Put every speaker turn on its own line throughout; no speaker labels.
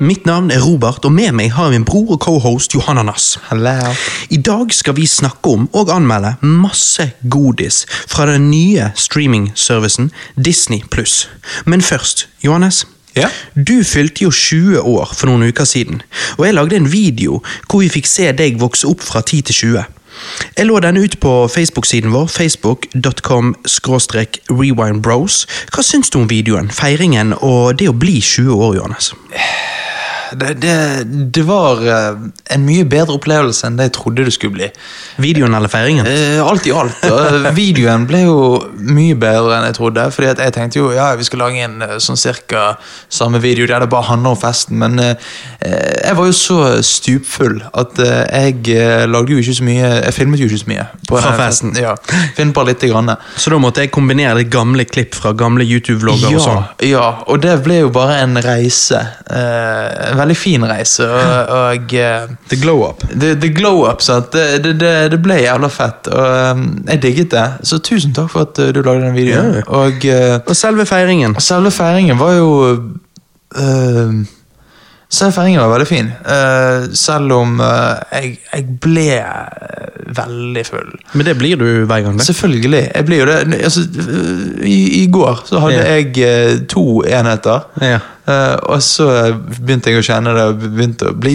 Mitt navn er Robert, og med meg har jeg min bror og cohost Johanna Nass.
Hello.
I dag skal vi snakke om og anmelde masse godis fra den nye streaming-servicen Disney+. Men først, Johannes.
Ja?
Du fylte jo 20 år for noen uker siden, og jeg lagde en video hvor vi fikk se deg vokse opp fra 10 til 20. Jeg lå denne ut på Facebook-siden vår, facebook.com rewindbros. Hva syns du om videoen, feiringen og det å bli 20 år, Johannes?
Det, det, det var eh, en mye bedre opplevelse enn det jeg trodde det skulle bli.
Videoen eller feiringen?
Eh, alt i alt. eh, videoen ble jo mye bedre enn jeg trodde. Fordi at jeg tenkte jo ja, vi skal lage en eh, sånn cirka samme video der det bare handler om festen. Men eh, eh, jeg var jo så stupfull at eh, jeg eh, lagde jo ikke så mye Jeg filmet jo ikke så mye. på
Fra
denne
festen.
Ja, Filmet bare lite grann.
Så da måtte jeg kombinere det gamle klipp fra gamle YouTube-vlogger og sånn.
ja, og det ble jo bare en reise. eh, en veldig fin reise. Og, og eh,
The glow up.
The, the glow up, sant? Det, det, det, det ble jævla fett, og um, jeg digget det. Så tusen takk for at uh, du lagde den videoen.
Ja.
Og uh,
Og selve feiringen.
selve feiringen var jo uh, Selve feiringen var veldig fin, uh, selv om uh, jeg, jeg ble uh, veldig full.
Men det blir du hver gang, det.
Selvfølgelig. Jeg blir jo det. Altså, uh, i, I går så hadde
Ja.
jeg uh, to enheter.
Ja.
Eh, og så begynte jeg å kjenne det, og begynte å bli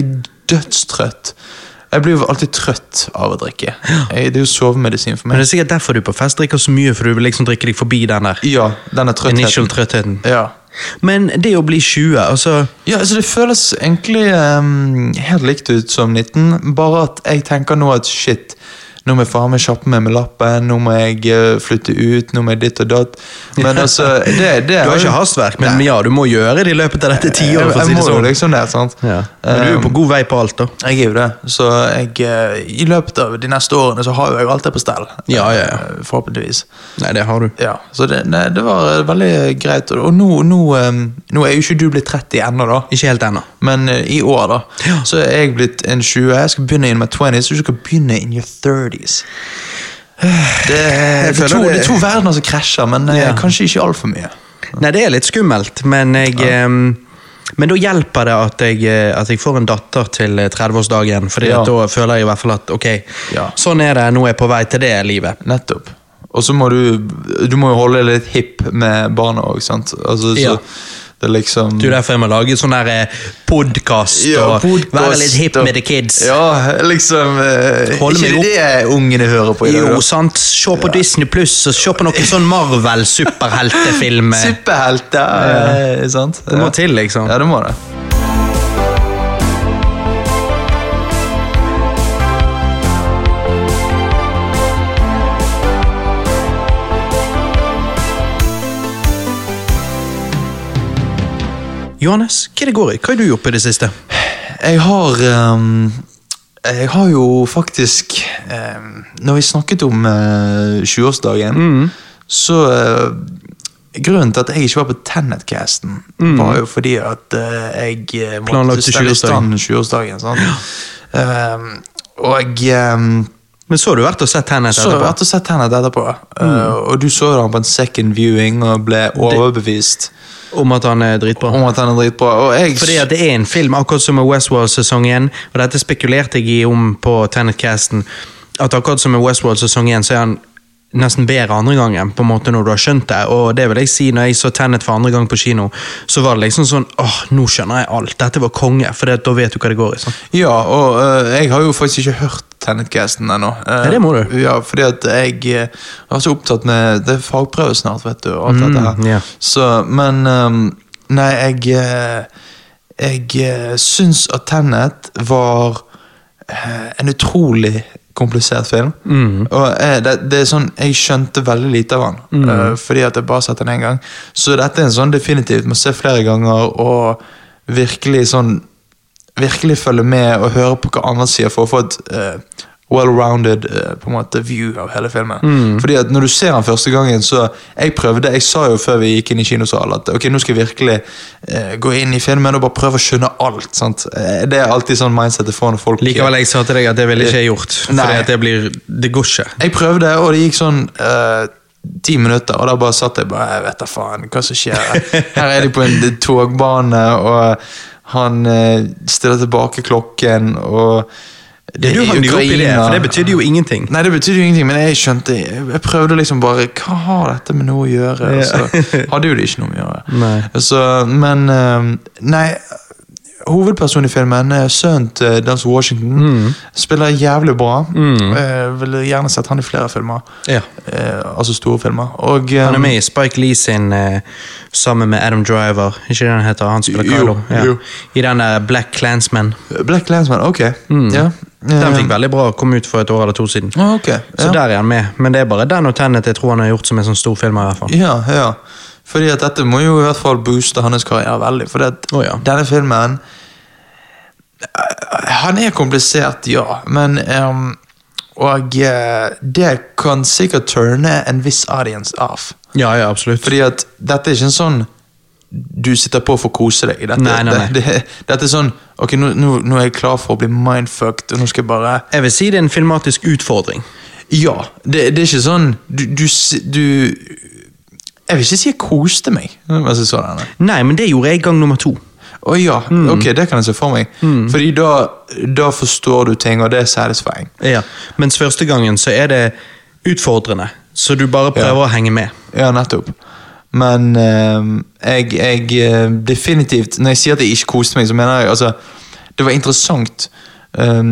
dødstrøtt. Jeg blir jo alltid trøtt av å drikke. Jeg, det er jo sovemedisin for
Men
meg.
det er sikkert derfor du på fest drikker så mye, for du vil liksom drikke deg forbi den der
Ja, denne trøttheten.
initial trøttheten.
Ja.
Men det å bli 20, altså
ja, altså Det føles egentlig ehm, helt likt ut som 19, bare at jeg tenker nå at shit nå må jeg faen meg kjappe meg med lappen, nå må jeg eh, flytte ut, nå må jeg ditt og datt. Men altså, det, det
Du har ikke hastverk, men ja, du må gjøre det i løpet av dette tiåret, for å
Jeg
si det
må jo
sånn.
liksom det, sant. Eh,
Ja. Men du er jo på god vei på alt, da.
Jeg er jo det, så jeg, eh, i løpet av de neste årene så har jo jeg alt det på stell.
Ja, ja, ja.
Eh, Forhåpentligvis.
Nei, det har du.
Ja, Så det, nei, det var eh, veldig eh, greit. Og og nå, nå, eh, nå er jo ikke du blitt 30 ennå, da.
Ikke helt ennå.
Men eh, i år, da.
Ja.
Så er jeg blitt en 20. Jeg skal begynne in my 20s, og du skal begynne in your 30s. Det er, det
føler
er, to,
det-
det er to verdener som krasjer, men eh,
Ja.
kanskje ikke altfor mye.
Nei, det er litt skummelt, men jeg ehm, Men da hjelper det at jeg, eh, at jeg får en datter til eh, 30-årsdagen, for
Ja.
da føler jeg i hvert fall at ok,
Ja.
sånn er det, nå er jeg på vei til det livet.
Nettopp. Og så må du Du må jo holde deg litt hip med barna òg, sant. Altså, så
Ja.
det er liksom
Det er jo derfor jeg må lage sånn der podkast og
podcast
være litt hip
og-
med the kids.
Ja, liksom eh,
Holde meg
Ikke
opp.
det ungene hører på i dag.
Jo,
da.
sant. Se på Disney pluss og se på noen sånn Marvel-superheltefilm. Det
Superhelter, eh, sant? Det
må til, liksom.
Ja, det må det.
Johannes, hva er det går i? Hva har du gjort på i det siste?
Jeg har ehm, Jeg har jo faktisk ehm, Når vi snakket om eh, 20-årsdagen,
Mm.
så eh, Grunnen til at jeg ikke var på Tennet-casten, var jo fordi at eh, jeg eh, måtte
Mm. Planlagte
stelle i
20-årsdagen.
stand 20-årsdagen. sant? Ehm, og ehm,
Men så har du vært og sett Tenet
Så har jeg
etterpå?
vært og sett henne etterpå. Uh,
Mm.
og du så den på en second viewing og ble overbevist
Om at han er dritbra?
om at den er dritbra. Og jeg,
Fordi at det er en film, akkurat som med Westworld-sesong 1, og dette spekulerte jeg i om på Tenet-casten, at akkurat som med Westworld-sesong 1, så er han nesten bedre andre gangen, på en måte når du har skjønt det, og det vil jeg si, når jeg så Tenet for andre gang på kino, så var det liksom sånn, åh, nå skjønner jeg alt, dette var konge, for det, da vet du hva det går i, sånn.
ja, og uh, jeg har jo faktisk ikke hørt Tenet-casten ennå. Uh,
Nei, det må du.
Ja, fordi at jeg uh, var så opptatt med Det er fagprøve snart, vet du. Og alt dette her.
Mm, ja.
Så, men um, Nei, jeg uh, Jeg uh, syns at Tenet var eh, en utrolig komplisert film.
Mm.
Og eh, det, det er sånn, Jeg skjønte veldig lite av den,
Mm.
eh, fordi at jeg bare har sett den én gang. Så dette er en sånn definitivt må se flere ganger og virkelig sånn Virkelig følge med og høre på hva andre sier for å få et eh, well-rounded eh, på en måte view av hele filmen. Fordi at når du ser den første gangen, så Jeg prøvde, jeg sa jo før vi gikk inn i kinosalen at ok, nå skal jeg virkelig eh, gå inn i filmen og bare prøve å skjønne alt. sant? Eh, det er alltid sånn mindset jeg får når folk
Likevel, jeg sa til deg at det ville ikke jeg gjort, fordi
Nei.
at det blir, det går ikke.
Jeg prøvde, og det gikk sånn eh, ti minutter, og da bare satt jeg bare Jeg vet da faen hva som skjer. Her er de på en togbane, og Han eh, stiller tilbake klokken, og
Det er du hang deg opp i det, for det betydde jo ingenting.
Nei, det betydde jo ingenting, men jeg skjønte Jeg jeg prøvde liksom bare Hva har dette med noe å gjøre? Og
Ja.
så hadde jo det ikke noe med å gjøre.
Nei.
Så, men eh, Nei. Hovedpersonen i filmen, eh, sønnen til Dance Washington,
Mm.
spiller jævlig bra. Eh, ville gjerne sett han i flere filmer.
Ja.
Eh, altså store filmer. Og, eh,
Han er med i Spike Lee sin eh, sammen med Adam Driver. Ikke det han heter? Han spiller
Jo,
Kylo.
jo.
I den der Black Clansman.
ehm, Black Landsman, ok. Ja.
Mm. Den fikk veldig bra, kom ut for et år eller to siden.
Ah, ok.
Så
Ja.
der er han med. Men det er bare den og Tenet jeg tror han har gjort som en sånn stor film. i hvert fall.
ja, ja. Fordi at dette må jo i hvert fall booste hans karriere veldig. Fordi at
Å, ja.
denne filmen eh, Han er komplisert, ja, men ehm, Og eh, det kan sikkert turne en viss audience av.
Ja, ja, absolutt.
Fordi at dette er ikke en sånn du sitter på for å kose deg. Dette,
Nei, nei, nei.
Det, det, dette er sånn Ok, nå, nå, nå er jeg klar for å bli mindfucked, og nå skal jeg bare
Jeg vil si det er en filmatisk utfordring.
Ja, det, det er ikke sånn du, du, s- du Jeg vil ikke si jeg koste meg mens jeg så denne.
Nei, men det gjorde jeg gang nummer to.
Å ja, ok, det kan jeg se for meg. Fordi da, da forstår du ting, og det er satisfying.
Ja. Mens første gangen så er det utfordrende, så du bare prøver å henge med.
Ja, nettopp. Men eh, jeg, jeg eh, definitivt Når jeg sier at jeg ikke koste meg, så mener jeg altså Det var interessant. Um,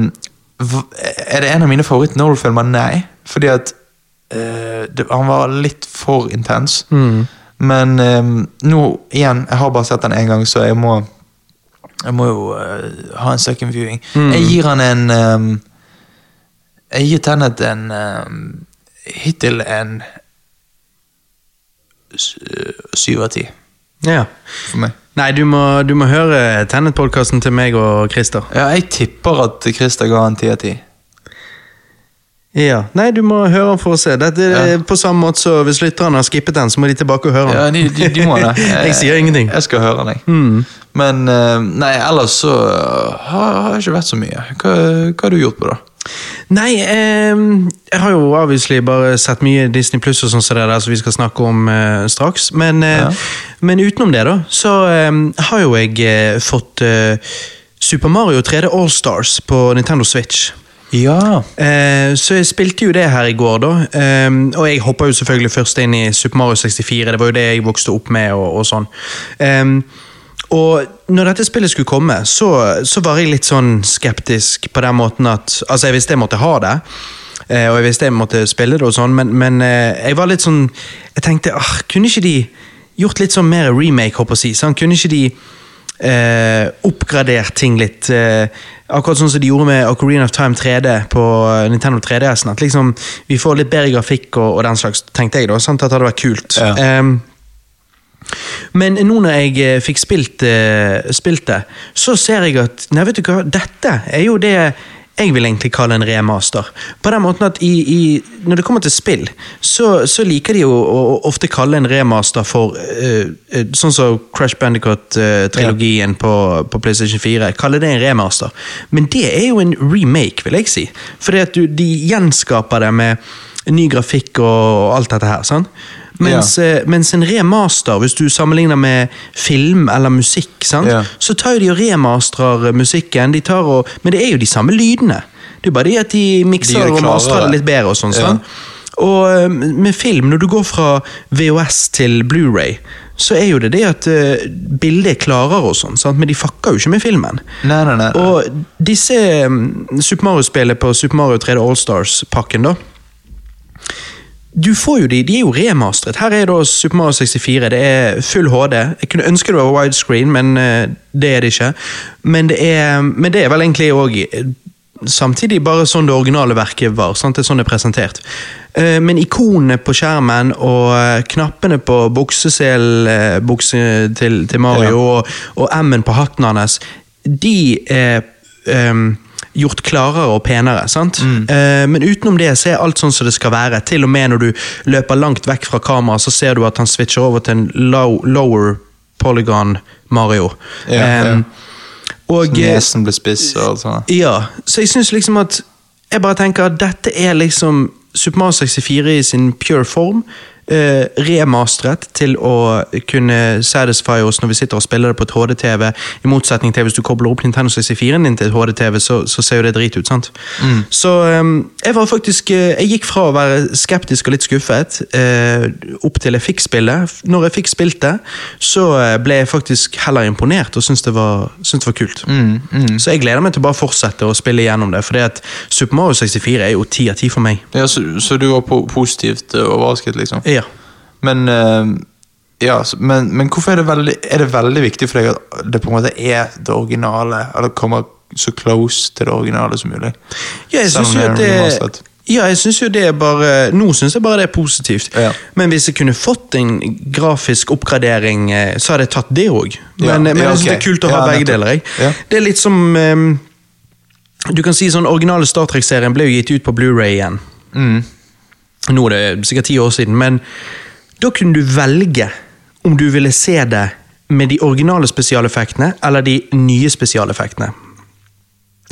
hv- er det en av mine favoritt-Nolan-filmer? Nei. Fordi at eh, det, han var litt for intens. Men eh, nå, igjen, jeg har bare sett den én gang, så jeg må Jeg må jo eh, ha en second viewing. Jeg gir han en eh, Jeg gir Tenet en eh, Hittil en eh, syv av ti
Ja.
for meg.
Nei, du må, du må høre Tennet-podkasten til meg og Christer.
Ja, jeg tipper at Christer ga en ti av ti.
Ja. Nei, du må høre den for å se. Dette er
Ja.
På samme måte så hvis lytterne har skippet den, så må de tilbake og høre den.
Ja, de, de, de må det.
jeg sier ingenting.
Jeg skal høre deg. Men eh, nei, ellers så har har jeg ikke vært så mye. Hva, hva har du gjort på, da?
Nei, eh, jeg har jo obviously bare sett mye Disney Pluss og sånn som det der som vi skal snakke om eh, straks. Men, eh,
Ja.
men utenom det, da, så eh, har jo jeg eh, fått eh, Super Mario 3D All Stars på Nintendo Switch.
Ja.
Eh, så jeg spilte jo det her i går, da. Eh, og jeg hoppa jo selvfølgelig først inn i Super Mario 64. Det var jo det jeg vokste opp med. og, og sånn. Eh, og når dette spillet skulle komme, så, så var jeg litt sånn skeptisk på den måten at Altså, jeg visste jeg måtte ha det. eh, Og jeg visste jeg måtte spille det, og sånn, men, men eh, jeg var litt sånn Jeg tenkte ah, Kunne ikke de gjort litt sånn mer remake, håper jeg å si? sant? Kunne ikke de eh, oppgradert ting litt. Eh, akkurat sånn som de gjorde med Ocarina of Time 3D på eh, Nintendo 3DS-en. At liksom, vi får litt bedre grafikk og, og den slags, tenkte jeg da. Sant? At det hadde vært kult.
Ja.
Ehm, men nå når jeg eh, fikk spilt, eh, spilt det, så ser jeg at Nei, vet du hva, dette er jo det jeg vil egentlig kalle en remaster. På den måten at i, i, Når det kommer til spill, så, så liker de jo å, å ofte kalle en remaster for eh, eh, Sånn som Crash Bandicoot-trilogien på, på PlayStation 4. Kalle det en remaster. Men det er jo en remake, vil jeg si. Fordi at du, de gjenskaper det med ny grafikk og alt dette her. sant? Mens, eh, mens en remaster, hvis du sammenligner med film eller musikk, sant?
Ja.
så tar jo de og remastrer eh, musikken, de tar og, men det er jo de samme lydene. Det er bare det at de
De gjør
mikser
det
og
klarere.
masterer det litt bedre. Og sånn,
Ja.
sant? Og eh, med film, når du går fra VHS til Blu-ray, så er jo det det at eh, bildet er klarere, og sånn, sant? men de fucker jo ikke med filmen.
Nei, nei, nei. nei.
Eh, Og disse mm, Super Mario-spillene på Super Mario 3D All-Stars-pakken, da du får jo de, de er jo remastret. Her er da Super Mario 64, det er full HD. Jeg kunne ønske det var widescreen, men eh, det er det ikke. Men det er, men det er vel egentlig òg Samtidig bare sånn det originale verket var. Sant? Det er sånn det er presentert. Eh, Men ikonene på skjermen og eh, knappene på bukseselbukse til, til Mario og, og M-en på hatten hans, de er ehm, gjort klarere og penere. sant?
Mm.
Eh, men utenom det så er alt sånn som det skal være. Til og med når du løper langt vekk fra kameraet, så ser du at han switcher over til en low, lower polygon Mario.
Ja, ja.
Ehm, Og, eh,
Nesen ble spiss og alt sånt.
ja, så jeg synes liksom at Jeg bare tenker at dette er liksom Super Mario 64 i sin pure form. eh, remastret til å kunne satisfy oss når vi sitter og spiller det på et HD-TV. I motsetning til hvis du kobler opp Nintendo 64-en din til et HD-TV, så, så ser jo det drit ut. sant? Så eh, jeg var faktisk eh, Jeg gikk fra å være skeptisk og litt skuffet eh, opp til jeg fikk spillet. Når jeg fikk spilt det, så eh, ble jeg faktisk heller imponert og syntes det var, syntes det var kult. Så jeg gleder meg til å bare fortsette å spille gjennom det, fordi at Super Mario 64 er jo 10 av 10 for meg.
Ja, så, så du var po positivt eh, overrasket, liksom?
Ja.
Men, eh, ja, så- men, men hvorfor er det, veldig, er det veldig viktig for deg at det på en måte er det originale, eller kommer så close til det originale som mulig?
Ja, jeg
Selv om
synes jo
det er
at det
remasteret.
ja, jeg synes jo det er bare Nå syns jeg bare det er positivt.
Ja.
Men hvis jeg kunne fått en grafisk oppgradering, eh, så hadde jeg tatt det òg. Men,
Ja,
men
ja,
jeg synes
ok.
det er kult å ha
Ja,
begge
nettopp.
deler. Jeg.
Ja.
Det er litt som eh, Du kan si sånn originale Star Trek-serien ble jo gitt ut på Blu-ray igjen.
Mm.
Nå er det sikkert ti år siden, men da kunne du velge om du ville se det med de originale spesialeffektene eller de nye spesialeffektene.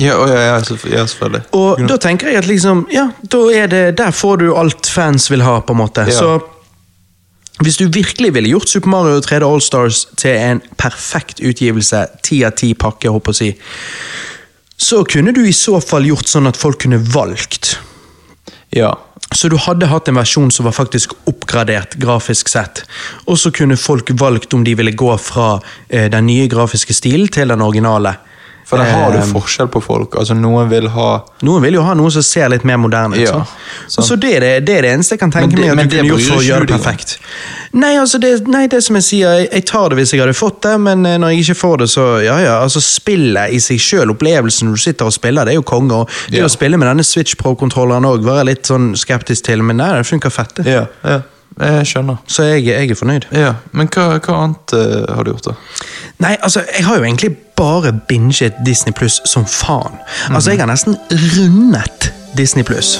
Ja, å, ja, ja, selvfø- ja selvfølgelig.
Og da tenker jeg at liksom, ja, da er det, der får du alt fans vil ha, på en måte.
Ja.
Så hvis du virkelig ville gjort Super Mario 3D All Stars til en perfekt utgivelse, ti av ti pakke, håper jeg å si, så kunne du i så fall gjort sånn at folk kunne valgt.
Ja.
Så du hadde hatt en versjon som var faktisk oppgradert grafisk sett. Og så kunne folk valgt om de ville gå fra eh, den nye grafiske stilen til den originale.
For der har du
Eh,
forskjell på folk. Altså, noen vil ha
noen vil jo ha noe som ser litt mer moderne ut.
Ja,
sant?
sant.
Så det er det, det er det eneste jeg kan tenke
Men det-
meg
men
at du
det
kunne
bryr
gjort for å
ikke
gjøre
du
det
deg om.
perfekt. Nei, altså det, nei, det som jeg sier, jeg, jeg tar det hvis jeg hadde fått det, men eh, når jeg ikke får det, så ja ja. Altså Spillet i seg sjøl, opplevelsen når du sitter og spiller, det er jo konge. og Det
Ja.
å spille med denne Switch Pro-kontrolleren òg var jeg litt sånn skeptisk til, men nei, det funker fett. det.
Ja, ja. Jeg skjønner.
Så jeg, jeg er fornøyd.
Ja, Men hva, hva annet eh, har du gjort, da?
Nei, altså, jeg har jo egentlig bare binget Disney Pluss som faen. Altså,
Mhm.
jeg har nesten rundet Disney Pluss.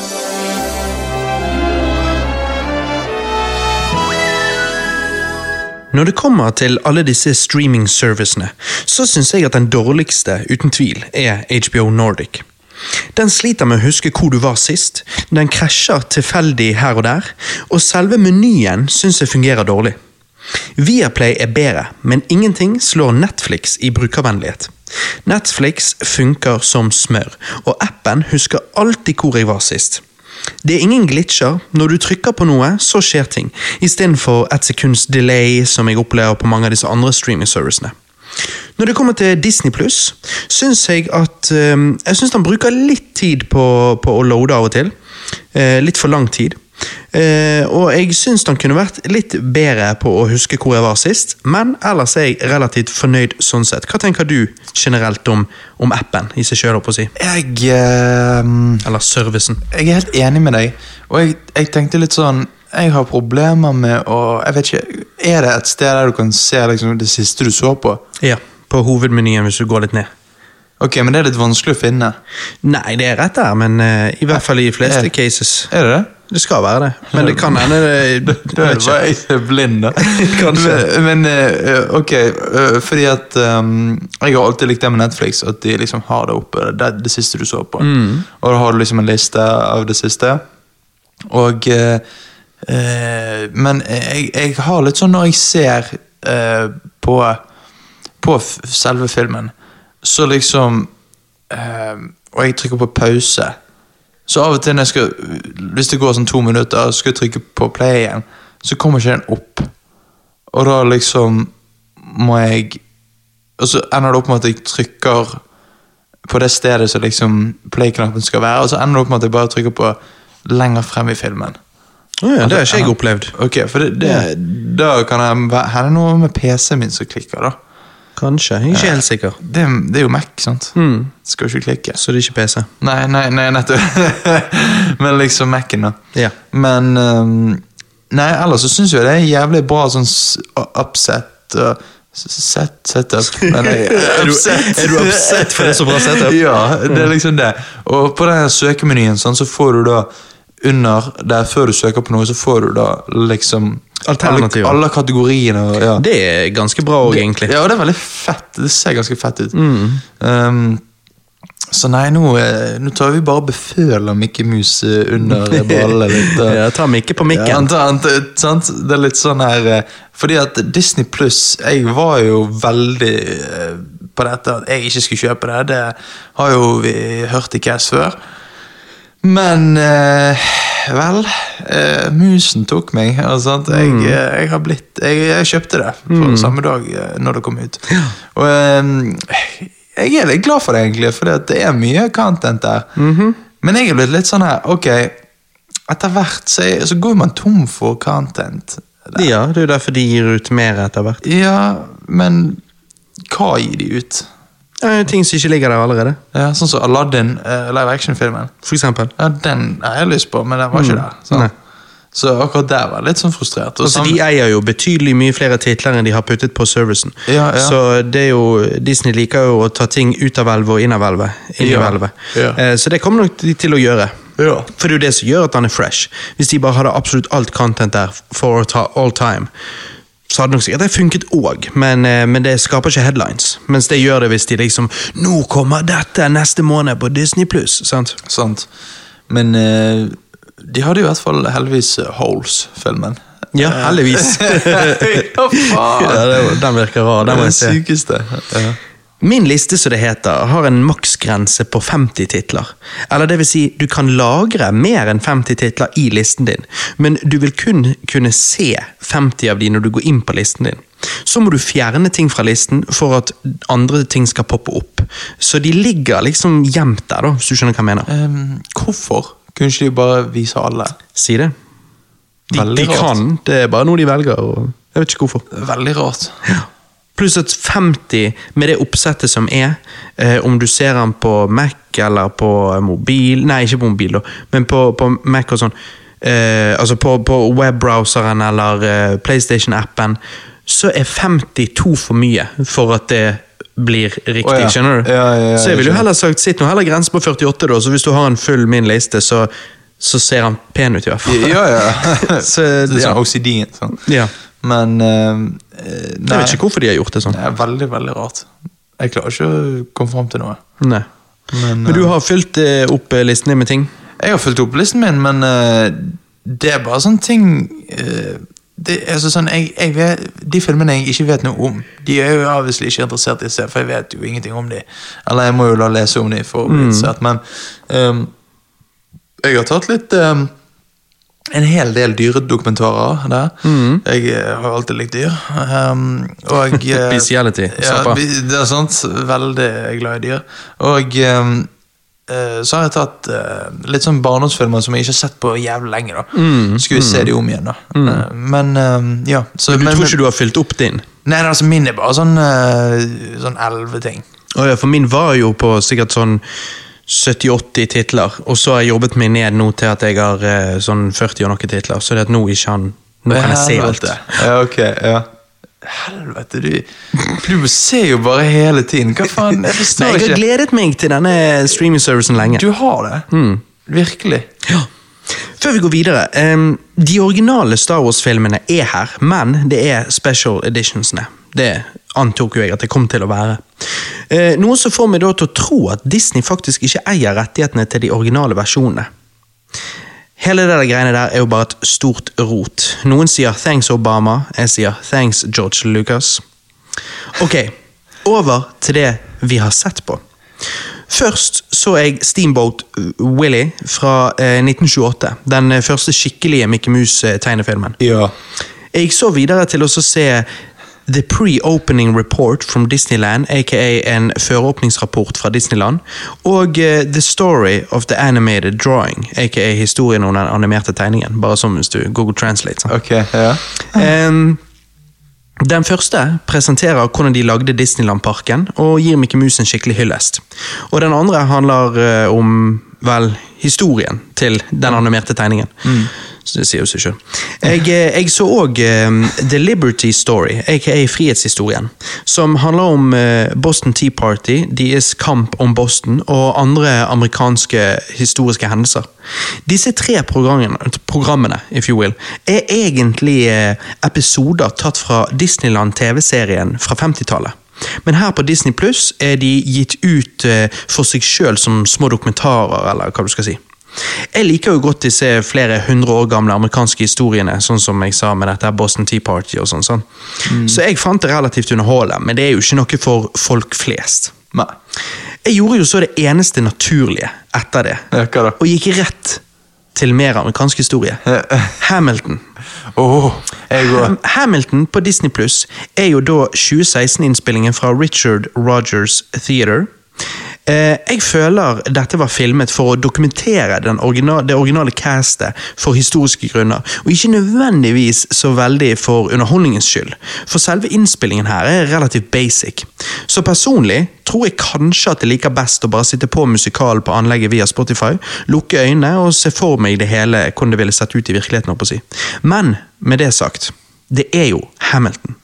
Når det kommer til alle disse streaming-servicene, så syns jeg at den dårligste, uten tvil, er HBO Nordic. Den sliter med å huske hvor du var sist, den krasjer tilfeldig her og der, og selve menyen syns jeg fungerer dårlig. Viaplay er bedre, men ingenting slår Netflix i brukervennlighet. Netflix funker som smør, og appen husker alltid hvor jeg var sist. Det er ingen glitcher. Når du trykker på noe, så skjer ting, istedenfor et sekunds delay, som jeg opplever på mange av disse andre streaming-servicene. Når det kommer til Disney Pluss, syns jeg at ehm, Jeg syns han bruker litt tid på, på å loade av og til. Eh, litt for lang tid. Eh, og jeg syns han kunne vært litt bedre på å huske hvor jeg var sist, men ellers er jeg relativt fornøyd sånn sett. Hva tenker du generelt om, om appen i seg sjøl, si?
Jeg eh,
eller servicen?
jeg er helt enig med deg. Og jeg, jeg tenkte litt sånn Jeg har problemer med å Jeg vet ikke, Er det et sted der du kan se liksom, det siste du så på?
Ja, på hovedmenyen hvis du går litt ned.
Ok, men det er litt vanskelig å finne.
Nei, det er rett der, men eh, i hvert fall i de fleste
Eh.
cases.
Er det det?
Det skal være det, men det kan hende det
Da
jeg vet
var jeg så blind, da.
Kanskje.
Men, men, eh, ok, eh, fordi at ehm, Jeg har alltid likt det med Netflix, at de liksom har det oppe. Det er det siste du så på. Og da har du liksom en liste av det siste. Og eh, eh, Men jeg, jeg har litt sånn når jeg ser eh, på På f selve filmen, så liksom eh, Og jeg trykker på pause. Så av og til når jeg skal, hvis det går sånn to minutter, og skal jeg trykke på play igjen, så kommer ikke den opp. Og da liksom må jeg Og så ender det opp med at jeg trykker på det stedet som liksom play-knappen skal være, og så ender det opp med at jeg bare trykker på lenger frem i filmen.
ikke. Å Altså, ja, det har ikke jeg opplevd.
Ok, for det, det, Da kan jeg være- Her er det noe med PC-en min som klikker, da.
Kanskje. Jeg er ikke helt sikker.
Det, det er jo Mac, sant? Skal jo ikke klikke.
Så det er ikke PC.
Nei, nei, nei, nettopp. Men liksom Mac-en, da.
Ja.
Men ehm, Nei, ellers så syns jeg det er jævlig bra sånn s- upset og Set, setup Men jeg-
Er du-
upset.
er du upset for det er så bra setup? Mm.
ja, det er liksom det. Og på den søkemenyen sånn, så får du da under der Før du søker på noe, så får du da liksom
Alternativer.
Alle, alle kategoriene. og- Ja.
Det er ganske bra òg, egentlig. Mm.
Ja, og det er veldig fett. Det ser ganske fett ut. Um, Så nei, nå, eh, nå tar vi bare og beføler Mikke Mus eh, under ballene litt. og-
eh, Ja, ta Mikke på
Ja,
mikken.
ant- ant- sant? Det er litt sånn her eh, Fordi at Disney Pluss Jeg var jo veldig eh, på dette at jeg ikke skulle kjøpe det. Det har jo vi hørt i Cass før. Men eh, Vel eh, Musen tok meg. og sant? Jeg, eh, jeg har blitt Jeg, jeg kjøpte det på samme dag eh, når det kom ut. Og eh, jeg er litt glad for det, egentlig, for det er mye content der. Men jeg er blitt litt sånn her Ok, etter hvert så, er, så går man tom for content.
Ja, det er jo derfor de gir ut mer etter hvert.
Ja, men hva gir de ut?
Det er jo Eh, ting som ikke ligger der allerede,
Ja, sånn som Aladdin, eh, live action-filmen.
for eksempel.
Ja, Den har jeg lyst på, men den var ikke der.
Mm. Nei.
Sant? Så akkurat der var jeg litt sånn frustrert. Og
Altså,
samme-
de eier jo betydelig mye flere titler enn de har puttet på servicen.
Ja, ja.
Så det er jo, Disney liker jo å ta ting ut av hvelvet og inn av hvelvet. Inn i
Ja,
hvelvet.
ja.
Eh, Så det kommer nok de til å gjøre.
Ja.
For det er jo det som gjør at han er fresh. Hvis de bare hadde absolutt alt content der for all ti- all time, så hadde nok sikkert det funket òg, men, eh, men det skaper ikke headlines. Mens det gjør det hvis de liksom Nå kommer dette neste måned på Disney pluss! Sant?
Sant. Men eh, de hadde jo i hvert fall heldigvis eh, Holes-filmen.
Ja, heldigvis.
ja, faen!
Ja, det- den virker rar. Den må
den
jeg se.
sykeste. Ja.
Min liste, som det heter, har en maksgrense på 50 titler. Eller det vil si, du kan lagre mer enn 50 titler i listen din, men du vil kun kunne se 50 av de når du går inn på listen din. Så må du fjerne ting fra listen for at andre ting skal poppe opp. Så de ligger liksom gjemt der, da, hvis du skjønner hva jeg mener.
Em, hvorfor kunne ikke de bare vise alle?
Si det. De, de
Veldig rart.
kan, det er bare noe de velger, og jeg vet ikke hvorfor.
Veldig rart.
Pluss at 50, med det oppsettet som er, eh, om du ser den på Mac eller på mobil Nei, ikke på mobil, da, men på, på Mac og sånn. Eh, altså på, på webbrowseren eller eh, PlayStation-appen, så er 52 for mye for at det blir riktig.
Å ja.
Skjønner du?
Ja, ja, ja,
så jeg
jeg
ville jo
skjønner.
heller sagt sitt nå heller grense på 48, da, så hvis du har en full min liste, så, så ser han pen ut, i hvert fall.
Ja, ja.
Så,
Det er
ja.
sånn OCD. Sånn.
Ja.
Men eh, eh,
Jeg
nei,
vet ikke hvorfor de har gjort det sånn.
det er veldig, veldig rart. Jeg klarer ikke å komme fram til noe.
Nei. Men,
Men,
du har fylt eh, opp eh, listen din med ting?
Jeg har fulgt opp listen min, men eh, det er bare sånne ting eh, det er altså sånn, jeg, jeg vet, De filmene jeg ikke vet noe om, de er jo obviously ikke interessert i å se, for jeg vet jo ingenting om de. Eller jeg må jo la lese om de for å bli interessert, men ehm, jeg har tatt litt ehm, en hel del dyredokumentarer der. Jeg eh, har jo alltid likt dyr. ehm, og eh,
Bestiality, slapp
Ja,
av.
vi- det er sant. Veldig glad i dyr. Og ehm, eh, så har jeg tatt eh, litt sånn barndomsfilmer som jeg ikke har sett på jævlig lenge. da.
Mm,
Skulle vi se de om igjen, da. Eh, men ehm, ja. Så,
Du tror ikke du har fylt opp din?
Nei, nei, altså min er bare sånn eh, Sånn elleve ting.
Å ja, for min var jo på sikkert sånn 70-80 titler, og så har jeg jobbet meg ned nå til at jeg har eh, sånn 40 og noen titler, så det at nå ikke han Nå kan jeg se alt det.
Ja, ok, ja. Helvete, du Du ser jo bare hele tiden. Hva faen? Jeg
Nei,
forstår
jeg har
ikke.
gledet meg til denne streaming-servicen lenge.
Du har det.
Mm.
Virkelig.
Ja. Før vi går videre, em, de originale Star Wars-filmene er her, men det er special editionsene. Det antok jo jeg at det kom til å være. Eh, Noe som får meg da til å tro at Disney faktisk ikke eier rettighetene til de originale versjonene. Hele det der greiene der er jo bare et stort rot. Noen sier 'thanks Obama', jeg sier 'thanks George Lucas'. Ok, over til det vi har sett på. Først så jeg Steamboat Willie fra eh, 1928. Den eh, første skikkelige Mickey Mouse-tegnefilmen.
Ja.
Jeg gikk så videre til å så se The Pre-Opening Report from Disneyland, aka en føreåpningsrapport fra Disneyland, og eh, The Story of the Animated Drawing, aka historien om den animerte tegningen, bare som hvis du Google Translate. sant?
Ok, ja.
Ehm, den første presenterer hvordan de lagde Disneyland-parken, og gir Mickey Mouse en skikkelig hyllest. Og den andre handler eh, om, vel, historien til den animerte tegningen. Så det sier jo seg sjøl. Jeg, eh, jeg så òg The Liberty Story, aka Frihetshistorien, som handler om eh, Boston Tea Party, deres kamp om Boston og andre amerikanske historiske hendelser. Disse tre programmene, programmene if you will, er egentlig eh, episoder tatt fra Disneyland TV-serien fra 50-tallet. Men her på Disney Pluss er de gitt ut eh, for seg sjøl som små dokumentarer, eller hva du skal si. Jeg liker jo godt disse flere hundre år gamle amerikanske historiene, sånn som jeg sa med dette her Boston Tea Party og sånn. sånn. Så jeg fant det relativt underholdende, men det er jo ikke noe for folk flest.
Nei.
Jeg gjorde jo så det eneste naturlige etter det,
Ja, hva da?
og gikk rett til mer amerikansk historie. Hamilton.
Åh, jeg går.
Ham- Hamilton på Disney Plus er jo da 2016-innspillingen fra Richard Rogers Theater. Eh, jeg føler dette var filmet for å dokumentere den origina- det originale castet for historiske grunner, og ikke nødvendigvis så veldig for underholdningens skyld, for selve innspillingen her er relativt basic. Så personlig tror jeg kanskje at jeg liker best å bare sitte på musikalen på anlegget via Spotify, lukke øynene og se for meg det hele hvordan det ville sett ut i virkeligheten. holdt på å si. Men med det sagt, det er jo Hamilton.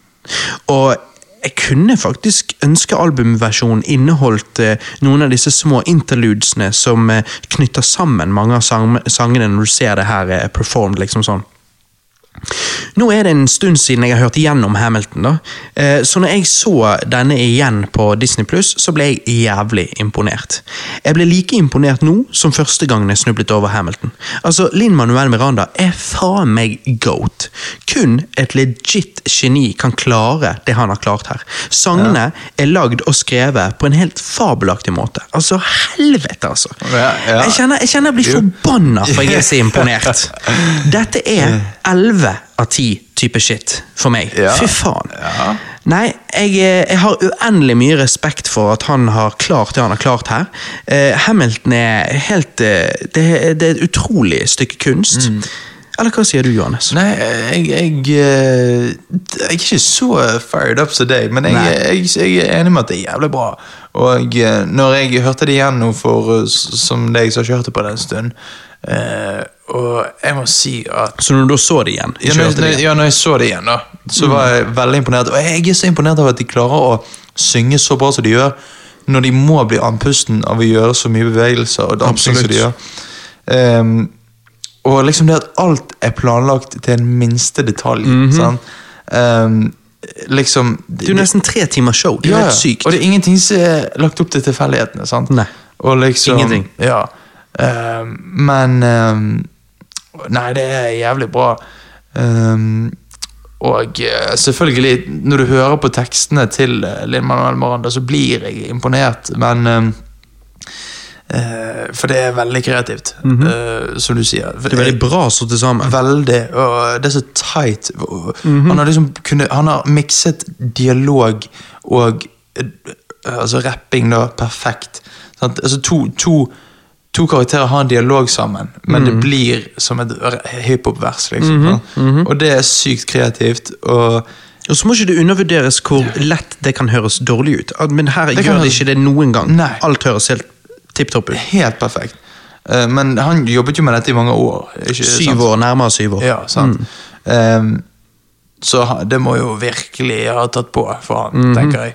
Og jeg kunne faktisk ønske albumversjonen inneholdt eh, noen av disse små interludesene som eh, knytter sammen mange av sang sangene når du ser det her eh, performed, liksom sånn. Nå er det en stund siden jeg har hørt igjennom Hamilton, da. Eh, Så når jeg så denne igjen på Disney Pluss, så ble jeg jævlig imponert. Jeg ble like imponert nå som første gangen jeg snublet over Hamilton. Altså, Linn Manuel Miranda er faen meg goat. Kun et legit geni kan klare det han har klart her. Sangene er lagd og skrevet på en helt fabelaktig måte. Altså, helvete, altså!
Ja, ja.
Jeg, kjenner, jeg kjenner jeg blir
Jo.
forbanna, for jeg er så imponert. Dette er 11 av 10 type shit for meg.
Ja.
Fy faen.
Ja.
Nei, jeg, eh, jeg har uendelig mye respekt for at han har klart det han har klart her. Eh, Hamilton er helt eh, det, det er et utrolig stykke kunst. Eller hva sier du, Johannes?
Nei, jeg, jeg, eh, jeg er ikke så fired up som deg, men jeg,
Nei.
jeg, jeg er enig med at det er jævlig bra. Og eh, når jeg hørte det igjen nå, for, eh, s- som deg som ikke hørte på det en stund eh, Og jeg må si at
Så når du da så det igjen?
ja
ikke
når,
hørte det
når,
igjen.
ja, når jeg så det igjen, da, så var jeg veldig imponert. Og jeg er så imponert over at de klarer å synge så bra som de gjør, når de må bli andpusten av å gjøre så mye bevegelser og dansing som
Absolutt.
de gjør. Ehm, og liksom det at alt er planlagt til en minste detalj. sant? Ehm, liksom
Det er jo nesten tre timers show. Det er
ja,
jo
ja.
helt sykt.
Og det er ingenting som er lagt opp til tilfeldighetene. sant?
Nei.
Og liksom,
Ingenting.
Ja. Eh, men eh, Nei, det er jævlig bra. Eh, og eh, selvfølgelig, når du hører på tekstene til eh, Lin Manuel Miranda, så blir jeg imponert, men eh, eh, For det er veldig kreativt, eh, som du sier.
Mhm. Det er veldig bra satt sammen.
Veldig. Og det er så tight.
Mhm.
Han har liksom kunne, Han har mikset dialog og eh, altså rapping da perfekt. Sant? Altså to, to, to karakterer har en dialog sammen, men
Mhm.
det blir som et r- hiphop-vers. Liksom, sant?
mhm.
Og det er sykt kreativt. Og
Og så må ikke det undervurderes hvor lett det kan høres dårlig ut. At- Men her gjør
kan
det
høres-
ikke det noen gang.
Nei.
Alt høres helt tipp topp ut.
helt perfekt. Eh, Men han jobbet jo med dette i mange år. Ikke, sant?
Syv år, nærmere syv år.
Ja, sant.
Mm.
Ehm, så ha- det må jo virkelig ha tatt på for han,
Mhm.
tenker jeg.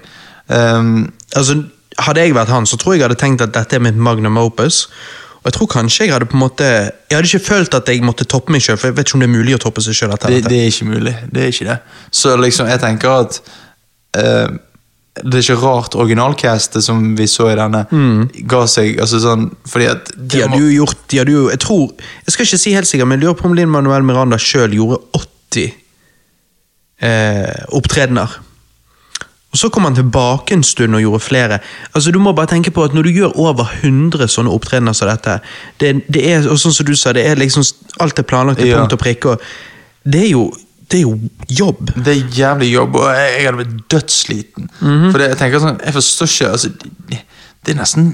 Ehm,
Altså, hadde jeg vært han, så tror jeg jeg hadde tenkt at dette er mitt magnum opus. Og jeg tror kanskje jeg hadde på en måte Jeg hadde ikke følt at jeg måtte toppe meg sjøl, for jeg vet ikke om det er mulig å toppe seg sjøl etter
det,
dette.
det er ikke mulig. Det er ikke det. Så liksom, jeg tenker at ehm, det er ikke rart originalcastet som vi så i denne,
Mm.
ga seg altså sånn, Fordi at
De hadde jo gjort de hadde jo, Jeg tror Jeg skal ikke si helt sikkert, men jeg lurer på om Linn Manuel Miranda sjøl gjorde 80 eh, opptredener. Og så kom han tilbake en stund og gjorde flere. Altså Du må bare tenke på at når du gjør over 100 sånne opptredener som dette det, det er, Og sånn som du sa, det er liksom alt er planlagt til
Ja.
punkt og prikke. Og det er jo Det er jo jobb.
Det er jævlig jobb, og jeg, jeg hadde blitt dødssliten.
Mhm.
For det, jeg tenker sånn, jeg forstår ikke altså, det, er nesten,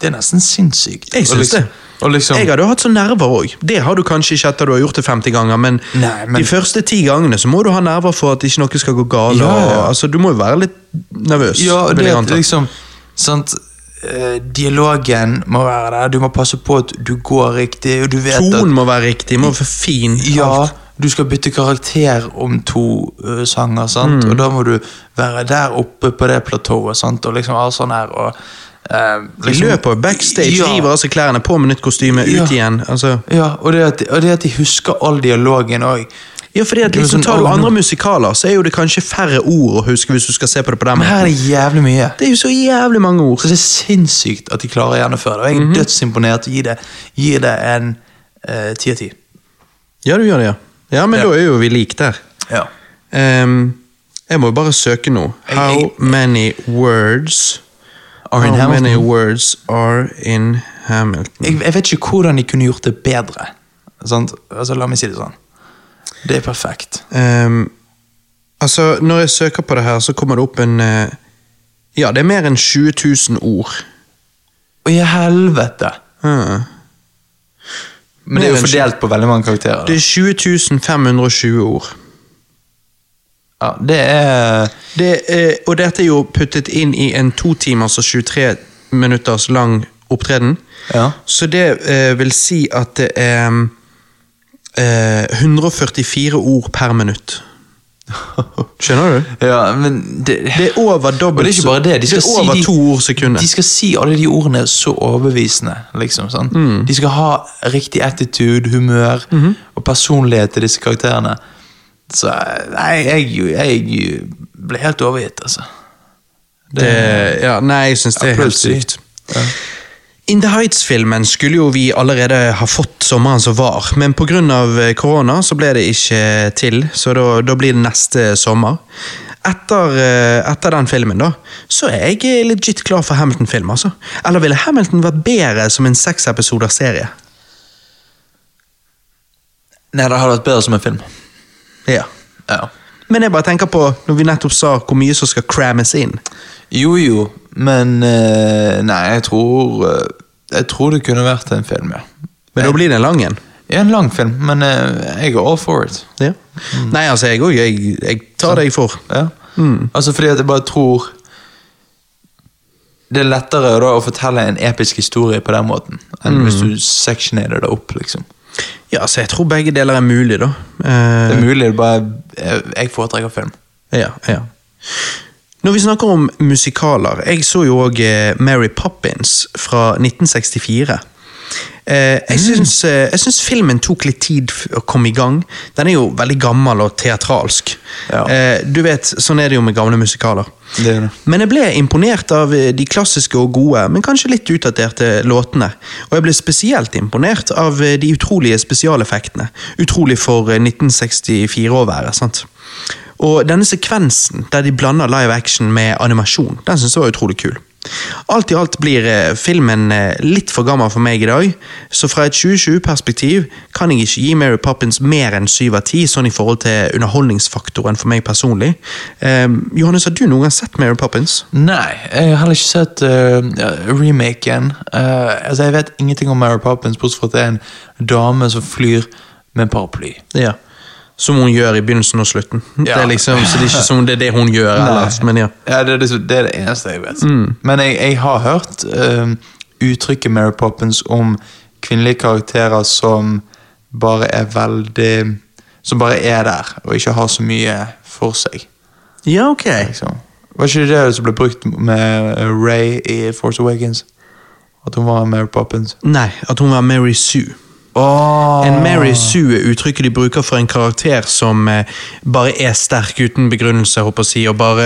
det er nesten sinnssykt.
Jeg
Og
syns
liksom,
det.
Og liksom,
Jeg hadde jo hatt sånne nerver òg. Det har du kanskje ikke etter du har gjort det 50 ganger, men,
Nei, men-
de første ti gangene så må du ha nerver for at ikke noe skal gå galt.
Ja, ja.
og- Altså, du må jo være litt nervøs.
Ja, og
vil
det
jeg
at
anta.
liksom sant, eh, Dialogen må være der. Du må passe på at du går riktig, og du vet
Tonen må være riktig, må være fin.
at ja, du skal bytte karakter om to eh, sanger, sant?
Mm.
og da må du være der oppe på det platået sant? og liksom ha sånn her og eh,
De
liksom-
løper backstage,
Ja.
river av seg klærne, på med nytt kostyme,
Ja.
ut igjen. Altså,
Ja, og det, at, og det at de husker all dialogen òg.
Ja, fordi at
Det er
liksom
sånn,
Tar du
«Å, nå-
andre musikaler, så er jo det kanskje færre ord å huske hvis du skal se på det på den
Men her
måten.
er det jævlig mye.
Det er jo så jævlig mange ord.
Så det er sinnssykt at de klarer å gjennomføre det. Og
Mhm.
jeg er dødsimponert og gir det, gir det en eh, ti av ti.
Ja, du gjør det, ja. Ja, men
Ja.
da er jo vi like der.
Ja.
Ehm, jeg må jo bare søke nå. How
jeg-
many words
Are in
How
Hamilton?
many words are in Hamilton?
Jeg, jeg vet ikke hvordan de kunne gjort det bedre. Sant? Altså, la meg si det sånn. Det er perfekt.
Ehm, altså, når jeg søker på det her, så kommer det opp en eh, Ja, det er mer enn 20 000 ord.
Å, i helvete!
Ah.
Men det er
Mer
jo
enn
fordelt på veldig mange
Det
karakterer. da.
er 20 520 ord.
Ja, det er
Det, eh, og dette er jo puttet inn i en to timers og 23 minutters lang opptreden.
Ja.
Så det eh, vil si at det er eh, 144 ord per minutt. Skjønner du?
Ja, men det,
Det er over dobbelt
Og det er ikke bare det. De skal
det er over
si de-
to ord sekundet.
De skal si alle de ordene så overbevisende, liksom. sant? De skal ha riktig attitude, humør og personlighet til disse karakterene. Så nei, jeg, jeg ble helt overgitt, altså.
det, ja, nei, jeg syns det er helt
Applaus til de.
sykt. In the Heights-filmen skulle jo vi allerede ha fått sommeren som var, men pga. eh, korona så ble det ikke til, så da, da blir det neste sommer. Etter, eh, etter den filmen, da, så er jeg eh, legit klar for Hamilton-film, altså. Eller ville Hamilton vært bedre som en seksepisoder serie?
Nei, det hadde vært bedre som en film.
Ja.
Ja.
Men jeg bare tenker på, når vi nettopp sa hvor mye som skal crammes inn
Jo, jo, men eh, Nei, jeg tror eh, Jeg tror det kunne vært en film, ja. Eh,
Men da blir det en lang en.
Ja, En lang film, men eh, jeg er all for it.
Ja.
Mm.
Nei, altså, jeg òg. Jeg, jeg tar det jeg får.
Ja. Altså fordi at jeg bare tror Det er lettere da å fortelle en episk historie på den måten enn hvis du sectionerer det opp, liksom.
Ja, så jeg tror begge deler er mulig, da.
Det
Eh,
er mulig, det er bare Jeg jeg foretrekker film.
Ja, ja. Når vi snakker om musikaler, jeg så jo òg Mary Poppins fra 1964. Eh,
Mm.
Jeg syns, eh, jeg syns filmen tok litt tid f- å komme i gang. Den er jo veldig gammel og teatralsk.
Ja.
Eh, Du vet, Sånn er det jo med gamle musikaler.
Det er det.
Men jeg ble imponert av eh, de klassiske og gode, men kanskje litt utdaterte låtene. Og jeg ble spesielt imponert av eh, de utrolige spesialeffektene. Utrolig for eh, 1964 å være, sant. Og denne sekvensen der de blander live action med animasjon, den synes jeg var utrolig kul. Alt i alt blir eh, filmen eh, litt for gammel for meg i dag, så fra et 2020-perspektiv kan jeg ikke gi Mary Poppins mer enn 7 av 10, sånn i forhold til underholdningsfaktoren for meg personlig. Eh, Johannes, har du noen gang sett Mary Poppins?
Nei, jeg har heller ikke sett eh, remaken. Eh, altså, jeg vet ingenting om Mary Poppins, bortsett fra at det er en dame som flyr med en paraply.
Ja. Som hun gjør i begynnelsen og slutten. Det
Ja.
er liksom, så det er ikke som det er det hun gjør ellers, men ja.
Ja, det, er liksom, det er det eneste jeg vet.
Mm.
Men jeg, jeg har hørt eh, uttrykket Mary Poppins om kvinnelige karakterer som bare er veldig Som bare er der, og ikke har så mye for seg.
Ja, ok.
Liksom. Var ikke det det som ble brukt med eh, Ray i Force Awakens? At hun var Mary Poppins?
Nei, at hun var Mary Sue.
Ah.
En Mary Sue er uttrykket de bruker for en karakter som eh, bare er sterk uten begrunnelse, håper jeg å si, og bare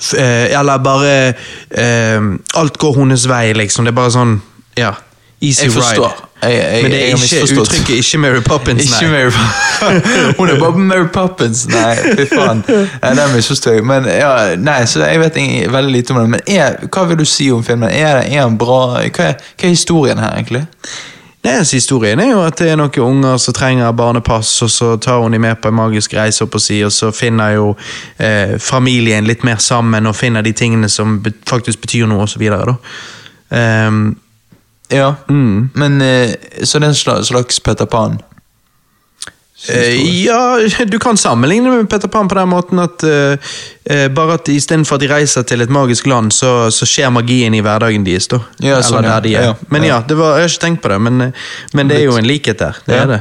f- eh, Eller bare eh, Alt går hennes vei, liksom. Det er bare sånn Ja. Easy
Jeg forstår.
ride.
Jeg, jeg,
Men det
jeg
er
har
ikke
misforstått.
uttrykket ikke Mary Poppins,
Ikke
nei.
Mary Poppins. Hun er bare Mary Poppins. Nei, fy faen. Nei, det misforstår jeg. Men ja, nei, så jeg vet ing- veldig lite om den. Men er, hva vil du si om filmen? Er, er den bra? Hva er, hva er historien her, egentlig?
Nei, altså, Historien er jo at det er noen unger som trenger barnepass, og så tar hun dem med på en magisk reise, håper jeg å si, og så finner jo eh, familien litt mer sammen, og finner de tingene som be faktisk betyr noe, og så videre, da. Ehm,
Ja. Men eh, Så det er en slags, slags Peter Pan?
Eh, ja, du kan sammenligne med Peter Pan på den måten at eh, eh, bare at istedenfor at de reiser til et magisk land, så, så skjer magien i hverdagen deres. da.
Ja, sånn,
Eller
ja.
der de er.
Ja, ja.
Men ja, det var, jeg har ikke tenkt på det, men, eh, men det er jo en likhet der. Det
Ja.
er det.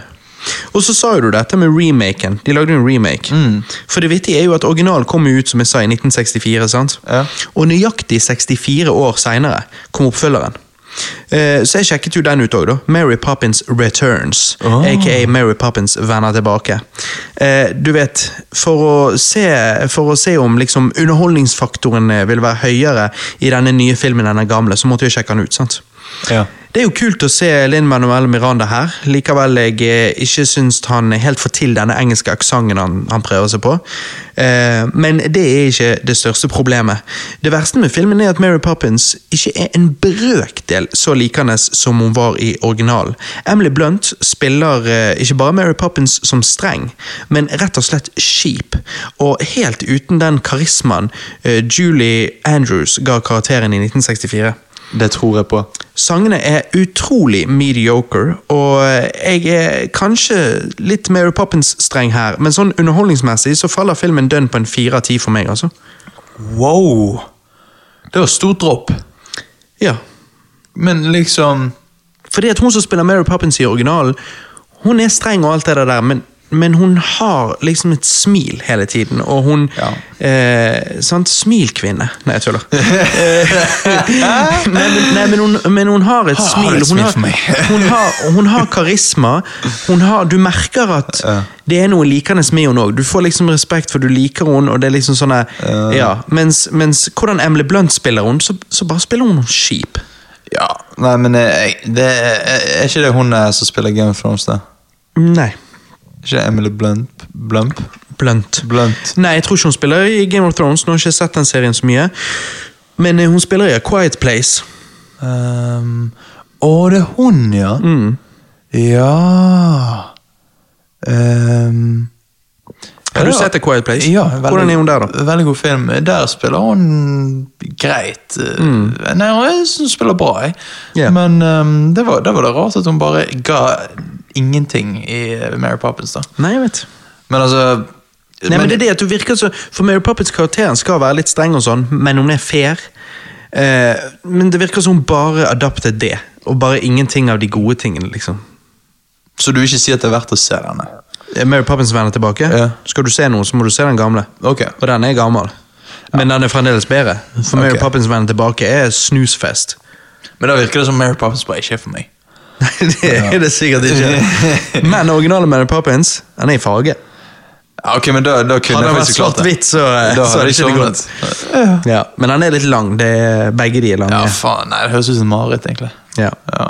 Og så sa jo du dette med remaken. De lagde jo en remake.
Mm.
For det vittige er jo at originalen kom jo ut som jeg sa i 1964, sant?
Ja.
og nøyaktig 64 år seinere kom oppfølgeren. Eh, så jeg sjekket jo den ut òg, da. Mary Poppins Returns.
Ah.
Aka Mary Poppins vender tilbake. Eh, du vet, for å se, for å se om liksom underholdningsfaktoren eh, vil være høyere i denne nye filmen enn den gamle, så måtte jeg sjekke den ut. sant?
Ja.
Det er jo kult å se Lin Manuel Miranda her. Likevel jeg eh, ikke syns han helt får til denne engelske aksenten han, han prøver seg på. Eh, men det er ikke det største problemet. Det verste med filmen er at Mary Poppins ikke er en brøkdel så likende som hun var i originalen. Emily Blunt spiller eh, ikke bare Mary Poppins som streng, men rett og slett skip. Og helt uten den karismaen eh, Julie Andrews ga karakteren i 1964.
Det tror jeg på.
Sangene er utrolig mediocre, og eh, jeg er kanskje litt Mary Poppins-streng her, men sånn underholdningsmessig så faller filmen dønn på en fire av ti for meg, altså.
Wow! Det var stort dropp.
Ja.
Men liksom
Fordi at hun som spiller Mary Poppins i originalen, hun er streng og alt det der, men, men hun har liksom et smil hele tiden, og hun
Ja.
eh, Sant? Smilkvinne. Nei, jeg tuller. nei, men, nei, men, hun, men hun har et
Har- har
smil.
et
Hun
smil for meg.
hun, har, hun har karisma. Hun har, du merker at
Ja.
det er noe likende med henne òg. Du får liksom respekt, for du liker henne. og det er liksom sånne, ja, mens, mens hvordan Emily Blunt spiller hun, så, så bare spiller hun skip.
Ja. Nei, men eh, jeg, det er, er ikke det hun er som spiller Game of Thrones, da?
Nei.
Er Ikke det Emily Blump? Blump?
Blunt.
Blunt.
Nei, jeg tror ikke hun spiller i Game of Thrones. Nå har jeg ikke sett den serien så mye. Men eh, hun spiller i A Quiet Place.
Um, å, det er hun, ja.
Mm.
Ja um,
Har du sett A Quiet Place?
Ja,
Hvordan er hun der, da?
Veldig god film. Der spiller hun greit. eh, Nei, hun synes hun spiller bra, jeg.
Mm. Ja.
Men ehm, det, var, det var det rart at hun bare ga ingenting i Mary Poppins, da.
Nei, jeg vet.
Men altså
Nei, men, det er det at du virker så For Mary Poppins karakteren skal være litt streng og sånn, men hun er fair. Eh, men det virker som hun bare adaptet det, og bare ingenting av de gode tingene, liksom.
Så du ikke sier at det er verdt å se denne?
Eh, Mary Poppins vender tilbake.
Ja.
Skal du se noe, så må du se den gamle.
Ok.
Og den er gammel. Men den er fremdeles bedre. For Mary
Ok.
Poppins vender tilbake er snusfest.
Men da virker det som Mary Poppins bare ikke er for meg.
Nei, det er det sikkert ikke. Men originalen Mary Poppins, den er i farge.
Ja, ok, men da, da kunne
Hadde
jeg
den vært
faktisk klart det.
svart-hvitt, så,
Da
Eh, så
hadde
hadde
jeg
ikke det gått.
sovnet.
Ja, men den er litt lang. Det er, begge de er lange.
Ja, faen. Nei, det høres ut som mareritt, egentlig.
Ja.
Ja.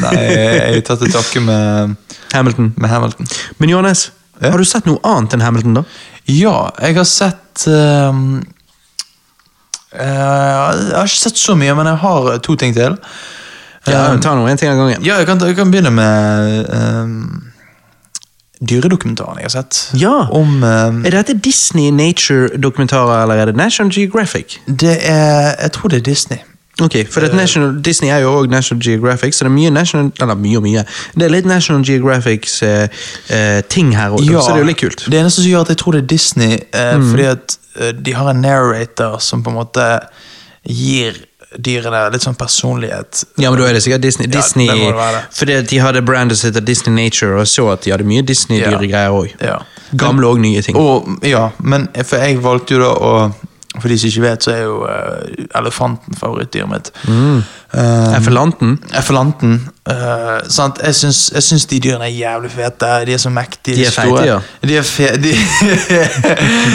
Nei, jeg, jeg tar til takke med,
Hamilton.
med Hamilton.
Men Johannes,
Ja?
har du sett noe annet enn Hamilton, da?
Ja, jeg har sett ehm, eh, Jeg har ikke sett så mye, men jeg har to ting til. Ehm,
ta noe, en ting av gangen.
ja, jeg kan, jeg kan begynne med ehm, dyredokumentaren jeg har sett.
Ja.
Om ehm,
Er dette Disney Nature-dokumentarer, eller er det National Geographic?
Det er Jeg tror det er Disney.
Ok, for
Eh.
det, National, Disney er jo òg National Geographic, så det er mye National Eller mye og mye. Det er litt National Geographics eh, eh, ting her òg, så det er jo litt kult. Mm.
Det eneste som gjør at jeg tror det er Disney, eh, fordi at eh, de har en narrator som på en måte gir dyrene litt sånn personlighet.
Ja, men da er det sikkert Disney.
Ja,
Disney
det må det være.
fordi at de hadde brandet sitt av Disney Nature, og så at de hadde mye
Ja.
Disney-dyregreier òg.
Ja.
Gamle og nye ting.
Og, ja, men for jeg valgte jo da å For de som ikke vet, så er jo eh, elefanten favorittdyret mitt.
Mm.
Eh,
Efelanten.
Elefanten. eh, sant? Jeg, syns, jeg syns de dyrene er jævlig fete. De er så mektige.
De er feite,
store.
ja.
De er fe... De,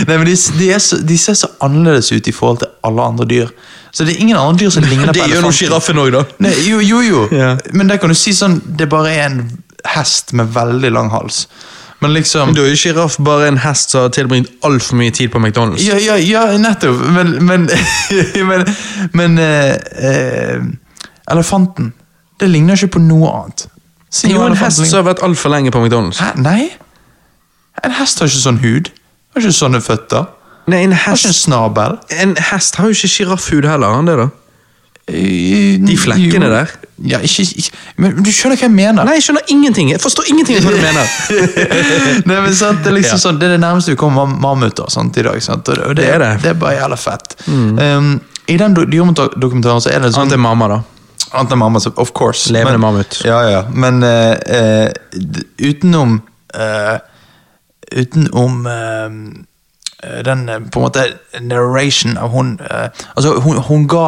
Nei, men de, de, er så, de ser så annerledes ut i forhold til alle andre dyr. Så det er ingen andre dyr som ligner på elefanten.
sjiraffen òg, da.
Nei, jo, jo, jo.
Ja.
Men der kan du si sånn Det bare er en hest med veldig lang hals. Men liksom
Da er jo sjiraff bare en hest som har tilbringt altfor mye tid på McDonald's.
Ja, ja, ja nettopp. Men Men, men, men eh, eh, Elefanten. Det ligner ikke på noe annet. Si
Det er
noe
jo en
elefanten
hest som
ligner-
har vært altfor lenge på McDonald's.
Hæ? Nei? En hest har ikke sånn hud. Har ikke sånne føtter.
Nei, en
Har ikke en
hest,
snabel.
en hest har jo ikke sjiraffhud heller, har han det da?
De
flekkene der.
Ja, ikke, ikke Men du skjønner hva jeg mener.
Nei, jeg skjønner ingenting. Jeg forstår ingenting av hva du mener.
Nei, men sant, det, er liksom
Ja.
sånn, det er det nærmeste vi kommer mam- mammuter sant, i dag. Sant? Og det, og
Det er det. Mm.
Det er bare jævla fett. Um, I den do- dyredokumentaren så er det sånn
Annet enn mamma, da.
Annet enn mamma, så- of course.
Levende
Men-
mammut.
Ja, ja. Men eh, eh, d- utenom eh, Utenom eh, den eh, på en måte narration av eh, hun eh, Altså, hun, hun ga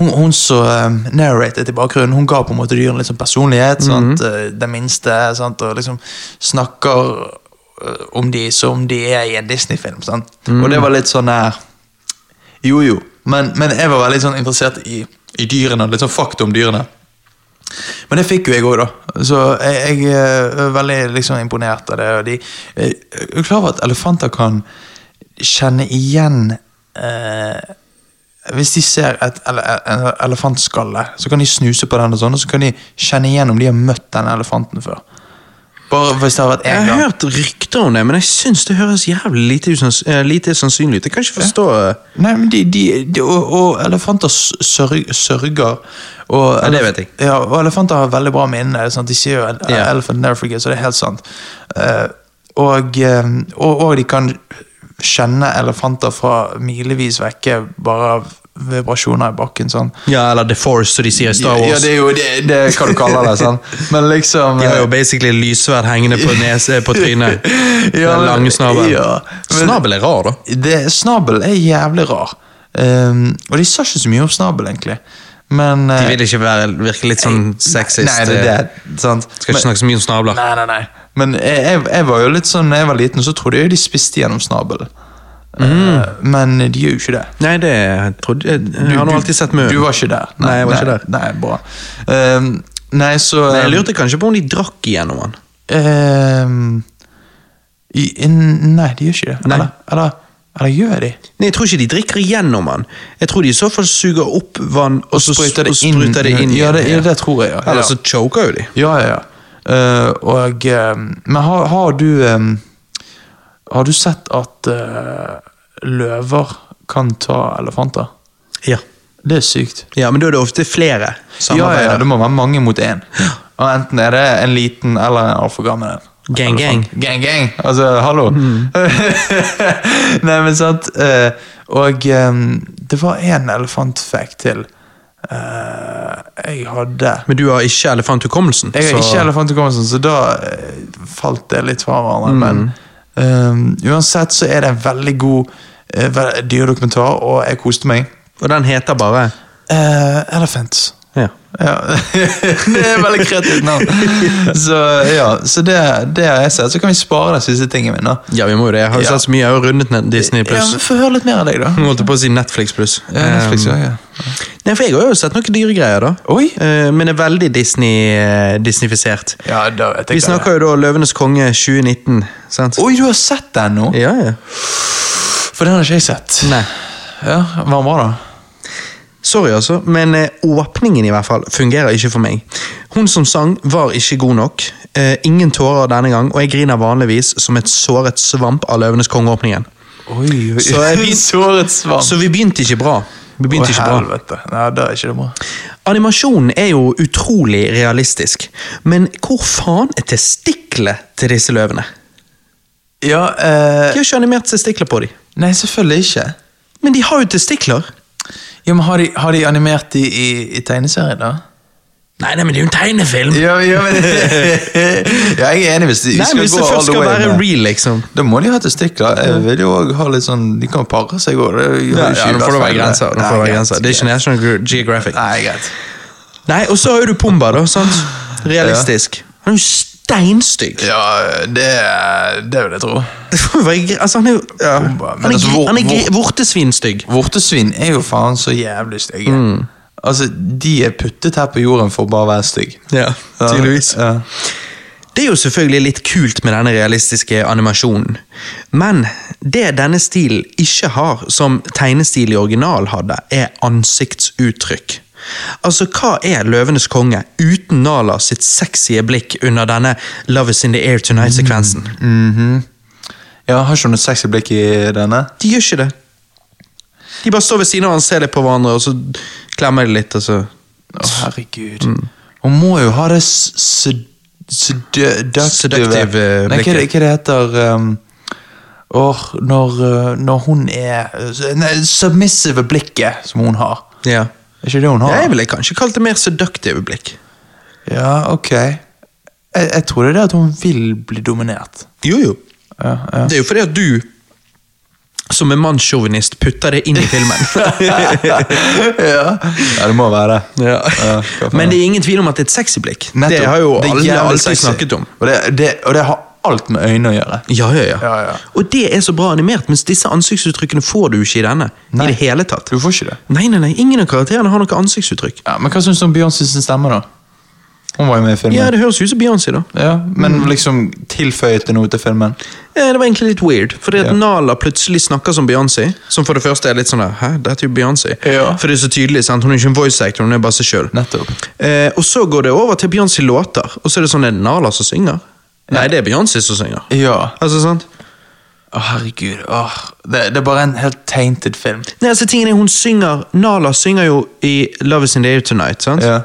hun, hun som um, narrated i bakgrunnen, hun ga på en måte dyrene litt sånn personlighet.
Mhm.
sant? Eh, Det minste. sant? Og liksom snakker eh, om de som de er i en Disney-film. sant?
Mhm.
Og det var litt sånn her Jo, jo. Men, men jeg var veldig sånn interessert i, i dyrene. Litt sånn fakta om dyrene. Men det fikk jo jeg òg, da. Så jeg, jeg eh, er veldig liksom imponert av det. Og de, eh, er du klar over at elefanter kan kjenne igjen eh, Hvis de ser et ele e-, en elefantskalle, så kan de snuse på den, og sånn, og så kan de kjenne igjen om de har møtt den elefanten før. Bare hvis det har vært
Jeg
én
har
gang.
hørt rykter om det, men jeg syns det høres jævlig lite, usanns eh, lite sannsynlig ut. Jeg kan ikke forstå
Nei, men de, de, de, og, og elefanter s- sørg, sørger. Og
Ja, det vet jeg.
Ja, og elefanter har veldig bra minne. Sant? De sier jo el-
Ja.
elephant never forget, så det er helt sant. Eh, og, eh, og, og de kan kjenne elefanter fra milevis vekke bare av vibrasjoner i bakken. Sånn.
Ja, eller The Force, som de sier i Star Wars.
Ja, det er jo det, det er hva du kaller det. sant? Men liksom
De har jo basically lyssverd hengende på, nese, på trynet.
Ja,
Den lange snabelen.
ja, men-
Snabel er rar, da.
eh, det, Snabel er jævlig rar. Ehm, og de sa ikke så mye om snabel, egentlig. Men eh,
De vil ikke være, virke litt sånn sexist. eh.
Nei, det, er det, sant?
Skal ikke
Men-
snakke så mye om snabler.
Nei, nei, nei. Men jeg, jeg, jeg var jo litt sånn, når jeg var liten, så trodde jeg jo de spiste gjennom snabelen. Eh, men de gjør jo ikke det.
Nei, det jeg trodde jeg, jeg har nå alltid sett
Du
mye.
var ikke der.
Nei, jeg var ikke der.
Nei, bra. Ehm, nei, så
Jeg lurte kanskje på om de drakk igjennom han.
ehm, i, Nei, de gjør ikke det.
Nei.
Eller, eller, eller gjør de?
Nei, Jeg tror ikke de drikker igjennom han. Jeg tror de i så fall suger opp vann og, så
Sprøyter det
og
inn?
spruter det inn.
ja, det,
igjen.
ja, det tror jeg, ja.
Eller
ja.
så choker jo de.
Ja, ja, ja. Eh, og, eh, men har, har du eh, Har du sett at eh, løver kan ta elefanter?
Ja.
Det er sykt.
ja, men da er det ofte flere
Ja, ja, ja,
samarbeider.
det må være mange mot én. Og enten er det en liten eller en altfor gammel en.
Gang, gang.
Gang, gang. Altså, hallo. Nei, men sant. eh, og eh, det var en elefantfact til eh, jeg hadde.
Men du har ikke elefanthukommelsen.
Jeg har
så-
ikke elefanthukommelsen, sånn, så da eh, falt det litt fra hverandre. Men eh, uansett så er det en veldig god eh, ve- dyredokumentar, og jeg koste meg.
Og den heter bare
Uh, Elephants.
ja.
Ja. det er veldig kreativt navn. Så ja, så det, det har jeg sett. Så kan vi spare den siste tingen min. da.
ja, vi må jo det. Jeg har jo
Ja.
sett så mye. Jeg har jo rundet ned Disney
Ja,
pluss.
men Få høre litt mer av deg, da.
Nå holdt jeg på å si Netflix pluss.
Ja, Netflix,
Eh,
ja, ja.
Nei, for jeg har jo sett noen dyregreier, da.
Oi.
Eh, men det er veldig Disney, eh, Disney-fisert.
ja da
Vi
vet jeg hva det er.
snakker jo da Løvenes konge 2019, sant?
Oi, du har sett den nå?
Ja, ja.
For den har ikke jeg sett.
Nei.
Ja, Var den bra, da?
Sorry, altså, men eh, åpningen i hvert fall fungerer ikke for meg. Hun som sang, var ikke god nok. Eh, ingen tårer denne gang, og jeg griner vanligvis som et såret svamp av Løvenes konge-åpningen.
Oi, oi.
Så jeg begynte-
Såret svamp.
Så vi begynte ikke bra. Vi begynte ikke bra.
helvete. Nei, da er ikke det bra.
Animasjonen er jo utrolig realistisk, men hvor faen er testiklene til disse løvene?
Ja, eh,
De har ikke animert testikler på dem.
Nei, selvfølgelig ikke.
Men de har jo testikler!
Ja, men Har de, har de animert de i, i tegneserien, da?
Nei, nei, men det er jo en tegnefilm!
Ja, ja, men, ja, jeg er enig hvis de vi
Nei, men Hvis det først skal være real, liksom.
Da må de ha testikler. Jeg vil jo også ha litt sånn, De kan jo pare seg òg.
Ja, ja, nå får det være grenser. Nå får det være grenser. Det er ikke National Ge- Geographic.
Nei, greit.
Nei, og så har jo du Pumba, da. sant? Realistisk. Han er jo steinstygg!
Ja, det, det vil jeg tro.
Det får jo være gre- Altså, han er jo ja.
Pumba, men
Han er,
altså, hvor-
gre- han er gre-
hvor-
vortesvinstygg.
Vortesvin er jo faen så jævlig stygge.
Mm.
Altså, De er puttet her på jorden for å bare å være stygge.
Ja,
Ja.
Det er jo selvfølgelig litt kult med denne realistiske animasjonen, men det denne stilen ikke har som tegnestil i original hadde, er ansiktsuttrykk. Altså, hva er Løvenes konge uten Nala sitt sexy blikk under denne Love is in the air tonight-sekvensen?
Ja, Har ikke hun et sexy blikk i denne?
De gjør ikke det. De bare står ved siden av han, ser litt på hverandre, og så klemmer de litt, og så
Å, herregud. Mm. Hun må jo ha det s- sed- seductive
Seductive, eh,
Nei, hva, er det-
blikket.
hva er det heter um, åh, når, eh, når hun er øh, Nei, submissive blikket som hun har.
Ja.
Er ikke det hun har?
Jeg ville kanskje kalt det mer seductive blikk.
Ja, ok. Jeg, jeg tror det er det at hun vil bli dominert.
Jo, jo.
Ja, ja.
Det er jo fordi at du som en mannssjåvinist putter det inn i filmen.
ja. ja, det må være det.
Ja.
Ja, hva faen.
Men det er ingen tvil om at det er et sexyblikk. Det
Nettopp.
har jo
Det er
alle
jævlig
alltid
sexy.
snakket om.
Og det, det, og det har alt med øyne å gjøre.
Ja, ja, ja.
Ja, ja.
Og det er så bra animert, mens disse ansiktsuttrykkene får du ikke i denne.
Nei.
I det hele tatt.
Du får ikke det.
Nei, nei, nei, Ingen av karakterene har noe ansiktsuttrykk.
Ja, men hva syns du om Beyoncé sin stemme, da? Hun var jo med i filmen.
Ja,
Ja,
Det høres ut som Beyoncé, da.
men liksom tilføyet det noe til filmen?
Eh, Det var egentlig litt weird, fordi at
Ja.
Nala plutselig snakker som Beyoncé. Som for det første er litt sånn der, Hæ, dette er jo Beyoncé.
Ja.
For det er så tydelig, sant? Hun er ikke en voice actor, hun er bare seg sjøl.
Nettopp.
Eh, og så går det over til Beyoncé-låter, og så er det sånn, er det Nala som synger? Nei, det er Beyoncé som synger.
Ja.
Altså, sant?
Å, herregud. Åh. Det, det er bare en helt tainted film.
Nei, altså, tingen er, hun synger, Nala synger jo i Love Is In The Air Tonight, sant?
Ja.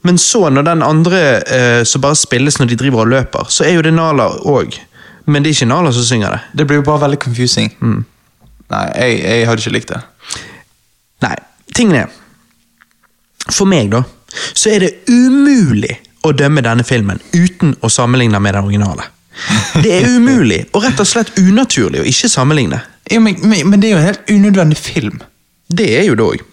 Men så, når den andre eh, som bare spilles når de driver og løper, så er jo det Nala òg. Men det er ikke Nala som synger det.
Det blir jo bare veldig confusing. Nei, jeg, jeg hadde ikke likt det.
Nei, tingen er For meg, da, så er det umulig å dømme denne filmen uten å sammenligne med den originale. Det er umulig, og rett og slett unaturlig å ikke sammenligne.
Jo, men, men, men det er jo en helt unødvendig film.
Det er jo det òg.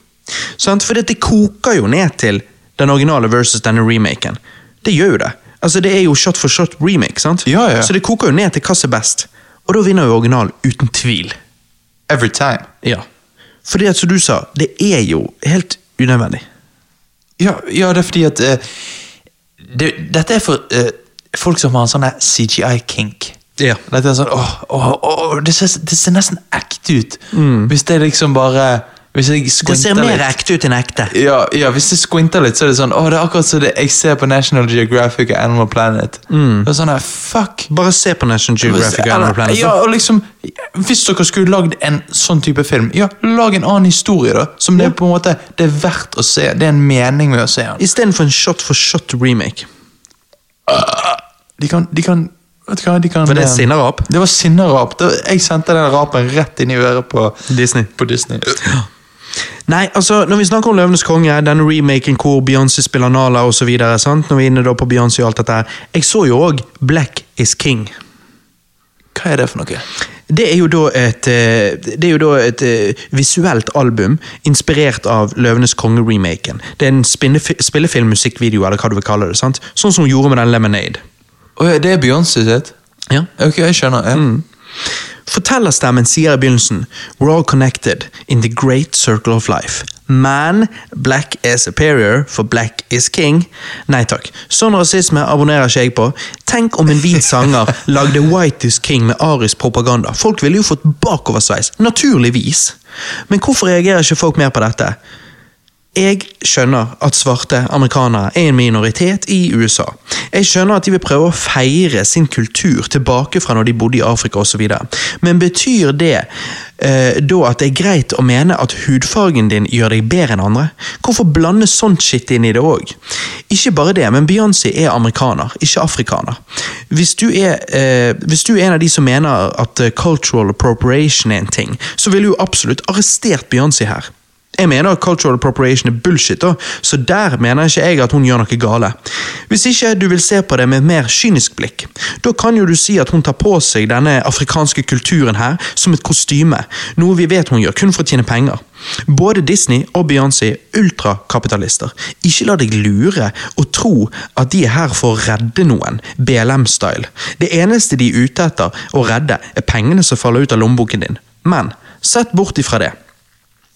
For det koker jo ned til den originale versus denne remaken. Det gjør jo det. Altså, Det er jo shot for shot remake, sant?
Ja, ja.
så det koker jo ned til hva som er best. Og da vinner jo original uten tvil.
Every time.
Ja. Fordi at, som du sa, det er jo helt unødvendig.
Ja, ja det er fordi at eh, det, Dette er for eh, folk som har en sånn der CGI-kink.
Ja.
Dette er sånn, åh, åh, åh, det, ser, det ser nesten ekte ut. Hvis det liksom bare Hvis jeg
Mm. Det ser
squinter
mer
litt
ekte ut enn ekte.
ja, ja, hvis jeg squinter litt, så er det sånn åh, det er akkurat som det jeg ser på National Geographic og Animal Planet. Det er sånn her, fuck
Bare se på National Mm. Geographic og Animal Planet.
ja,
da.
og liksom, hvis dere skulle lagd en sånn type film, ja, lag en annen historie, da. Som det er på en måte Det er verdt å se. Det er en mening med å se den.
Istedenfor en shot for shot remake.
De kan, de kan Vet du hva, de kan
Var det
eh,
sinnerap?
Det var sinnerap. Det var- Jeg sendte den rapen rett inn i øret på,
Disney.
på Disney.
Nei, altså, når vi snakker om Løvenes konge, denne remaken hvor Beyoncé spiller Nala og så videre, sant? når vi er inne da på Beyoncé og alt dette her, jeg så jo òg Black is King.
Hva er det for noe?
Det er jo da et, eh, det er jo da et eh, visuelt album inspirert av Løvenes konge-remaken. Det er en spinnefi- spillefilm, musikkvideo, eller hva du vil kalle det. sant? Sånn som hun gjorde med den Lemonade.
Å ja, det er Beyoncé sitt?
Ja.
Ok, jeg skjønner. Ja.
Fortellerstemmen sier i begynnelsen We're all connected in the great circle of life. Men black is superior, for black is king. Nei takk. Sånn rasisme abonnerer ikke jeg på. Tenk om en hvit sanger lagde White is king med arisk propaganda. Folk ville jo fått bakoversveis. Naturligvis. Men hvorfor reagerer ikke folk mer på dette? Jeg skjønner at svarte amerikanere er en minoritet i USA. Jeg skjønner at de vil prøve å feire sin kultur tilbake fra når de bodde i Afrika osv. Men betyr det eh, da at det er greit å mene at hudfargen din gjør deg bedre enn andre? Hvorfor blande sånt shit inn i det òg? Ikke bare det, men Beyoncé er amerikaner, ikke afrikaner. Hvis du er, eh, hvis du er en av de som mener at eh, cultural appropriation er en ting, så ville jo absolutt arrestert Beyoncé her. Jeg mener at cultural appropriation er bullshit, da, så der mener ikke jeg at hun gjør noe gale. Hvis ikke du vil se på det med et mer kynisk blikk, da kan jo du si at hun tar på seg denne afrikanske kulturen her som et kostyme, noe vi vet hun gjør kun for å tjene penger. Både Disney og Beyoncé er ultrakapitalister. Ikke la deg lure og tro at de er her for å redde noen, BLM-style. Det eneste de er ute etter å redde, er pengene som faller ut av lommeboken din. Men sett bort ifra det.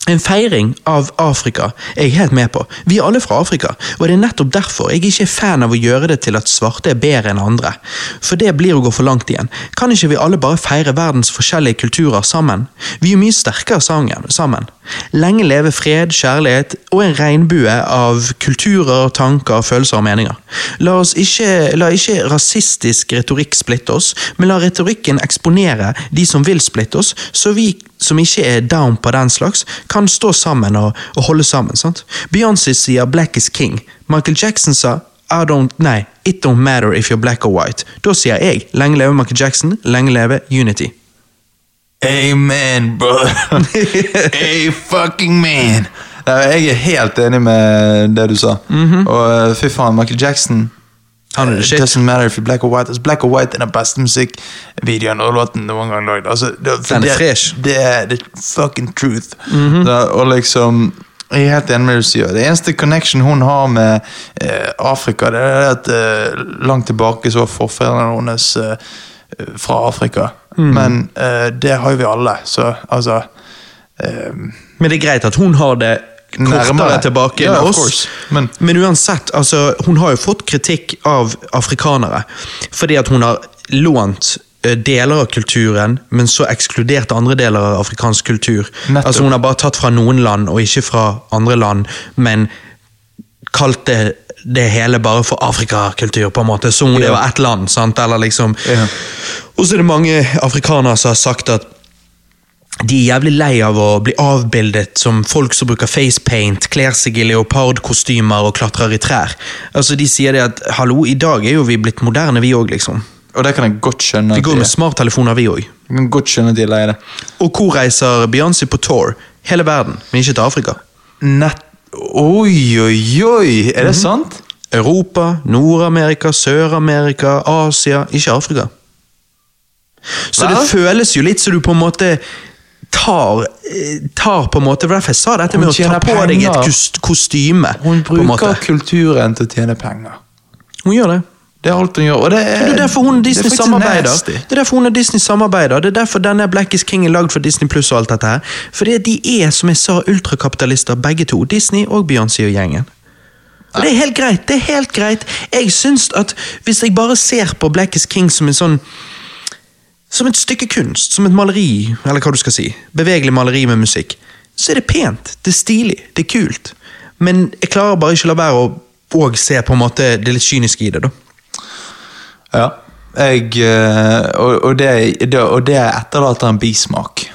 En feiring av Afrika er jeg helt med på. Vi er alle fra Afrika, og det er nettopp derfor jeg ikke er fan av å gjøre det til at svarte er bedre enn andre. For det blir å gå for langt igjen. Kan ikke vi alle bare feire verdens forskjellige kulturer sammen? Vi er mye sterkere sangen- sammen. Lenge leve fred, kjærlighet og en regnbue av kulturer, tanker, følelser og meninger. La, oss ikke, la ikke rasistisk retorikk splitte oss, men la retorikken eksponere de som vil splitte oss, så vi som ikke er down på den slags, kan stå sammen og, og holde sammen. sant? Beyoncé sier 'black is king'. Michael Jackson sa I don't, nei, 'it don't matter if you're black or white'. Da sier jeg 'lenge leve Michael Jackson, lenge leve Unity'.
Amen, brother. A fucking man. Nei, Jeg er helt enig med det du sa. Og eh, fy faen, Michael Jackson
Han er the
It
shit.
doesn't matter if you're black or white. Altså, black or white er den beste musikkvideoen og låten noen gang lagd. Altså, det- for
Den er
det-
fresh. Mm-hmm.
Det er the fucking truth. da, og liksom jeg er helt enig med det du sier. Det eneste connection hun har med eh, Afrika, det er at eh, langt tilbake så var forfedrene hennes eh, fra Afrika.
Mm.
Men eh, det har jo vi alle, så altså eh,
Men det er greit at hun har det kortere
Nærmere.
tilbake
Ja,
enn
of
oss.
course. Men-
uansett, altså, hun har jo fått kritikk av afrikanere fordi at hun har lånt eh, deler av kulturen, men så ekskludert andre deler av afrikansk kultur.
Nettopp.
Altså Hun har bare tatt fra noen land og ikke fra andre land, men kalt det det hele bare for afrikakultur, på en måte. Som om det
Ja.
var ett land. sant? Eller liksom...
Ja.
Og så er det mange afrikanere som har sagt at de er jævlig lei av å bli avbildet som folk som bruker facepaint, kler seg i leopardkostymer og klatrer i trær. Altså, De sier det at hallo, i dag er jo vi blitt moderne, vi òg, liksom.
Og det kan jeg godt skjønne.
Vi
at de
går
er.
med smarttelefoner, vi òg.
Jeg kan godt skjønne at de er lei det.
Og hvor reiser Beyoncé på tour? Hele verden, men ikke til Afrika.
Nett... Oi, oi, oi! Er
Mm-hmm.
det sant?
Europa, Nord-Amerika, Sør-Amerika, Asia, ikke Afrika. Så
Hva?
det føles jo litt som du på en måte tar, eh, tar på en måte, for Derfor jeg sa dette
Hun
med å ta
tjener
på deg et
penger.
kust- kostyme.
Hun
på en måte.
bruker kulturen til å tjene penger.
Hun gjør det.
Det er alt hun gjør. Og det er,
Det er derfor hun og Disney
faktisk
samarbeider.
nasty.
Det er derfor hun og Disney samarbeider. Det er derfor denne Black is King er lagd for Disney Pluss og alt dette her. Fordi at de er, som jeg sa, ultrakapitalister begge to. Disney og Beyoncé og gjengen. Og det er helt greit. det er helt greit. Jeg syns at hvis jeg bare ser på Black is King som en sånn som et stykke kunst, som et maleri, eller hva du skal si. Bevegelig maleri med musikk. Så er det pent, det er stilig, det er kult. Men jeg klarer bare ikke å la være å og se på en måte det litt kyniske i det, da.
Ja. Jeg, eh, og, og, det, det, og det etterlater en bismak.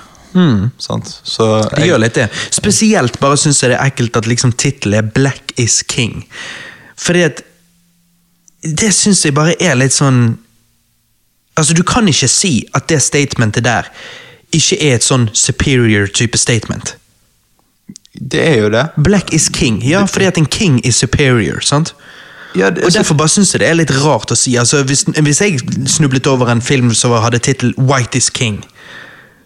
Sant? Så
Det
jeg-
Hmm. gjør litt det. Spesielt bare syns jeg det er ekkelt at liksom tittelen er 'Black is King'. Fordi at Det syns jeg bare er litt sånn Altså, du kan ikke si at det statementet der ikke er et sånn superior type statement.
det er jo det.
Black is king. Ja, fordi at en king is superior, sant?
Ja, det
Og Derfor bare synes jeg det er litt rart å si. Altså, hvis, hvis jeg snublet over en film som hadde tittel 'White is King',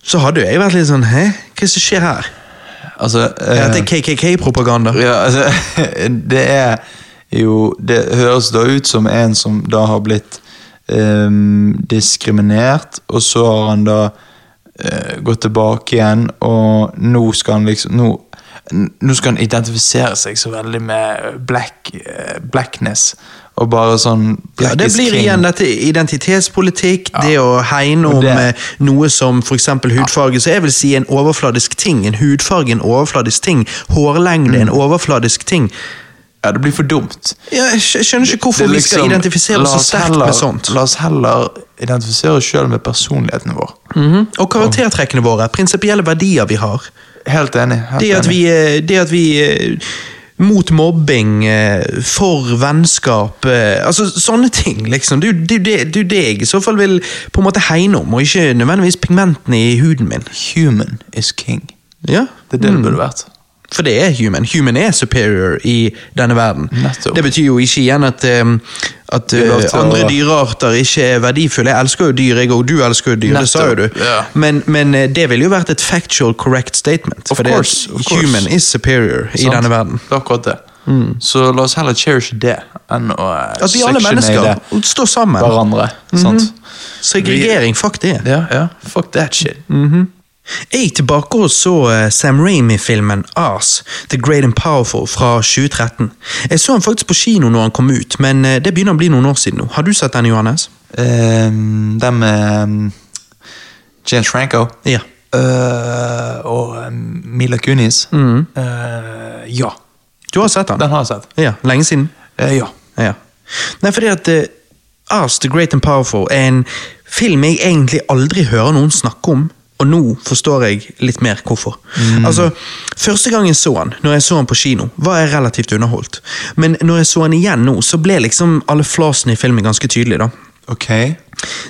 så hadde jo jeg vært litt sånn 'hæ, hva er det som skjer her?'
altså,
Er
eh,
dette KKK-propaganda?
Ja, altså, det er jo Det høres da ut som en som da har blitt ehm, diskriminert, og så har han da eh, gått tilbake igjen, og nå skal han liksom nå, nå skal han identifisere seg så veldig med black, eh, blackness, og bare sånn
Ja,
black
det
is
blir
king.
igjen dette identitetspolitikk, det å hegne
Og
om
det-
eh, noe som f.eks. hudfarge, så jeg vil si en overfladisk ting. En hudfarge, en overfladisk ting. Hårlengde, en
Mm.
overfladisk ting.
Ja, det blir for dumt.
Ja, jeg skj- skjønner ikke hvorfor
Det er
vi skal
liksom,
identifisere oss så
la oss
sterkt
heller-
med sånt.
La oss heller identifisere oss sjøl med personligheten vår.
Mhm. Og karaktertrekkene våre, prinsipielle verdier vi har.
Helt enig. Helt
Det at
enig.
vi, eh, det at vi eh, Mot mobbing, eh, for vennskap eh, Altså sånne ting, liksom. Det er jo det, er jo det, det, er jo det jeg i så fall vil på en måte hegne om, og ikke nødvendigvis pigmentene i huden min.
Human is king.
Ja,
Det er det
Mm.
det burde vært.
For det er human. Human er superior i denne verden.
Nettopp.
Det betyr jo ikke igjen at, eh, at
er lov
eh,
til å-
andre dyrearter ikke er verdifulle. Jeg elsker jo dyr, jeg òg. Du elsker jo dyr, det sa jo du.
Nettopp, ja.
Men, men eh, det ville jo vært et factual correct statement.
Of
fordi at
course, of course.
human is superior i
Sant?
denne verden.
Det er akkurat det. Så la oss heller cherishe det enn å eh,
At vi alle mennesker Mhm.
sectionere
står sammen.
hverandre. Sant?
Segregering, fuck det.
Ja, ja. Fuck that shit.
Mm. Jeg gikk tilbake og så eh, Sam Raimi-filmen Ars, The Great and Powerful fra 2013. Jeg så den faktisk på kino når han kom ut, men eh, det begynner å bli noen år siden nå. Har du sett den, Johannes?
Ehm, den med ehm, James Franco
Ja.
eh, og ehm, Mila Kunis.
Mm.
Eh, ja.
Du har sett den?
Den har jeg sett.
Ja, Lenge siden?
Eh, ja.
Ja. Nei, fordi at eh, Ars, The Great and Powerful er en film jeg egentlig aldri hører noen snakke om. Og nå forstår jeg litt mer hvorfor. Altså, Første gang jeg så han, når jeg så han på kino, var jeg relativt underholdt. Men når jeg så han igjen nå, så ble liksom alle flasene i filmen ganske tydelige. da.
Ok.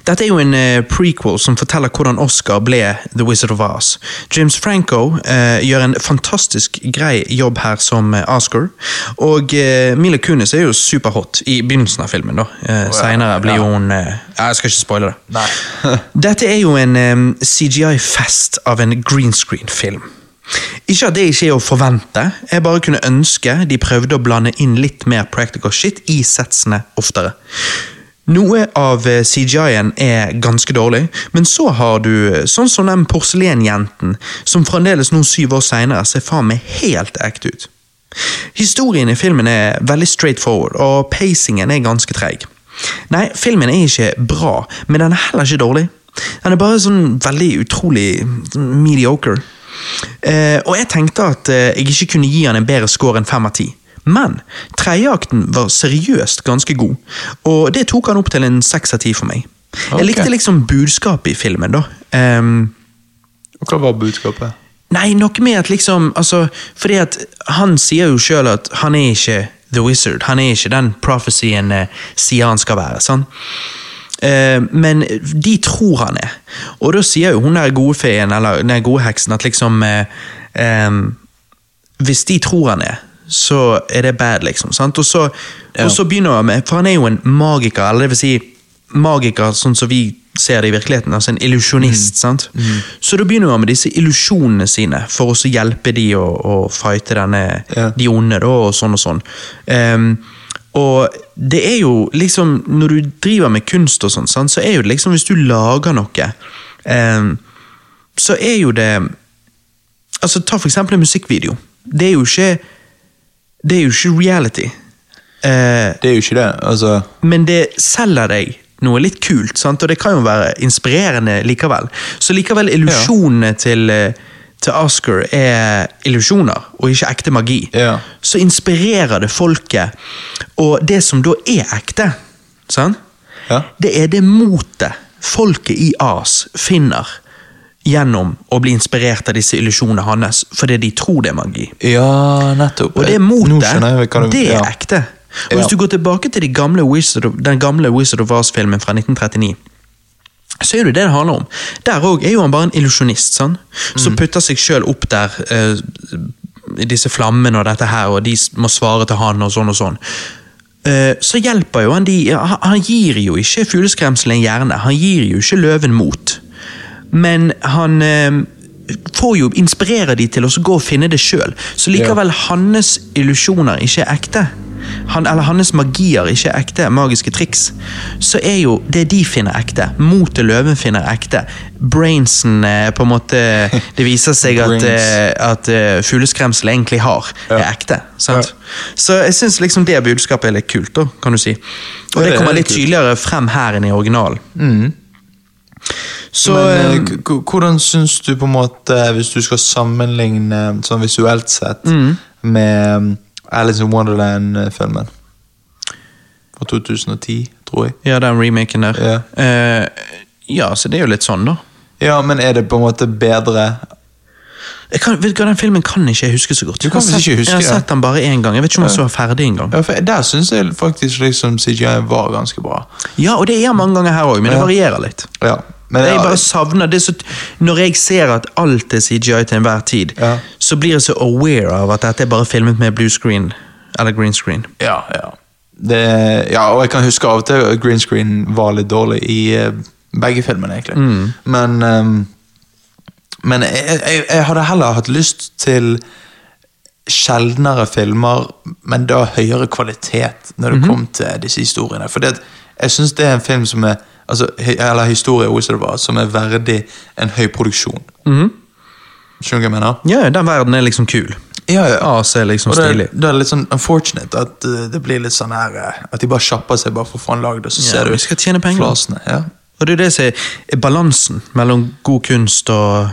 Dette er jo en eh, prequel som forteller hvordan Oscar ble The Wizard of Oz. James Franco eh, gjør en fantastisk grei jobb her som eh, Oscar, og eh, Mila Kunis er jo superhot i begynnelsen av filmen. da. Eh, Senere blir jo hun eh, ja, Jeg skal ikke spoile det.
Nei.
Dette er jo en em, CGI-fest av en green screen-film. Ikke at det ikke er å forvente, jeg bare kunne ønske de prøvde å blande inn litt mer practical shit i setsene oftere. Noe av eh, CGI-en er ganske dårlig, men så har du eh, sånn som den porselenjenten, som fremdeles nå syv år seinere ser faen meg helt ekte ut. Historien i filmen er veldig straightforward, og pacingen er ganske treig. Nei, filmen er ikke bra, men den er heller ikke dårlig. Den er bare sånn veldig utrolig sånn mediocre. Eh, og jeg tenkte at eh, jeg ikke kunne gi han en bedre score enn fem av ti. Men tredjeakten var seriøst ganske god, og det tok han opp til en seks av ti for meg.
Ok.
Jeg likte liksom budskapet i filmen, da. Ehm,
Og Hva var budskapet?
Nei, noe med at liksom altså, Fordi at han sier jo sjøl at han er ikke The Wizard. Han er ikke den prophecyen eh, sier han skal være. sant? Eh, men de tror han er. Og da sier jo hun der gode feen, eller den gode heksen, at liksom eh, ehm, Hvis de tror han er, så er det bad, liksom. sant? Og så, og så begynner han med For han er jo en magiker, eller det vil si magiker sånn som vi ser det i virkeligheten, altså en illusjonist. sant? Så da begynner han med disse illusjonene sine for også å hjelpe de å, å fighte denne,
Ja.
de onde, da, og sånn og sånn. Ehm, og det er jo liksom Når du driver med kunst og sånn, sant, så er jo det liksom Hvis du lager noe, ehm, så er jo det Altså, ta for eksempel en musikkvideo. Det er jo ikke Det er jo ikke reality. Eh,
Det er jo ikke det. Altså,
men det selger deg noe litt kult, sant? og det kan jo være inspirerende likevel. Så likevel, illusjonene til, eh, til Oscar er illusjoner, og ikke ekte magi.
Ja.
Så inspirerer det folket, og det som da er ekte, sant?
Ja.
det er det motet folket i AS finner gjennom å bli inspirert av disse illusjonene hans, fordi de tror det er magi.
ja, nettopp.
Og det
Nå
motet,
skjønner jeg hva du
det er
ja.
ekte. Og hvis
Ja.
du går tilbake til de gamle Wizard of, den gamle Wizard of Oz-filmen fra 1939, så er det det det handler om. Der òg er jo han bare en illusjonist, sånn,
Mm.
som putter seg sjøl opp der. eh, i disse flammene og dette her, og de s- må svare til han og sånn og sånn. Eh, så hjelper jo han de ja, Han han gir jo ikke fugleskremselet en hjerne. Han gir jo ikke løven mot. Men han eh, får jo inspirere de til å så gå og finne det sjøl. Så likevel, hans illusjoner ikke er ekte. Han, eller hans magier ikke er ekte, magiske triks. Så er jo det de finner ekte. Motet løven finner ekte. Brainsen eh, på en måte Det viser seg at,
Brains.
eh, at eh, fugleskremselet egentlig har, er ekte. Sant? Så jeg syns liksom det budskapet er litt kult, da, kan du si. Og
Ja,
det
det er
kommer litt
litt kult.
tydeligere frem her enn i originalen. Så
Men,
eh,
eh, k- k- hvordan syns du, på en måte, eh, hvis du skal sammenligne sånn visuelt sett, med um, Alice in Wonderland-filmen? Fra 2010, tror jeg.
Ja, den remaken der.
Ja.
Eh, ja, så det er jo litt sånn, da.
Ja, men er det på en måte bedre
Jeg kan, vet du hva, Den filmen kan ikke jeg huske så godt.
Du kan
jeg har
visst
sett-
ikke huske
Jeg har
det.
sett den bare én gang. Jeg vet ikke om jeg så den ferdig engang.
Ja, for Der syns jeg faktisk liksom CGI var ganske bra.
Ja, og det er mange ganger her òg, men det
Ja.
varierer litt.
Ja, men
jeg
ja,
bare savner det så, Når jeg ser at alt er CGI til enhver tid,
Ja.
så blir jeg så aware av at dette er bare filmet med blue screen. Eller green screen.
ja, ja. Det, ja, og jeg kan huske av og til at green screen var litt dårlig i eh, begge filmene, egentlig. Men, ehm, men jeg, jeg, jeg hadde heller hatt lyst til sjeldnere filmer, men da høyere kvalitet når det kom til disse historiene. For det, at jeg syns det er en film som er altså, he- eller historie, Wizard of Oz, som er verdig en høy produksjon. Skjønner du hva jeg mener?
Ja, den verden er liksom kul.
Ja, ja.
AS er liksom
Og da,
stilig.
da er det litt sånn unfortunate at eh, det blir litt sånn her eh, At de bare kjapper seg bare for å få den lagd, og så
Ja,
ser du
vi skal tjene penger.
flasene. Ja.
Og det er det som er balansen mellom god kunst og,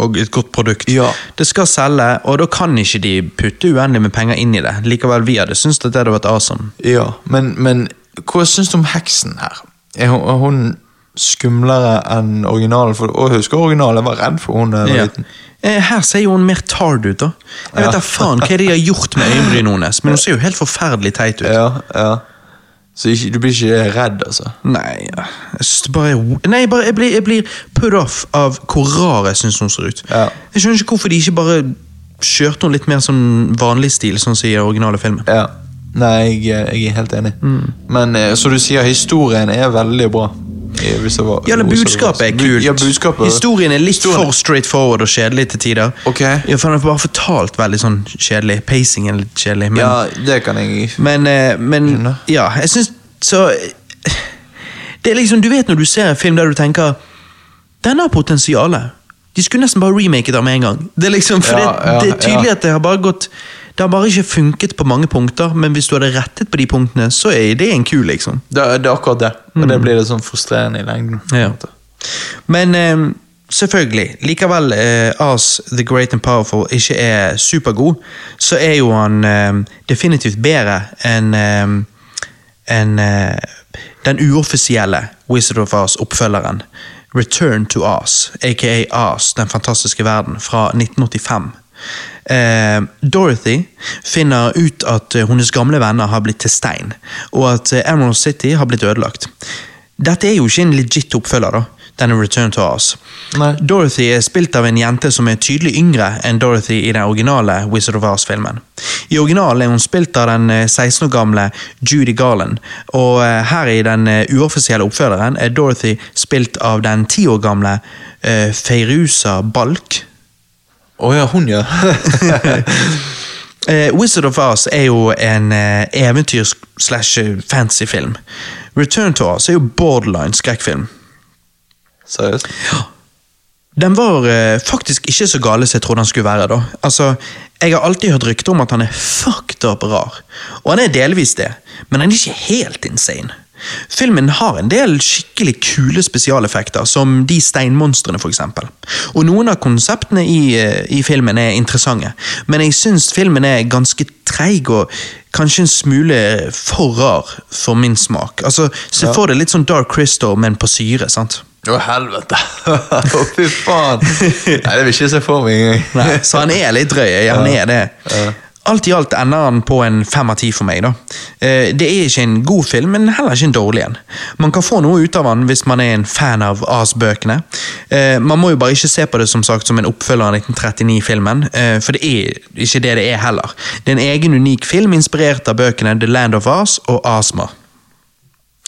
og et godt produkt.
Ja.
Det skal selge, og da kan ikke de putte uendelig med penger inn i det. Likevel, vi hadde syntes at det hadde vært awesome.
ja, men, men hva syns du om heksen her? Er hun, er hun skumlere enn originalen? For, og jeg husker originalen, jeg var redd for hun da jeg var
Ja.
liten.
Eh, Her ser jo hun mer tard ut, da. Jeg vet
Ja.
da faen hva de har gjort med øyenbrynene hennes, men hun ser jo helt forferdelig teit ut.
Ja, ja. Så ikke, du blir ikke redd, altså.
Nei, jeg synes det bare er Nei, bare, jeg, blir, jeg blir put off av hvor rar jeg syns hun ser ut.
Ja.
Jeg skjønner ikke hvorfor de ikke bare kjørte henne litt mer sånn vanlig stil, sånn som i originale filmen.
Ja. Nei, jeg, eh, jeg er helt enig.
Mm.
Men eh, som du sier, historien er veldig bra. I Reservoir-
Ja, eller budskapet er
Bu-
kult.
Ja, budskapet.
Historien er litt
Historien-
for straightforward og kjedelig til tider.
Ok.
Ja, for den er bare fortalt veldig sånn kjedelig. Pacingen er litt kjedelig. Men,
Ja, det kan jeg
men, eh, men
Skjønner.
ja, jeg syns så eh, Det er liksom, Du vet når du ser en film der du tenker Den har potensialet. De skulle nesten bare remaket den med en gang. Det er liksom, for
Ja,
det,
ja,
det er tydelig
ja.
at det har bare gått Det har bare ikke funket på mange punkter, men hvis du hadde rettet på de punktene, så er det en kul, liksom.
det, er- det er akkurat det. Og det blir litt sånn frustrerende i lengden. på en
Mm. Ja.
måte.
Men eh, selvfølgelig, likevel eh, Oz The Great and Powerful ikke er supergod, så er jo han eh, definitivt bedre enn eh, enn, eh, den uoffisielle Wizard of Oz-oppfølgeren. Return to Oz, aka Oz, Den fantastiske verden, fra 1985. Eh, Dorothy finner ut at eh, hennes gamle venner har blitt til stein, og at eh, Emerald City har blitt ødelagt. Dette er jo ikke en legit oppfølger, da. Denne Return to Oz.
Nei.
Dorothy er spilt av en jente som er tydelig yngre enn Dorothy i den originale Wizard of Oz-filmen. I originalen er hun spilt av den eh, 16 år gamle Judy Garland, og eh, her i den eh, uoffisielle oppfølgeren er Dorothy spilt av den 10 år gamle eh, Feiruza Balk.
Å ja, hun, ja.
Eh, Wizard of Oz er jo en eh, eventyr-slash-fantasy-film. Return to Oz er jo borderline skrekkfilm.
Seriøst?
Den var eh, faktisk ikke så gale som jeg trodde den skulle være. da. Altså, Jeg har alltid hørt rykter om at han er fucked up rar, og han er delvis det, men han er ikke helt insane. Filmen har en del skikkelig kule spesialeffekter, som de steinmonstrene f.eks. Og noen av konseptene i, eh, i filmen er interessante, men jeg syns filmen er ganske treig og kanskje en smule for rar for min smak. Altså, Se
Ja.
for deg litt sånn Dark Crystal, men på syre. sant?
Å, helvete! Å, fy faen! Nei, det vil ikke jeg se for meg engang.
Nei, så han er litt drøy. Han er det. Alt i alt ender han på en fem av ti for meg. da. Eh, Det er ikke en god film, men heller ikke en dårlig en. Man kan få noe ut av han hvis man er en fan av As-bøkene. Eh, Man må jo bare ikke se på det som sagt som en oppfølger av 1939-filmen, eh, for det er ikke det det er heller. Det er en egen unik film inspirert av bøkene The Land of As og Asma.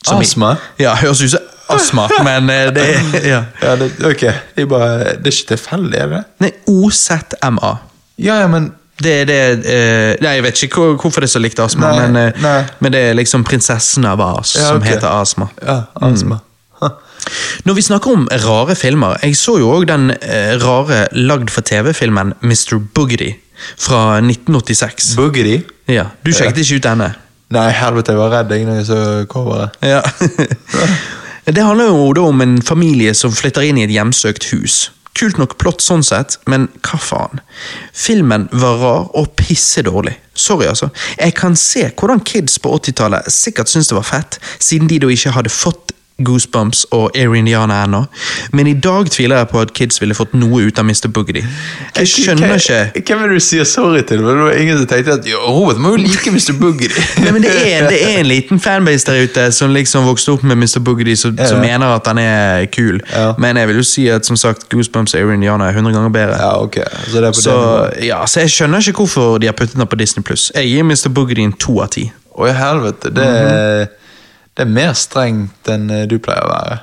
Som i-
Asma?
Ja, høres ut som astma, men eh, det er ja.
Ja, det, ok, det er, bare, det er ikke tilfeldig, er det?
Nei, OZMA.
Ja, ja, men
Det er det eh, Nei, jeg vet ikke hvor, hvorfor det er så likt astma,
Nei,
men, eh,
nei.
men det er liksom prinsessen av As
Ja,
som
ok.
heter astma.
Ja, altså,
Mm.
astma. Ha.
Når vi snakker om rare filmer, jeg så jo òg den eh, rare lagd for TV-filmen Mr. Boogedy fra 1986.
Boogedy?
ja, Du sjekket ikke ut denne?
Nei, helvete, jeg var redd jeg når jeg så coveret.
Ja. det handler jo da om en familie som flytter inn i et hjemsøkt hus. Kult nok plott sånn sett, men hva faen? Filmen var rar og pissedårlig. Sorry, altså. Jeg kan se hvordan kids på 80-tallet sikkert syntes det var fett, siden de da ikke hadde fått Goosebumps og Air Indiana ennå, men i dag tviler jeg på at kids ville fått noe ut av Mr. Boogedy. Jeg skjønner ikke
Hvem- Hvem er det du sier sorry til? For det var ingen som tenkte at jo, Robert må jo like Mr. Boogedy.
Nei, men det er, en, det er en liten fanbase der ute som liksom vokste opp med Mr. Boogedy, som, som
Ja.
mener at han er kul.
Ja.
Men jeg vil jo si at som sagt, Goosebumps er Indiana er 100 ganger bedre.
Ja, ok. Så det er på
Så,
det
ja, så jeg skjønner ikke hvorfor de har puttet den på Disney+. Jeg gir Mr. Boogedy en to av ti.
Å, i helvete. Det er, det er mer strengt enn eh, du pleier å være.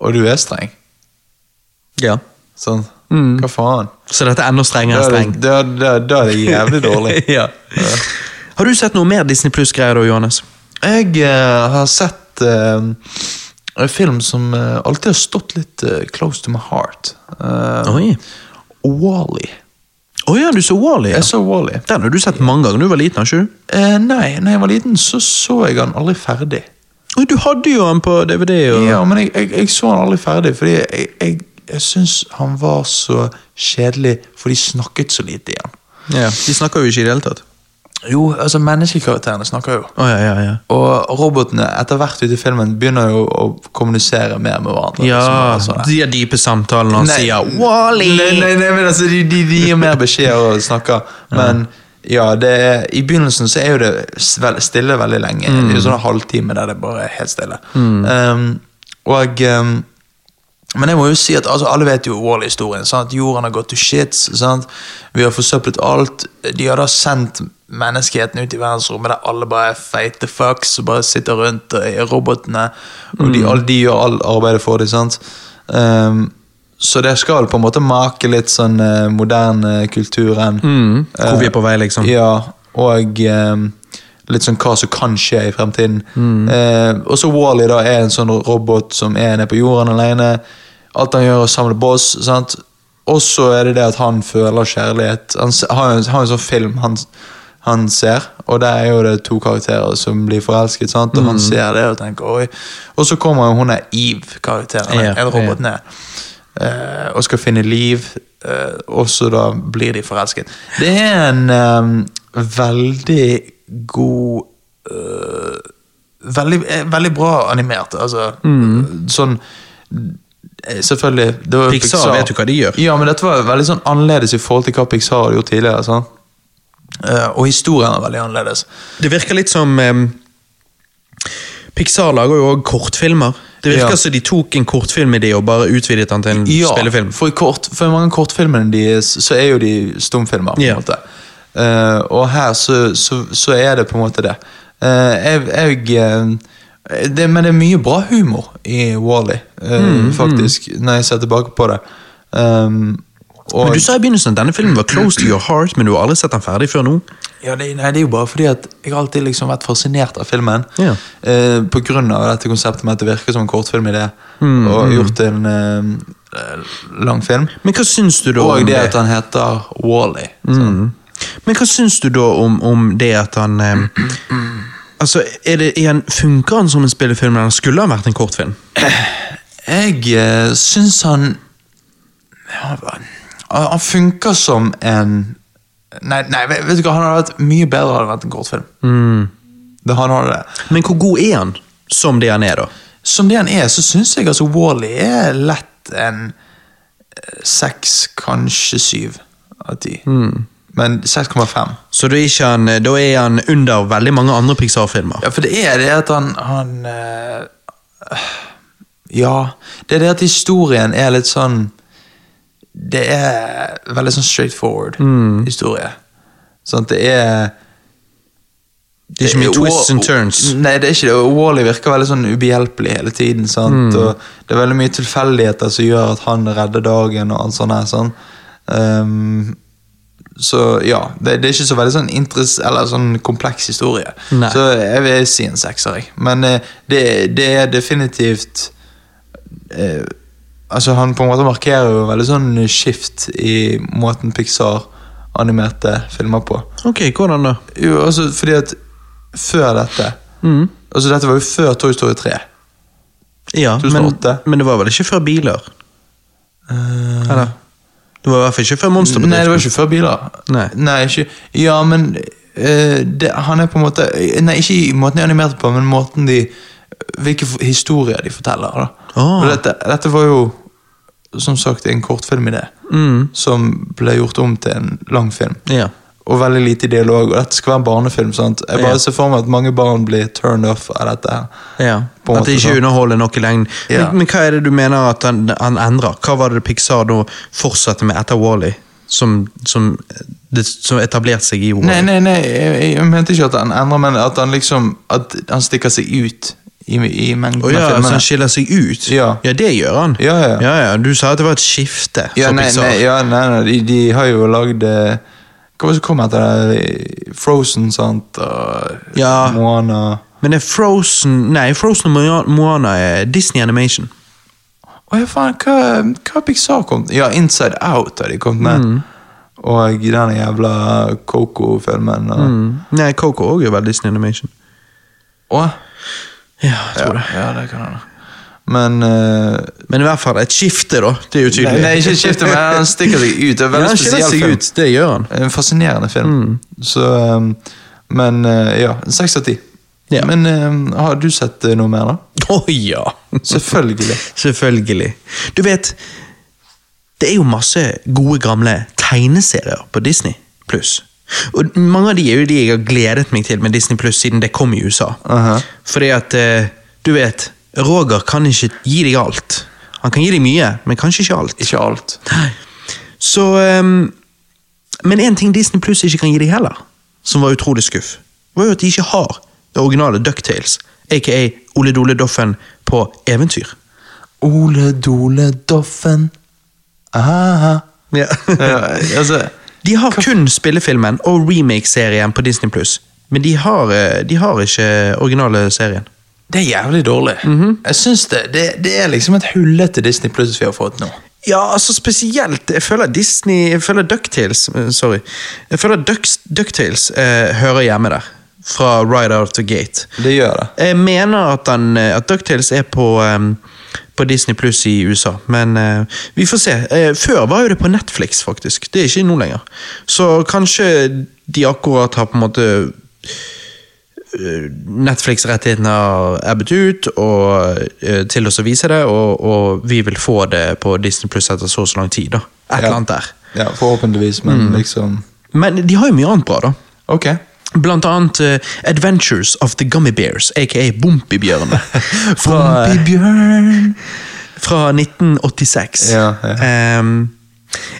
Og du er streng.
Ja.
Sånn. Hva faen?
Så dette er enda strengere
Da er,
streng.
det, da, da, da er det jævlig dårlig.
ja. Har du sett noe mer Disney Pluss-greier da, Johannes?
Jeg eh, har sett eh, en film som eh, alltid har stått litt eh, close to my heart. Uh,
Oi.
Wally.
Å ja, du så Wall-E. Ja.
Jeg så Wally.
Den har du sett mange ganger. Du var liten, har ikke du?
Eh, nei, når jeg var liten, så så jeg han aldri ferdig.
Oi, Du hadde jo den på DVD. Og...
Ja, men jeg, jeg, jeg så han aldri ferdig, fordi jeg, jeg, jeg syns han var så kjedelig, for de snakket så lite i han.
Ja, De snakker jo ikke i det hele tatt.
Jo, altså, menneskekarakterene snakker jo.
Å ja, ja, ja.
Og robotene etter hvert ute i filmen begynner jo å kommunisere mer med hverandre.
Ja,
Som er sånn-
de har dype samtaler når han sier
Nei,
Wally!
nei, nei, men altså, de, de, de gir mer beskjeder og snakker, men Ja, det er, I begynnelsen så er jo det s- vel- stille veldig lenge. Det er jo sånn en halvtime der det bare er helt stille. Um, og um, men jeg må jo si at altså, alle vet jo Wall-historien. sant? Jorden har gått to shits. sant? Vi har forsøplet alt. De har da sendt menneskeheten ut i verdensrommet der alle bare er feite fucks og bare sitter rundt og er robotene. Og
Mm.
de, alle, de gjør all arbeidet for dem. sant? Ehm, så det skal på en måte make litt sånn eh, moderne kulturen.
Mm, hvor vi er på vei, liksom.
Eh, Ja, og ehm, litt sånn hva som kan skje i fremtiden. Eh, og så Wally da er en sånn robot som er nede på jorden alene. Alt han gjør er å samle boss, sant? Og så er det det at han føler kjærlighet. Han s- har jo en, har en sånn film han, han ser, og der er jo det to karakterer som blir forelsket, sant? Og han ser det og tenker oi. Og så kommer jo hun der Eve-karakteren,
Ja,
en
ja.
robot ned. eh, og skal finne liv, eh, og så da blir de forelsket. Det er en eh, veldig god eh, veldig, eh, veldig bra animert, altså. Sånn eh, Selvfølgelig. Det var jo
Mm. Pixar, vet du hva de gjør?
Ja, men dette var veldig sånn annerledes i forhold til hva Pixar har gjort tidligere. sant? Eh, og historien er veldig annerledes.
Det virker litt som em, Pixar lager jo òg kortfilmer. Det virker
Ja.
som de tok en kortfilmidé og bare utvidet den til en spillefilm.
For, i kort, for i mange kortfilmene deres så er jo de stumfilmer. på en
Ja.
måte. Eh, og her så, så, så er det på en måte det. Eh, jeg, jeg eh, det, Men det er mye bra humor i Wally,
Mm,
faktisk, når jeg ser tilbake på det. Um, og,
Men Du sa i begynnelsen at denne filmen var close to your heart, men du har aldri sett den ferdig før nå.
Ja, det, nei, det er jo bare fordi at jeg har alltid liksom vært fascinert av filmen.
Ja.
Eh, på grunn av dette konseptet med at det virker som en kortfilm i det,
Mm,
og gjort til en eh, eh, lang film.
Men hva syns du da om
Og det
det?
at han heter Wally.
Mm. Men hva syns du da om, om det at han em, Altså, er det, er han, Funker han som en spillefilm, eller skulle han vært en kortfilm?
Jeg eh, syns han Han han funker som en Nei, nei vet vet du hva, han hadde vært mye bedre hadde det vært en kortfilm. Det, han hadde det.
Men hvor god er han som det han er, da?
Som det han er, så syns jeg altså Wally er lett en eh, seks, kanskje syv av ti. Men 6,5.
Så da er, ikke han, eh, da er han under veldig mange andre Pixar-filmer.
Ja, for det er det at han, han eh, Ja. Det er det at historien er litt sånn Det er veldig sånn straightforward historie. Sånn at det er
Det er ikke mye twists and turns.
Nei, det er ikke det. og Wall-E virker veldig sånn ubehjelpelig hele tiden. Sant?
Mm.
Og det er veldig mye tilfeldigheter som gjør at han redder dagen og alt sånt. Her, sånn. Ehm, så ja, det, det er ikke så veldig sånn interess Eller sånn kompleks historie.
Nei.
Så jeg vil si en sekser, jeg. Men eh, det, det er definitivt eh, Altså, han på en måte markerer jo veldig sånn skift i måten Pixar animerte filmer på.
Ok, hvordan da?
Jo, altså fordi at før dette
Mm.
Altså dette var jo før Toy Story 3.
Ja, men,
2008.
men det var vel ikke før biler? Eller? Det var i hvert fall ikke før Monsterbedriften.
Eh. Nei, det var ikke før biler.
Nei.
ikke, ja, men eh, det, han er på en måte Nei, ikke i måten de animerte på, men måten de Hvilke f- historier de forteller. da.
Ah.
Og dette, dette var jo som sagt en kortfilmidé
Mm.
som ble gjort om til en lang film.
Ja.
og veldig lite dialog. Og dette skal være en barnefilm. sant? Jeg bare
Ja.
ser for meg at mange barn blir turned off av dette. her.
Ja,
På en
At det
måte,
ikke
sant?
underholder nok i lengden.
Ja.
Men, men hva er det du mener at han, han endrer? Hva var det Pixar da fortsatte med etter Wall-E? Som, som, det, som etablerte seg i Wall-E?
Nei, nei, nei, jeg, jeg mente ikke at han endrer, men at han liksom At han stikker seg ut i, i mengden
Å ja,
av
altså
filmene.
han skiller seg ut?
Ja.
det gjør han.
Ja, ja.
Du sa at det var et skifte
ja,
for
nei,
Pixar.
nei, ja, nei, nei de, de har jo lagd eh, Hva var det som kom etter det? Frozen, sant? Og
Ja.
Moana
Men det er Frozen Nei, Frozen og Moana- Moana er Disney Animation.
Å ja, faen, hva, hva Pixar kom Ja, Inside Out har de kommet med.
Mm.
Og den jævla Coco-filmen.
Mm.
Og...
Nei, Coco òg er vel Disney Animation.
Å,
Ja, jeg tror det.
Ja, det kan han da. Men eh,
Men i hvert fall et skifte, da. Det er jo
nei,
tydelig.
nei, ikke skifte, men han stikker seg ut. Det er en
Ja,
veldig
han skiller
spesiell
seg
film.
ut, det gjør han.
Eh, En fascinerende film. Så, eh, men eh, ja, seks av ti.
Ja.
Men eh, har du sett eh, noe mer, da?
Å ja!
Selvfølgelig.
Selvfølgelig. Du vet, det er jo masse gode gamle tegneserier på Disney pluss. Og mange av de er jo de jeg har gledet meg til med Disney Pluss siden det kom i USA.
Aha.
Fordi at, eh, du vet, Roger kan ikke gi deg alt. Han kan gi deg mye, men kanskje ikke alt.
Ikke alt.
Nei. Så ehm, Men én ting Disney Pluss ikke kan gi deg heller, som var utrolig skuff, var jo at de ikke har det originale Ducktales, aka Ole Dole Doffen på eventyr.
Ole Dole Doffen. Aha. Ja, altså,
De har kun spillefilmen og remake-serien på Disney Pluss, men de har, eh, de har ikke originale serien.
det er jævlig dårlig. Jeg synes det, det, det er liksom et hullete Disney Plus vi har fått nå.
Ja, altså spesielt Jeg føler Disney Jeg føler DuckTales eh, Sorry. Jeg føler Ducks, DuckTales eh, hører hjemme der. Fra Right Out the Gate.
Det gjør det.
Jeg mener at, han, at DuckTales er på, ehm, på Disney Pluss i USA, men eh, vi får se. Eh, før var jo det på Netflix, faktisk. Det er ikke nå lenger. Så kanskje de akkurat har på en måte eh, Netflix-rettighetene har ebbet ut og, eh, til oss å vise det, og, og vi vil få det på Disney Pluss etter så og så lang tid. da. Et
Ja.
eller annet der.
Ja, forhåpentligvis, men liksom
Men de har jo mye annet bra, da.
Ok.
Blant annet eh, Adventures of the Gummy Bears, aka Bompibjørnene. Fra, eh,
Bjørn.
fra 1986.
Ja,
Ehm,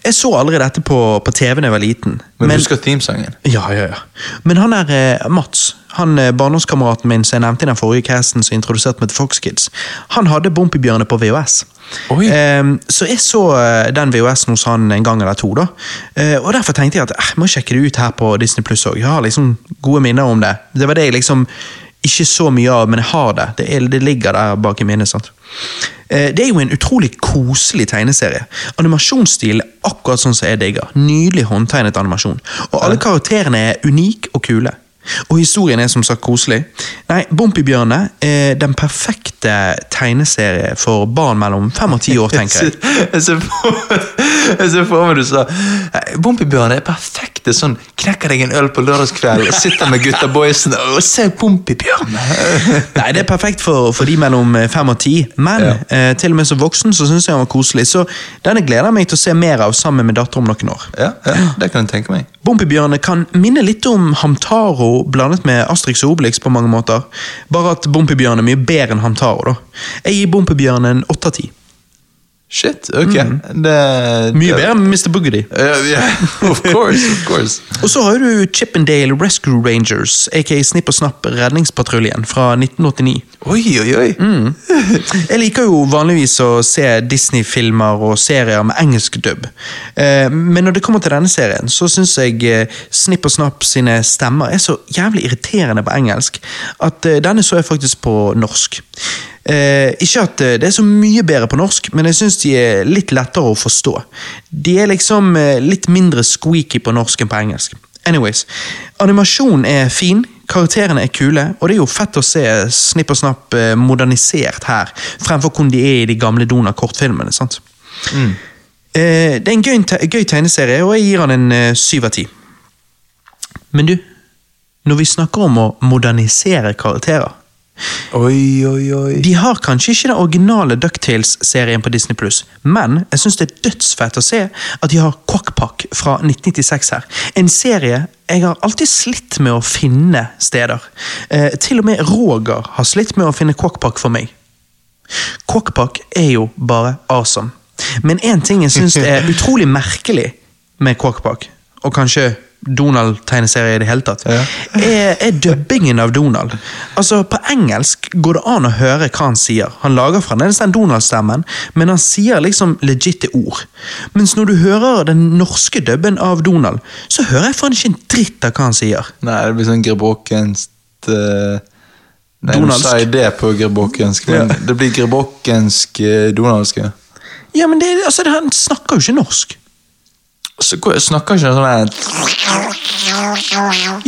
jeg så aldri dette på, på TV da jeg var liten.
Men, du husker teamsangen?
ja, ja, ja. men han er eh, Mats, han eh, barndomskameraten min som jeg nevnte i den forrige casten som introduserte meg til Fox Kids, han hadde Bompibjørnene på VHS.
Oi.
Ehm, så jeg så eh, den VHS-en hos han en gang eller to, da. Eh, og derfor tenkte jeg at eh, jeg må sjekke det ut her på Disney Pluss òg. Jeg har liksom gode minner om det. Det var det jeg liksom ikke så mye av, men jeg har det. Det, er, det ligger der bak i minnet. sant? Eh, det er jo en utrolig koselig tegneserie. Animasjonsstil er akkurat sånn som jeg digger. Nydelig håndtegnet animasjon. Og alle karakterene er unike og kule. Og historien er som sagt koselig. Nei, Bompibjørnene er den perfekte tegneserie for barn mellom fem og ti år, tenker jeg.
Jeg ser for, jeg ser for meg du sa «Nei, Bompibjørn er perfekt. Det er sånn, Knekker deg en øl på lørdagskveld og sitter med gutta boysen og ser Bompibjørn.
Nei, det er perfekt for, for de mellom eh, fem og ti, men
Ja.
eh, til og med som voksen så syns jeg han var koselig. Så denne gleder jeg meg til å se mer av sammen med datter om noen år.
Ja, ja, det kan jeg tenke meg.
Bompibjørnene kan minne litt om Hamtaro blandet med Astrix og Obelix på mange måter, bare at Bompibjørnen er mye bedre enn Hamtaro, da. Jeg gir Bompibjørnen en åtte av ti.
Shit, ok. Det,
Mye
det-
bedre enn Mr. Boogedy.
Ja, ja, of course, of course.
Og så har du Chippendale Rescue Rangers, aka Snipp og Snapp Redningspatruljen fra 1989.
Oi, oi, oi.
Jeg liker jo vanligvis å se Disney-filmer og serier med engelsk dubb. Eh, Men når det kommer til denne serien, så syns jeg eh, Snipp og Snapp sine stemmer er så jævlig irriterende på engelsk at eh, denne så jeg faktisk på norsk. Eh, ikke at eh, det er så mye bedre på norsk, men jeg syns de er litt lettere å forstå. De er liksom eh, litt mindre squeaky på norsk enn på engelsk. Anyways, animasjonen er fin, karakterene er kule, og det er jo fett å se Snipp og Snapp eh, modernisert her, fremfor hvordan de er i de gamle Dona-kortfilmene. sant? Eh, Det er en gøy, te- gøy tegneserie, og jeg gir han en eh, syv av ti. Men du, når vi snakker om å modernisere karakterer
Oi, oi, oi.
de har kanskje ikke den originale Ducktales-serien på Disney+, men jeg synes det er dødsfett å se at de har Quackpack fra 1996 her. En serie jeg har alltid slitt med å finne steder. Eh, til og med Roger har slitt med å finne Quackpack for meg. Quackpack er jo bare awesome. Men én ting jeg syns er utrolig merkelig med Quackpack, og kanskje Donald-tegneserie i det hele tatt,
Ja.
er, er dubbingen av Donald. Altså, På engelsk går det an å høre hva han sier. Han lager fremdeles den Donald-stemmen, men han sier liksom legitte ord. Mens når du hører den norske dubben av Donald, så hører jeg faen ikke en dritt av hva han sier.
Nei, det blir sånn gerbokkenst eh, Nei, nå
Donaldsk.
sa jeg det på gerbokkensk, men det blir gerbokkensk eh, donaldsk. ja.
Ja, men det, altså, det- Han snakker jo ikke norsk.
Så går- snakker ikke han sånn her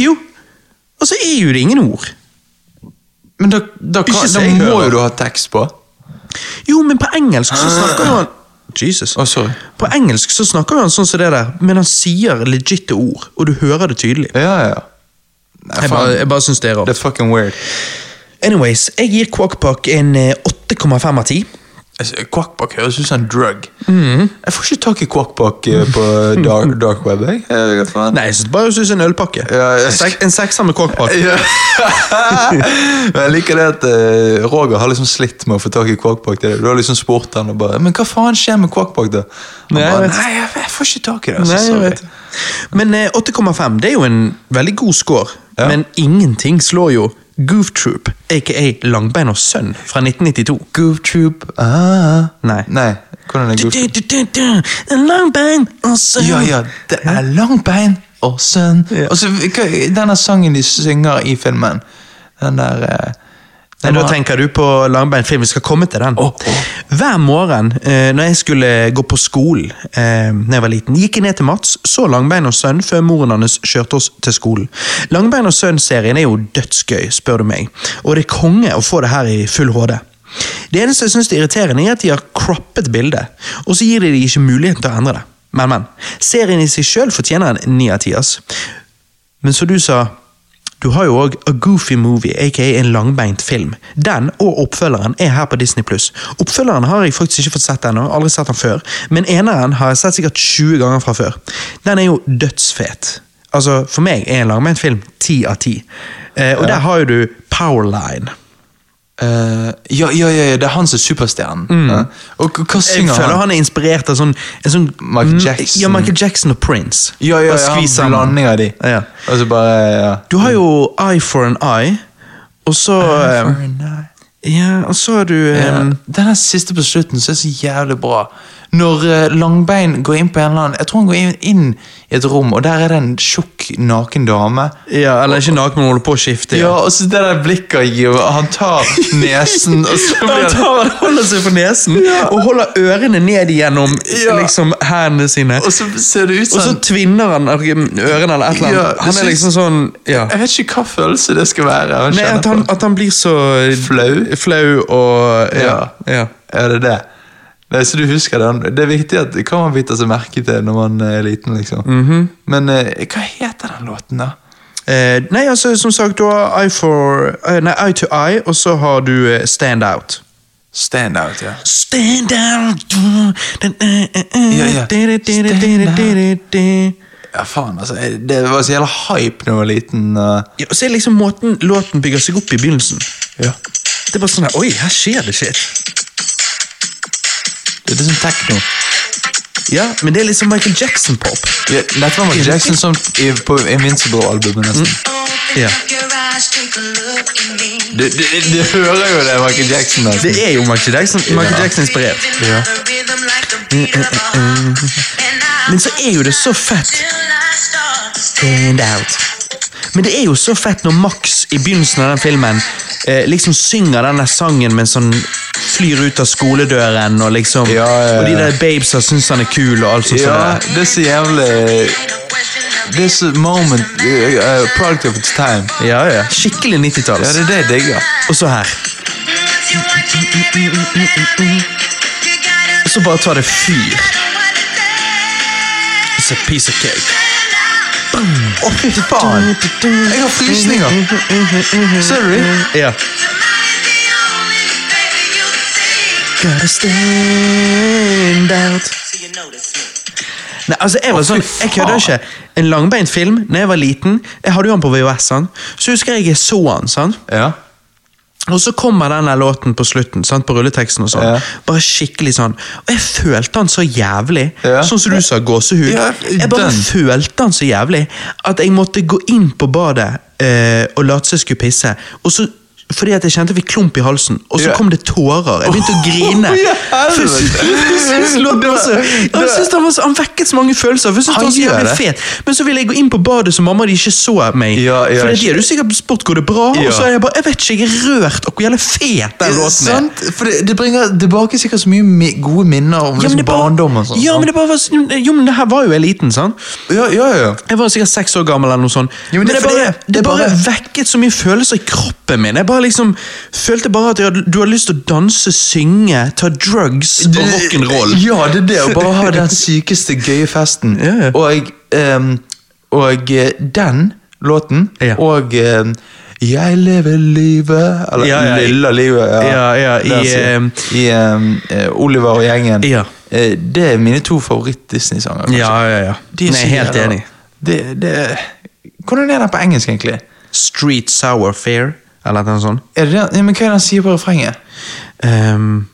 Jo. Og så er jo det ingen ord.
Men da, da, kan,
Ikke så
da
jeg
må
hører.
jo du ha tekst på.
Jo, men på engelsk så snakker jo han Ah. Jesus.
Å, sorry.
På engelsk så snakker jo han sånn som det der, men han sier legitte ord, og du hører det tydelig.
Ja, ja. Nei,
Jeg bare,
faen.
jeg bare syns det er
Det
rart.
er fucking weird.
Anyways, jeg gir Quackpack en eh, 8,5 av 10.
altså, Quackpack høres ut som en drug.
Mm.
Jeg får ikke tak i Quackpack eh, på dark, dark web. Jeg. Jeg vet ikke hva faen.
Nei, jeg synes bare jeg synes en ølpakke.
Ja, jeg-
En sek- En sekser med kåkpakke.
Ja. Men jeg liker det at eh, Roger har liksom slitt med å få tak i Quackpack. Du har liksom spurt han og bare Men hva faen skjer med Quackpack, da? Han
Nei, jeg
bare,
vet.
Nei, jeg, jeg får ikke tak i det. Altså,
Nei, jeg
sorry.
vet. Men eh, 8,5 det er jo en veldig god score.
Ja.
Men ingenting slår jo Goof Troop, aka Langbein og Sønn, fra 1992.
Goof Troop ah.
Nei.
Nei. Hvordan er Goof Troop?
Du-du-du-du, Langbein og Sønn.
Ja, ja, det er langt bein og sønn
Ja.
Og så hva- denne sangen de synger i filmen. Den der eh,
Nei,
den
da
var-
tenker du på langbeint film. Vi skal komme til den.
Å, å.
Hver morgen eh, når jeg skulle gå på skolen eh, når jeg var liten, gikk jeg ned til Mats, så Langbein og Sønn før moren hans kjørte oss til skolen. Langbein og Sønn-serien er jo dødsgøy, spør du meg. Og det er konge å få det her i full HD. Det eneste jeg syns er irriterende, er at de har croppet bildet, og så gir de dem ikke muligheten til å endre det. Men, men. Serien i seg sjøl fortjener en ni av ti, ass. Men som du sa, du har jo òg A Goofy Movie, aka en langbeint film. Den og oppfølgeren er her på Disney+. Oppfølgeren har jeg faktisk ikke fått sett ennå, aldri sett den før. Men eneren har jeg sett sikkert 20 ganger fra før. Den er jo dødsfet. Altså, For meg er en langbeint film ti av ti. Eh, og der har jo du Powerline.
Eh, ja, ja, ja, ja, det er han som er superstjernen. Ja. Og h-
Mm.
hva
Jeg
synger
føler
han?
han er inspirert av sånn, en sånn
Michael
Mm,
Jackson.
Ja, Michael Jackson og Prince.
Ja, ja,
Bare
ja,
skvis
han
sammen.
blanding av de.
Ja.
Og så bare ja.
Du har jo Eye for an Eye, og så eh, Ja, og så har du
Ja,
eh,
Den her siste på slutten som er så jævlig bra. Når eh, Langbein går inn på en eller annen Jeg tror han går inn, inn i et rom, og der er det en tjukk, naken dame.
Ja, eller ikke naken, men holder på å skifte.
Ja, og så det der blikket han gir, og han tar nesen, og så blir
Han
det
tar, holder seg for nesen og holder ørene ned gjennom
Ja.
liksom hendene sine.
Og så ser det ut
Og
som
så
han-
tvinner han ørene eller et eller
Ja,
annet.
det
Han
syns-
er liksom sånn ja.
Jeg vet ikke hva følelse det skal være. Han
Nei,
kjenner
at han,
på.
at han blir så
Flau?
flau og Ja. ja.
Er det det? Nei, så du husker det. han- Det er viktig at hva man biter seg merke til når man er liten. liksom.
Mhm.
Men eh, hva heter den låten, da?
Eh, nei, altså, som sagt, du har Eye, for, eh, nei, eye to Eye, og så har du eh, Stand Out.
Stand Out, ja.
Stand out du, den, eh, eh, eh,
Ja, ja.
dere, dere,
Stand
dere,
out.
dere, dere.
Ja, faen, altså. jeg- Det var så jævla hype da jeg var liten. eh.
Ja, og så er liksom måten låten bygger seg opp i begynnelsen.
ja.
Det er bare sånn her, Oi, her skjer det shit.
Det er liksom techno.
Ja, men det er liksom Michael Jackson-pop.
Ja, dette var Michael Jackson som i, på Invincible-albumet, nesten.
Mm. Ja.
Du, du, du hører jo det, Michael Jackson. nesten.
Det er jo Michael Jackson, Michael Jackson inspirert.
Ja.
Men så er jo det så fett. Stand out. Men det er jo så fett når Max i begynnelsen av den filmen eh, liksom synger denne sangen mens han flyr ut av skoledøren, og liksom
Ja, ja, ja.
Og de der babesa syns han er kul, og alt sånt.
Ja,
sånt der.
det er så jævlig Det er så moment eh, eh, Product of its time.
ja, ja. Skikkelig
Ja,
90-talls.
det er det jeg digger.
Og så her. Og så bare tar det fyr. It's a piece of cake.
Å, fy faen! Jeg har frysninger! Ser du?
Ja. Gotta stand out. Nei, altså jeg var sånn, jeg kødder ikke. En langbeint film når jeg var liten. Jeg hadde jo han på VHS, sant? så husker jeg jeg så han. sant?
Ja.
Og så kommer denne låten på slutten, sant? på rulleteksten. og sånn.
Ja.
Bare skikkelig sånn. Og jeg følte han så jævlig.
Ja.
Sånn som du sa, gåsehud.
Ja,
jeg bare
den.
følte han så jævlig at jeg måtte gå inn på badet eh, og late som jeg skulle pisse. Og så, fordi at jeg kjente jeg fikk klump i halsen, og så
Ja.
kom det tårer. Jeg begynte å grine.
Å, ja,
For jeg
helvete.
synes- jeg synes låten var så-
Det-
jeg synes den var så- Han vekket så mange følelser. For jeg synes han
Han
var så
gjør
jævlig
det.
fet. Men så ville jeg gå inn på badet, så mamma og de ikke så meg.
Ja, ja,
for de hadde jo sikkert spurt går det bra,
Ja.
og så er jeg bare Jeg vet ikke, jeg er rørt og hvor jævlig fet den låten er.
Sant? For det, det bringer tilbake sikkert så mye mi gode minner om liksom
det bare-
barndom og sånn.
ja, men
sant?
det bare var sånn- Jo, men det her var jo jeg liten, sant?
ja, ja, ja.
Jeg var sikkert seks år gammel, eller noe sånt.
Ja,
men
men
det,
det er
bare,
fordi-
det,
det
bare
bare-
vekket så mye følelser i kroppen min. Jeg bare liksom følte bare at jeg hadde, du hadde lyst til å danse, synge, ta drugs og rock'n'roll.
Ja, det er det. Å bare ha den sykeste gøye festen.
Ja, ja.
Og, ehm, og eh, den låten
Ja.
og ehm, 'Jeg lever livet' Eller
Ja, ja, i-
Lilla livet.
Ja, ja, i,
Det er altså- i ehm, eh, Oliver og gjengen.
Ja.
Eh, det er mine to favoritt-Disney-sanger. kanskje.
Ja, ja, ja.
De er
Nei,
så
helt
jævla-
enig.
Det, det, hvordan er den på engelsk, egentlig?
Street Sour Fair, eller noe sånt.
Er det, den- ja, men hva er det han sier på refrenget?
Um,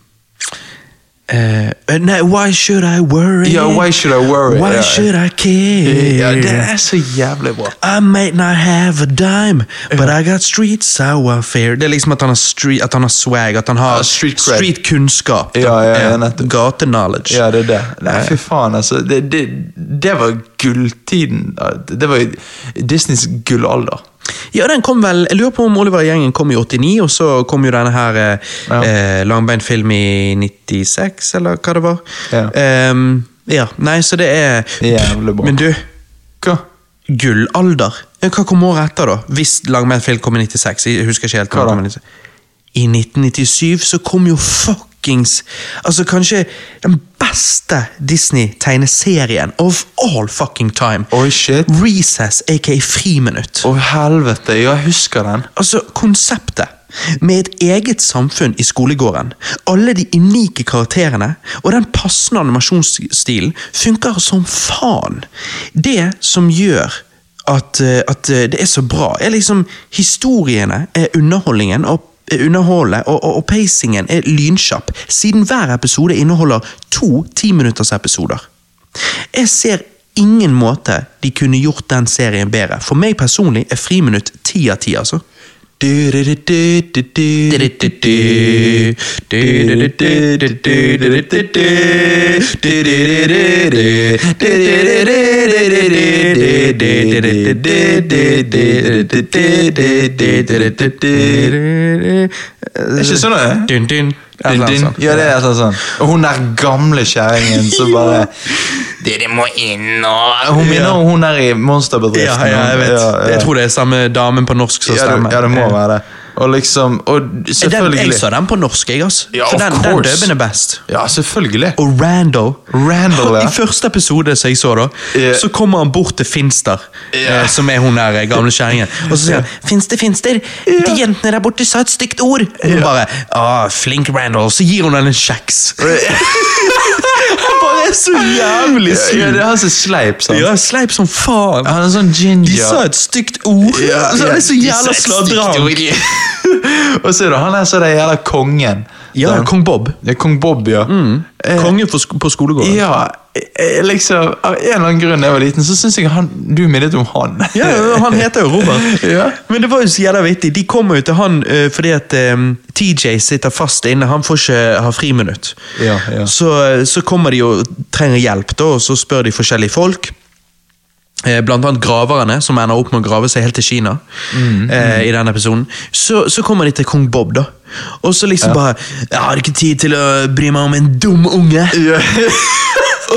eh, nei, why should I worry?
Ja, why should I worry?
Why
Ja.
should I care?
Ja, det er så jævlig bra.
I may not have a dime, but I got street sour fair. Det er liksom at han har, street, at han har swag, at han har
Ja, street cred.
kunnskap.
Ja, ja, ja, nettopp.
Gate-knowledge.
Ja, det er det. Nei, fy faen, altså. Det, det, det var gulltiden. Det var Disneys gullalder.
Ja, den kom vel, jeg lurer på om Oliver og gjengen kom i 89, og så kom jo denne her eh,
Ja.
eh, langbeint film i 96, eller hva det var.
Ja.
Ehm, ja. Nei, så det er
Jævlig bra.
Men du,
Hva?
gullalder? Ja, Hva kom året etter, da? Hvis langbeint film kom i 96? Jeg husker ikke helt. når
Hva da?
den kom i 96. I 1997 så kom jo fuckings Altså, kanskje den beste Disney-tegneserien of all fucking time.
Oi, shit.
Recess, aka Friminutt.
Å, helvete. Ja, jeg husker den.
Altså, konseptet med et eget samfunn i skolegården, alle de unike karakterene og den passende animasjonsstilen funker som faen. Det som gjør at, eh, at eh, det er så bra, er liksom historiene, er underholdningen og eh, underholdet, og, og, og pacingen er lynkjapp, siden hver episode inneholder to timinuttersepisoder. Jeg ser ingen måte de kunne gjort den serien bedre. For meg personlig er friminutt ti av ti, altså.
Ikke sånn, er det?
Dun, dun.
Din,
Eller
din.
sånn.
Ja, det er altså sånn. Og hun der gamle kjerringen som bare Dere må inn og Hun minner om hun der i monsterbedriften.
Ja, ja, jeg vet. Jeg tror det er samme damen på norsk som
ja,
stemmer.
det, ja, det må være det. Og liksom Og
Den, jeg
selvfølgelig
sa den på norsk, jeg, altså.
Ja,
For
of
den, den
course.
dubben er best.
Ja, selvfølgelig.
Og Rando.
Randall, ja.
I første episode som jeg så, da,
Ja.
så kommer han bort til Finster,
Ja.
eh, som er hun der eh, gamle kjerringen. Og så sier han 'Finster, Finster, de jentene der borte sa et stygt ord'. Og hun bare 'Å, flink Randall', så gir hun henne en kjeks. Han bare er så jævlig sur.
Ja, det er han som er sleip, sant?
Ja, sleip som faen.
Han er sånn ginger.
De sa et stygt ord! altså, han er så jævla sladran.
Og så er det han der som er den jævla kongen.
Ja,
Den-
kong Mm. Bob.
Ja, kong Bob, ja. Eh,
Kongen på, sk på skolegården.
Ja, eh, liksom Av en eller annen grunn da jeg var liten, så syns jeg han, du minnet om han.
Ja, ja, han heter jo Robert.
Ja.
Men det var jo så jævla vittig. De kommer jo til han eh, fordi at eh, TJ sitter fast inne. Han får ikke ha friminutt.
Ja, ja.
Så, eh, så kommer de og trenger hjelp, da, og så spør de forskjellige folk. Eh, Blant annet graverne, som ender opp med å grave seg helt til Kina.
Mm,
eh, I denne episoden så, så kommer de til kong Bob, da. Og så liksom bare 'Jeg har ikke tid til å bry meg om en dum unge'.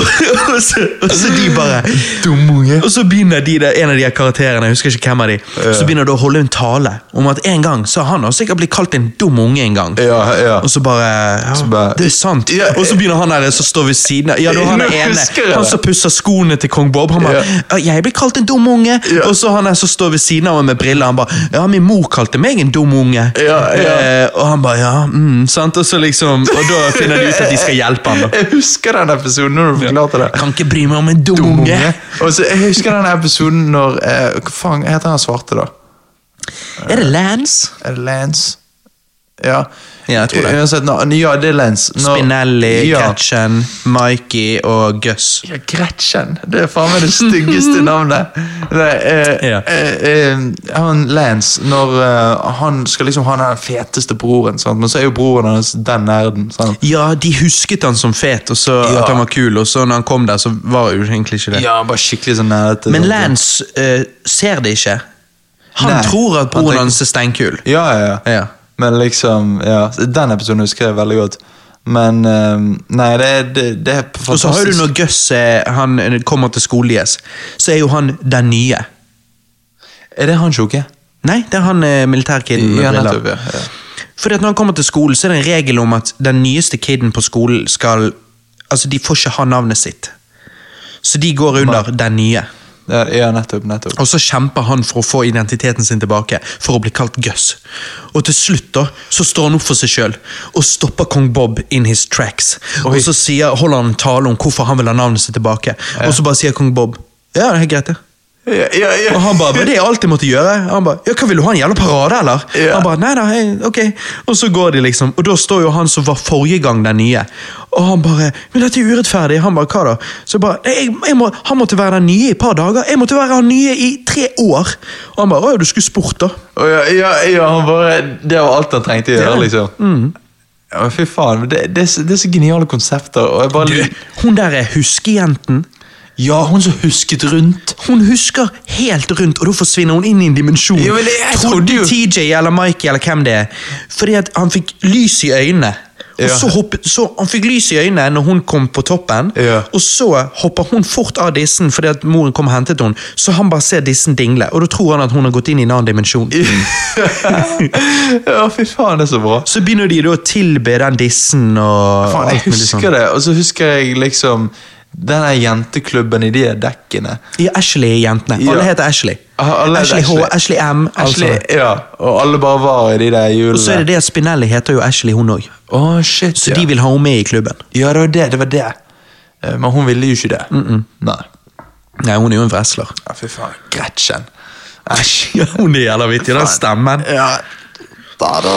og, og, så, og så de bare
Dum unge.
og så begynner de der, en av de her karakterene, jeg husker ikke hvem av de, så begynner de å holde en tale om at en gang så har han også sikkert blitt kalt en dum unge en gang.
Ja, ja.
Og så bare, ja,
Så bare-
Det er sant.
Ja.
og så begynner han der som står ved siden av. Ja, du, han
Nå
er ene.
husker jeg
Han
det.
som pusser skoene til kong Bob. Han bare ja.
Ja.
'Jeg ble kalt en dum unge'.
Ja.
Og så han der som står ved siden av meg med briller, han bare 'Ja, min mor kalte meg en dum unge'.
Ja, ja.
Eh, og han bare 'Ja, mm', sant. Og så liksom Og da finner de ut at de skal hjelpe han da.
Jeg husker den episoden når du forklarte det.
Kan ikke bry meg om en dum,
Dum
unge.
unge. Og så, jeg husker den episoden når eh, Hva faen heter han svarte, da?
Er det Lance?
Er det Lance? Ja.
Ja, jeg tror det.
Uansett, nå- ja, det er Lance. Nå-
Spinelli, Ketchen, Mikey og Gus.
Ja, Gretchen. Det er faen meg det styggeste navnet. Nei, eh,
Ja.
eh, eh, han Lance, når eh, han skal liksom ha den feteste broren, sant? men så er jo broren hans den nerden. Sant?
Ja, de husket han som fet, og så
Ja.
at han var kul, og så når han kom der, så var jo egentlig ikke det.
Ja, bare skikkelig sånn nerdete.
Men
sant?
Lance eh, ser det ikke. Han
Nei.
tror at
Han tenker-
broren hans er steinkul.
Ja, ja, ja.
Ja.
Men liksom, ja. så Den episoden husker jeg veldig godt. Men eh, Nei, det, er- det, det er fantastisk.
Og så har du når Gus eh, han eh, kommer til skolegjes, så er jo han den nye.
Er det han tjukke?
Nei, det er han eh, militærkiden med
Ja, nettopp,
briller.
ja, ja.
Fordi at når han kommer til skolen, så er det en regel om at den nyeste kiden på skolen skal Altså, de får ikke ha navnet sitt. Så de går under den nye.
Ja, ja, nettopp, nettopp.
Og så kjemper han for å få identiteten sin tilbake, for å bli kalt Gus. Og til slutt da, så står han opp for seg sjøl og stopper kong Bob in his tracks. Og så sier, holder han en tale om hvorfor han vil ha navnet sitt tilbake, og så bare sier kong Bob ja, det er helt greit, det.
Ja, ja, ja.
Og han bare, men det er alt jeg måtte gjøre. Han bare, ja, hva Vil du ha en jævla parade, eller?
Ja.
Han bare, nei da, hei, ok. Og så går de, liksom. Og da står jo han som var forrige gang den nye. Og han bare, men dette er urettferdig. Han bare, hva da? Så jeg bare, «Nei, jeg, jeg må, han måtte være den nye i et par dager. Jeg måtte være han nye i tre år. Og han bare, å, du skulle spurt, da.
Å, ja, ja, ja, han bare, det var alt han trengte å gjøre, liksom.
Mm.
Ja, men fy faen, det, det, er så- det er så geniale konsepter. Og jeg bare,
Hun der er huskejenten.
ja, hun som husket rundt.
Hun husker helt rundt, og da forsvinner hun inn i en dimensjon.
Jo, men jeg trodde jo-
Trodde TJ eller Mikey eller hvem det er. Fordi at han fikk lys i øynene. Og
Ja.
så hoppet, så han fikk lys i øynene når hun kom på toppen,
Ja.
og så hopper hun fort av dissen fordi at moren kom og hentet henne. Så han bare ser dissen dingle, og da tror han at hun har gått inn i en annen dimensjon.
ja, fy faen, det er så bra.
Så begynner de da å tilbe den dissen og
Faen, jeg
alt mulig sånn.
husker det, og så husker jeg liksom denne jenteklubben i de dekkene.
Ja, Ashley-jentene.
Ja.
Alle heter Ashley.
Ah, alle heter
Ashley H,
Ashley.
Ashley M. alt
Ashley,
sammen.
Altså, ja, og alle bare var i de der hjulene.
Og så er det det at Spinelli heter jo Ashley, hun òg.
Å, shit,
Så
ja.
de vil ha henne med i klubben.
Ja, det var det, det var det. Eh, Men hun ville jo ikke det. Nei.
Nei, hun er jo en wrestler.
Ja, fy faen, Gretchen. Æsj.
Ja, hun er jævla vittig, den stemmen.
Ja. Da, da.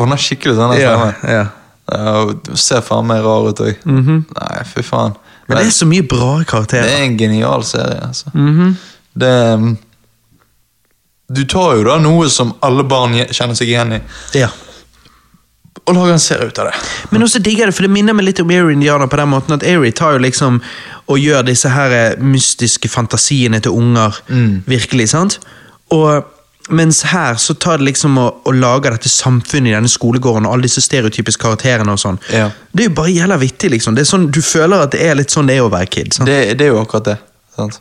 Hun har skikkelig sånn der
Ja,
stemme.
ja.
Ja, og Hun ser faen meg rar ut òg. Nei, fy faen.
Mm-hmm. Men det er så mye bra karakterer.
en genial serie, altså.
Mm-hmm.
Det um, Du tar jo da noe som alle barn gje- kjenner seg igjen i,
Ja.
og lager en serie ut av det.
Men også digger jeg det, for det minner meg litt om Eerie Indianer på den måten at Eerie tar jo liksom og gjør disse her eh, mystiske fantasiene til unger virkelig, sant? Og mens her så tar det liksom og, og lager dette samfunnet i denne skolegården og alle disse stereotypiske karakterene og sånn.
Ja.
Det er jo bare jævla vittig, liksom. Det er sånn, du føler at det er litt sånn det er å være kid. sant?
Det, det er jo akkurat det. sant?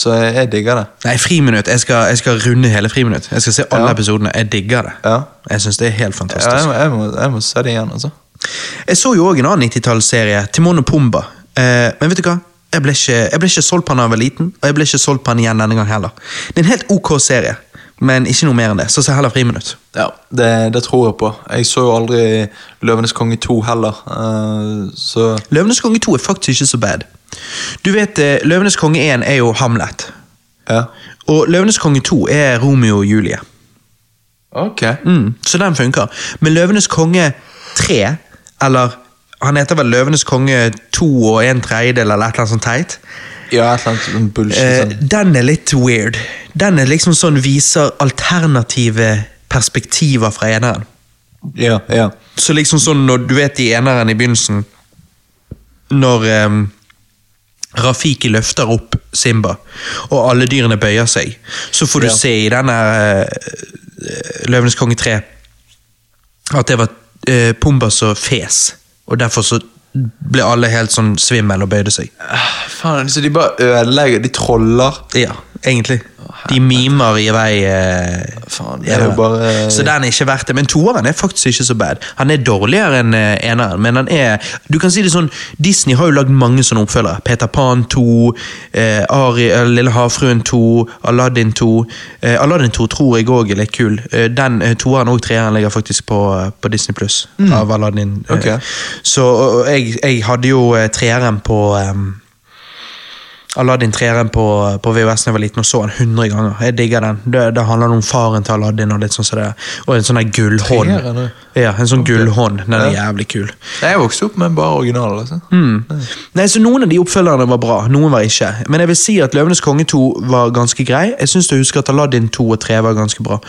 Så jeg, jeg digger det.
Nei, friminutt. Jeg skal, jeg skal runde hele friminutt. Jeg skal se alle
Ja.
episodene. Jeg digger det.
Ja.
Jeg synes det er helt fantastisk.
Ja, jeg, må, jeg, må, jeg må se det igjen, altså.
Jeg så jo også en annen 90-tallsserie, Timon og Pumba. Eh, men vet du hva? Jeg ble, ikke, jeg ble ikke solgt på den da jeg var liten, og jeg ble ikke solgt på den igjen denne gang heller. Det er en helt ok serie, men ikke noe mer enn det. Så se heller friminutt.
Ja, det, det tror jeg på. Jeg så jo aldri Løvenes konge 2 heller. eh, så
Løvenes konge 2 er faktisk ikke så bad. Du vet, eh, Løvenes konge 1 er jo Hamlet.
ja.
Og Løvenes konge 2 er Romeo og Julie.
Ok.
Mm, så den funker. Men Løvenes konge 3, eller han heter vel Løvenes konge 2 og 1 tredjedel, eller et eller annet sånt teit.
Ja, et eller annet sånn bullshit.
Eh,
sånn.
den er litt weird. Den er liksom sånn viser alternative perspektiver fra eneren.
Ja, ja.
Så liksom sånn når du vet i eneren i begynnelsen Når eh, Rafiki løfter opp Simba, og alle dyrene bøyer seg, så får du
Ja.
se i denne eh, Løvenes konge 3 at det var eh, Pumba som fes, og derfor så ble alle helt sånn svimmel og bøyde seg.
Ah, Faen, så de bare ødelegger. De troller.
Ja, egentlig. De mimer i vei. eh,
Faen, det
i
er jo
det.
bare eh,
Så den er ikke verdt det. Men toeren er faktisk ikke så bad. Han er dårligere enn eh, eneren, men han er Du kan si det sånn, Disney har jo lagd mange sånne oppfølgere. Peter Pan 2, eh, Ari, eh, Lille havfruen 2, Aladdin 2. Eh, Aladdin 2 tror jeg òg er litt kul. Eh, den eh, toeren og treeren ligger faktisk på, på Disney pluss. Av Aladdin. Eh,
Mm. Ok.
Så og, og jeg, jeg hadde jo eh, treeren på eh, Aladdin 3-eren på, på VHS da jeg var liten og så den 100 ganger. Jeg digger den. Det, det handler om faren til Aladdin og litt sånn som det. Og en sånn der gullhånd.
Treeren, ja.
Ja, en sånn gullhånd. Den er
Ja.
jævlig kul.
Nei, Jeg vokste opp med bare originaler. Altså.
Hmm. Nei, så Noen av de oppfølgerne var bra, noen var ikke. Men jeg vil si at Løvenes konge 2 var ganske grei. Jeg syns du husker at Aladdin 2 og 3 var ganske bra.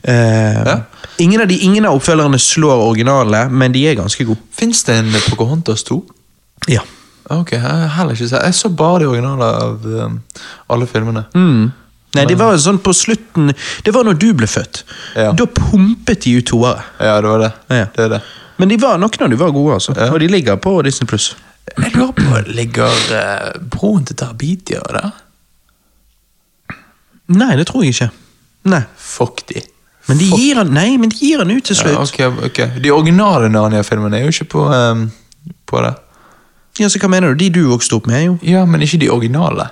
Eh,
Ja.
ingen, av de, ingen av oppfølgerne slår originalene, men de er ganske gode.
Fins det en Pocahontas 2?
Ja.
Ok, jeg har heller ikke sett Jeg så bare de originale av um, alle filmene.
Mm. Nei, det var sånn på slutten Det var når du ble født.
Ja.
Da pumpet de ut toere.
Ja, det var det.
Ja.
Det er det.
Men de var noen av de var gode, altså.
Ja.
Og de ligger på Disney Pluss.
Jeg lurer på Ligger eh, broen til Darbitia der?
Nei, det tror jeg ikke. Nei.
Fuck de.
Men de gir han, nei, men de gir han ut til slutt. Ja,
Ja, ok, ok. De originale Narnia-filmene er jo ikke på, ehm, på det.
så Hva mener du? De du vokste opp med, er jo
Ja, men ikke de originale.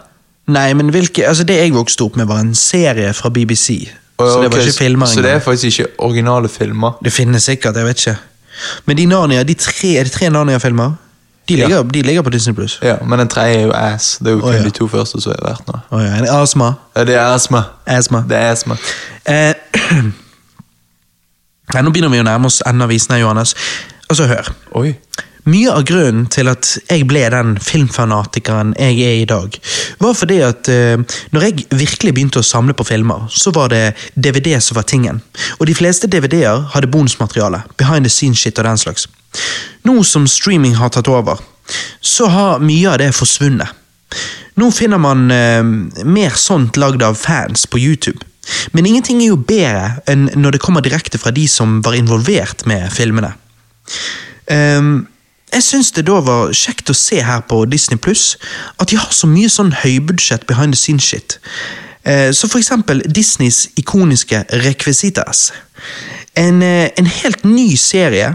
Nei, men hvilke, altså det jeg vokste opp med, var en serie fra BBC. så det
Ok,
var ikke filmer
Så det er
engang.
faktisk ikke originale filmer?
Det finnes sikkert, jeg vet ikke. Men de Narnia, de tre, er det tre Narnia-filmer? De,
Ja.
ligger- de ligger på Disney Pluss.
Ja, Men den tredje er jo ass. Det er jo kun
Å, ja.
de to første som har vært nå.
Å ja, en astma.
Ja, det er astma.
Astma.
Det er astma.
Eh, Nei, nå begynner vi å nærme oss enden av isen her, Johannes. Altså, hør.
Oi.
Mye av grunnen til at jeg ble den filmfanatikeren jeg er i dag, var fordi at eh, når jeg virkelig begynte å samle på filmer, så var det DVD som var tingen. Og de fleste DVD-er hadde bonusmateriale, behind the scenes shit og den slags. Nå som streaming har tatt over, så har mye av det forsvunnet. Nå finner man eh, mer sånt lagd av fans på YouTube. Men ingenting er jo bedre enn når det kommer direkte fra de som var involvert med filmene. Ehm, jeg syns det da var kjekt å se her på Disney Pluss at de har så mye sånn høybudsjett behind the scenes shit. Eh, Så for eksempel Disneys ikoniske Requisitas. En, eh, en helt ny serie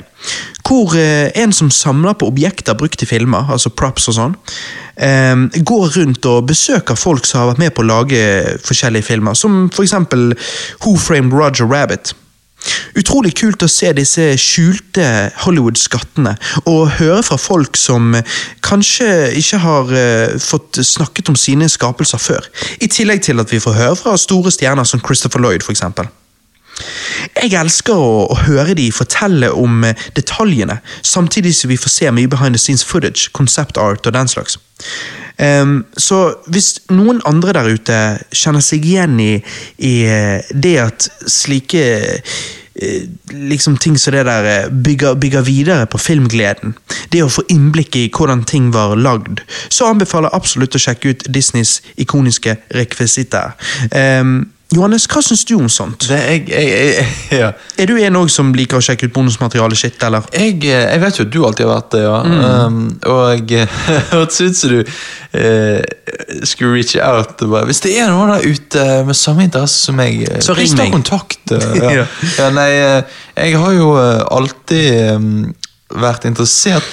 hvor eh, en som samler på objekter brukt i filmer, altså props og sånn, eh, går rundt og besøker folk som har vært med på å lage eh, forskjellige filmer, som for eksempel Who Framed Roger Rabbit. Utrolig kult å se disse skjulte Hollywood-skattene, og høre fra folk som kanskje ikke har eh, fått snakket om sine skapelser før. I tillegg til at vi får høre fra store stjerner som Christopher Lloyd, f.eks. Jeg elsker å, å høre de fortelle om eh, detaljene, samtidig som vi får se mye behind the scenes footage, concept art og den slags. Ehm, så hvis noen andre der ute kjenner seg igjen i, i eh, det at slike eh, liksom ting som det der eh, bygger, bygger videre på filmgleden, det å få innblikk i hvordan ting var lagd, så anbefaler jeg absolutt å sjekke ut Disneys ikoniske rekvisitter. Ehm, Johannes, hva syns du om sånt?
Det, jeg, jeg, jeg, ja.
Er du en òg som liker å sjekke ut bonusmateriale shit, eller?
jeg, eh, jeg vet jo at du alltid har vært det, ja.
Mm.
Um, og hørtes ut som du eh, skulle reach out. og Bare, hvis det er noen der ute med samme interesse som meg, eh,
Så
please
ring
ta
meg.
kontakt. eh,
Ja.
ja. ja, nei, eh, jeg har jo eh, alltid um, vært interessert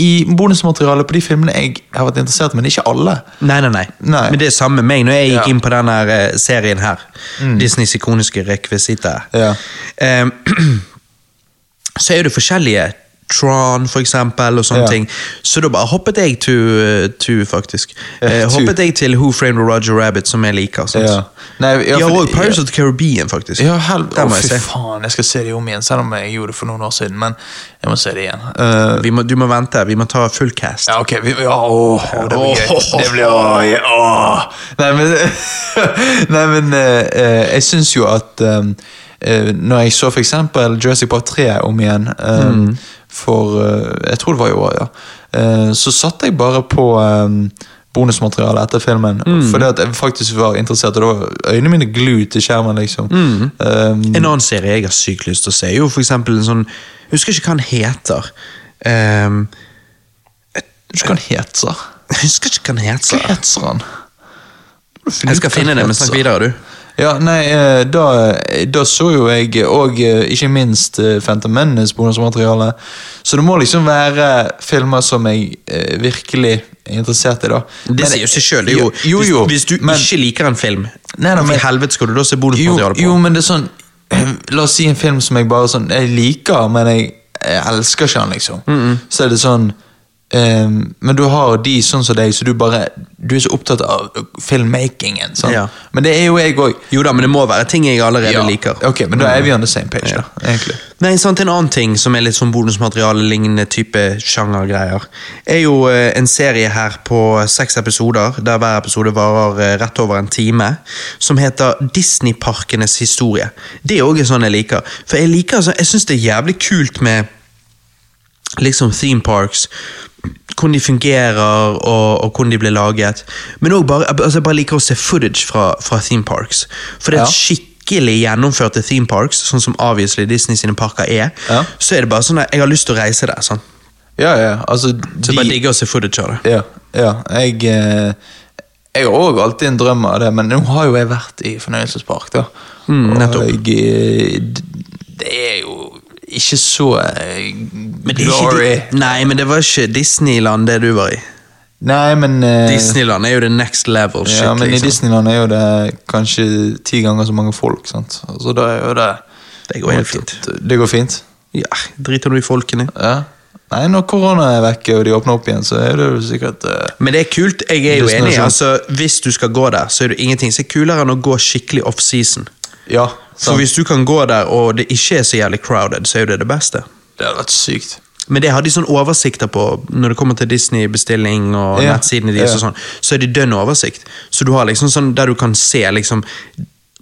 i bonusmaterialet på de filmene jeg har vært interessert i, men ikke alle.
Nei, nei, nei.
Nei.
Men det er samme med meg når jeg gikk
Ja.
inn på denne eh, serien her. Disneys ikoniske rekvisitter.
Ja.
Ehm, så er det forskjellige. Tron, for eksempel, og sånne
Ja.
ting. Så da bare hoppet jeg to, eh, to faktisk.
Ja,
Eh,
to.
hoppet jeg til Who Framed Roger Rabbit, som jeg liker. Sånn.
Ja. Nei, ja,
De har
fordi-
òg Pirates of the Caribbean, faktisk.
Ja, hel...
Den
Å,
må jeg
fy
se.
faen, jeg skal se det om igjen, selv om jeg gjorde det for noen år siden. Men jeg må se det igjen. Eh,
Vi må, du må vente. Vi må ta full cast.
ja, ok. Vi, ja, å, å, det blir gøy. Det blir å, ja, å. Nei, men, nei, men eh, eh, jeg syns jo at eh, eh, Når jeg så for eksempel Jurassic Park 3 om igjen eh,
Mm.
For eh, jeg tror det var i år, ja. eh, så satt jeg bare på eh, bonusmateriale etter filmen.
Mm.
Fordi at jeg faktisk var interessert, og da var øynene mine glued til skjermen, liksom.
Mm.
Eh,
En annen serie jeg har sykt lyst til å se, er jo for eksempel en sånn Jeg husker ikke hva den heter. Ehm,
Husker han Hetzer?
jeg husker ikke hva den
Hva
heter.
heter han?
Jeg skal finne det, men snakk videre, du.
Ja, nei, eh, da, da så jo jeg og eh, ikke minst eh, Phantom Menace bonusmateriale. Så det må liksom være filmer som jeg eh, virkelig er interessert i, da.
Det
Men-
sier jo seg sjøl. Jo,
Jo, jo, jo,
hvis, hvis du
men-
ikke liker en film,
Nei, nei,
hvorfor i
men-
helvete skal du da se
jo,
bonusmateriale på?
jo, men det er sånn La oss si en film som jeg bare sånn Jeg liker, men jeg, jeg elsker ikke den, liksom. Så er det sånn ehm, Men du har de sånn som deg, så du bare Du er så opptatt av filmmakingen. Sant?
Ja.
Men det er jo jeg òg.
Jo da, men det må være ting jeg allerede liker. Mm.
Ok, men da er vi on the same page, da. Egentlig.
Nei, sant, En annen ting som er litt sånn bonusmateriale-lignende type sjangergreier, er jo eh, en serie her på seks episoder, der hver episode varer eh, rett over en time, som heter Disneyparkenes historie. Det er òg sånn jeg liker. For jeg liker, altså, jeg syns det er jævlig kult med liksom theme parks. Hvordan de fungerer, og, og hvordan de blir laget. Men også bare, altså jeg bare liker å se footage fra, fra theme parks. For det er
Ja.
skikkelig gjennomførte theme parks, sånn som obviously Disney sine parker er.
Ja.
Så er det bare sånn at jeg har lyst til å reise der. sånn.
Ja, ja, altså
Så jeg
de-
bare digger å se footage av det.
Ja, ja. Jeg, eh, jeg har òg alltid en drøm av det, men nå har jo jeg vært i fornøyelsespark, da.
Mm, nettopp.
Og jeg, eh, d- det er jo ikke så eh,
Men det er ikke
glory.
di- Nei, men det var ikke Disneyland det du var i.
Nei, men eh,
Disneyland er jo the next level shit,
ja, men i
liksom.
Disneyland er jo det kanskje ti ganger så mange folk, sant? Så da er jo det
Det går helt fint.
Det går fint?
Ja, driter du i folkene?
Ja. Nei, når korona er vekke og de åpner opp igjen, så er det jo sikkert eh,
Men det er kult, jeg er jo
Disney er
enig.
sånn.
altså Hvis du skal gå der, så er det ingenting som er kulere enn å gå skikkelig off-season.
Ja.
For
Sant?
hvis du kan gå der, og det ikke er så jævlig crowded, så er jo det det beste.
Det hadde vært sykt.
Men det har de sånn oversikter på når det kommer til Disney-bestilling og
Ja,
nettsidene deres.
ja.
og sånn, Så er det dønn oversikt. Så du har liksom sånn der du kan se liksom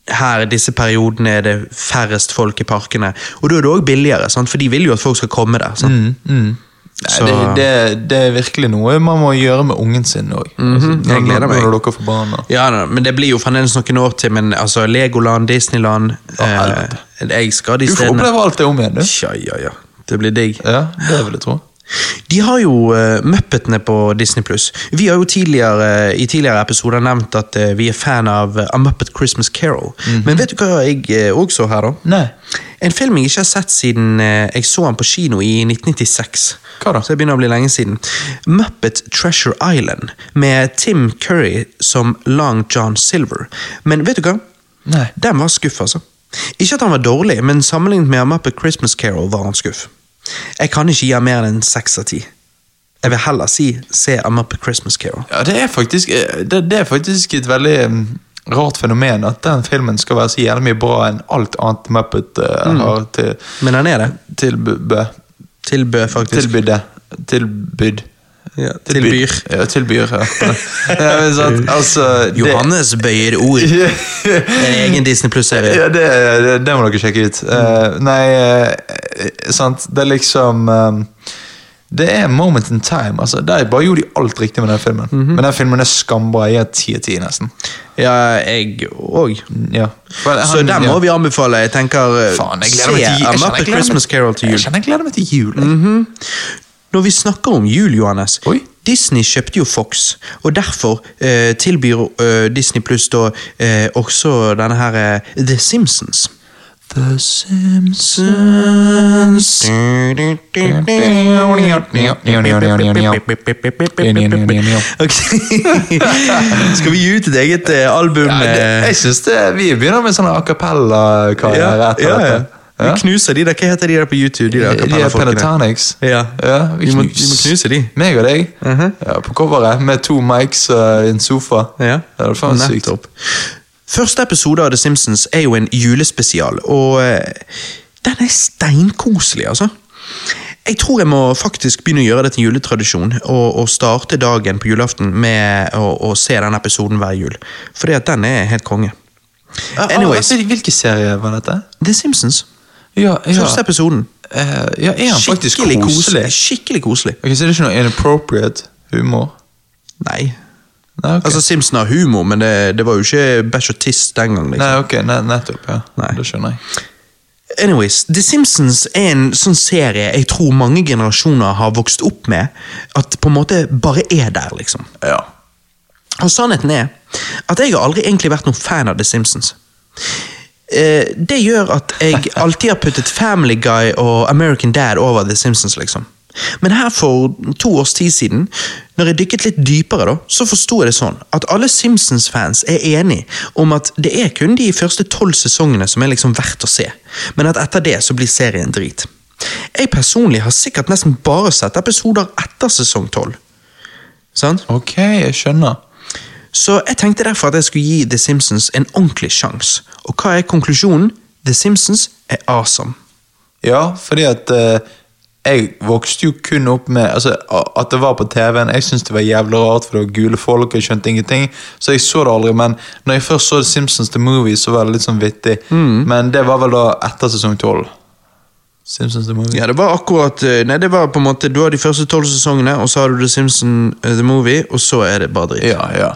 her i disse periodene er det færrest folk i parkene. Og da er det òg billigere, sant? for de vil jo at folk skal komme der. Sant?
Mm, Nei,
Så-
det, det, det er virkelig noe man må gjøre med ungen sin òg.
jeg gleder meg.
Når dere får barn. og-
Ja, da, men det blir jo fremdeles noen år til, men altså Legoland, Disneyland eh,
helvete.
Jeg skal de
Du får
stedene.
oppleve alt det om igjen, du.
Ja, ja, ja. Det blir digg.
Ja, det vil jeg tro.
De har jo uh, Muppetene på Disney+. Vi har jo tidligere, eh, i tidligere episoder nevnt at eh, vi er fan av eh, A Muppet Christmas Carol.
Mhm.
Men vet du hva jeg eh, også så her, da?
Nei.
En film jeg ikke har sett siden eh, jeg så den på kino i 1996.
Hva da?
Så det begynner å bli lenge siden. Muppet Treasure Island med Tim Curry som Long John Silver. Men vet du hva?
Nei.
Den var skuff, altså. Ikke at han var dårlig, men sammenlignet med A Muppet Christmas Carol var han skuff. Jeg kan ikke gi ham mer enn seks av ti. Jeg vil heller si se A Muppet Christmas Carol.
Ja, det er faktisk, eh, det, det er faktisk et veldig mm, rart fenomen at den filmen skal være så jævlig mye bra enn alt annet Muppet eh, har til,
Men han er det.
tilbø,
Tilbød, faktisk.
tilbydde. Tilbyd.
Ja, tilbyr.
Ja, tilbyr, ja. ja men sant, altså, det,
Johannes bøyer ord. En egen Disney Pluss-serie.
Ja, det, det, det må dere sjekke ut.
Mm.
Eh, nei, eh, sant Det er liksom eh, Det er moment in time. Altså, der bare gjorde de alt riktig med den filmen.
Mhm.
Men den filmen er skambra. Jeg er ti av ti, nesten.
Ja, jeg òg.
Ja. For han-
Så den må vi anbefale. Jeg tenker eh,
Faen, jeg gleder meg til
Se A
jul. Jeg
Muppet
kjenner jeg gleder meg-
Christmas Carol til
Jeg
jul. Mhm.
kjenner jeg gleder meg til jul. jeg.
Når vi snakker om jul, Johannes
Oi.
Disney kjøpte jo Fox, og derfor eh, tilbyr eh, Disney Pluss da eh, også denne her eh, The Simpsons.
The Simpsons
Ok. Skal vi gi ut et eget eh, album?
ja, det,
eh,
Jeg synes det Vi begynner med sånne a cappella-karriere etter
ja, ja.
dette.
Vi knuser de der. Hva heter de der på YouTube? De der
De er
kapellefolkene?
Pentatonics.
Ja.
Eh, Ja,
Vi må- vi må knuse de. Mhm.
Meg og deg. ja, på coveret med to mics og en sofa.
Ja.
det er faen sykt.
Nettopp. Første episode av The Simpsons er jo en julespesial, og eh, den er steinkoselig, altså. Jeg tror jeg må faktisk begynne å gjøre det til juletradisjon, og, og starte dagen på julaften med å, å se den episoden hver jul. Fordi at den er helt konge. Anyways,
Ah, Hvilken serie var dette?
The Simpsons.
Ja, ja.
Første episoden.
Eh, ja er han faktisk
Skikkelig koselig.
koselig?
Skikkelig koselig.
Ok, Så det er ikke noe inappropriate humor?
Nei.
Nei, ok.
Altså, Simpson har humor, men det, det var jo ikke bæsj og tiss den gang. Liksom.
Nei, ok, ne nettopp. ja.
Nei.
Det skjønner jeg.
Anyways, The Simpsons er en sånn serie jeg tror mange generasjoner har vokst opp med, at på en måte bare er der, liksom.
Ja.
Og sannheten er at jeg har aldri egentlig vært noen fan av The Simpsons. Eh, Det gjør at jeg alltid har puttet Family Guy og American Dad over The Simpsons, liksom. Men her for to års tid siden, når jeg dykket litt dypere, da, så forsto jeg det sånn at alle Simpsons-fans er enig om at det er kun de første tolv sesongene som er liksom verdt å se, men at etter det så blir serien drit. Jeg personlig har sikkert nesten bare sett episoder etter sesong tolv. Sant?
Ok, jeg skjønner.
Så jeg tenkte derfor at jeg skulle gi The Simpsons en ordentlig sjanse. Og hva er konklusjonen? The Simpsons er awesome.
Ja, fordi at eh, jeg vokste jo kun opp med altså, a- at det var på TV-en. Jeg syntes det var jævlig rart, for det var gule folk, og jeg skjønte ingenting. Så jeg så det aldri, men når jeg først så Simpsons The Movie, så var det litt sånn vittig. Men det var vel da etter sesong 12. Simpsons The Movie.
Ja, det var akkurat eh, Nei, det var på en måte Du har de første tolv sesongene, og så har du The Simpsons eh, The Movie, og så er det bare dritt.
Ja, ja.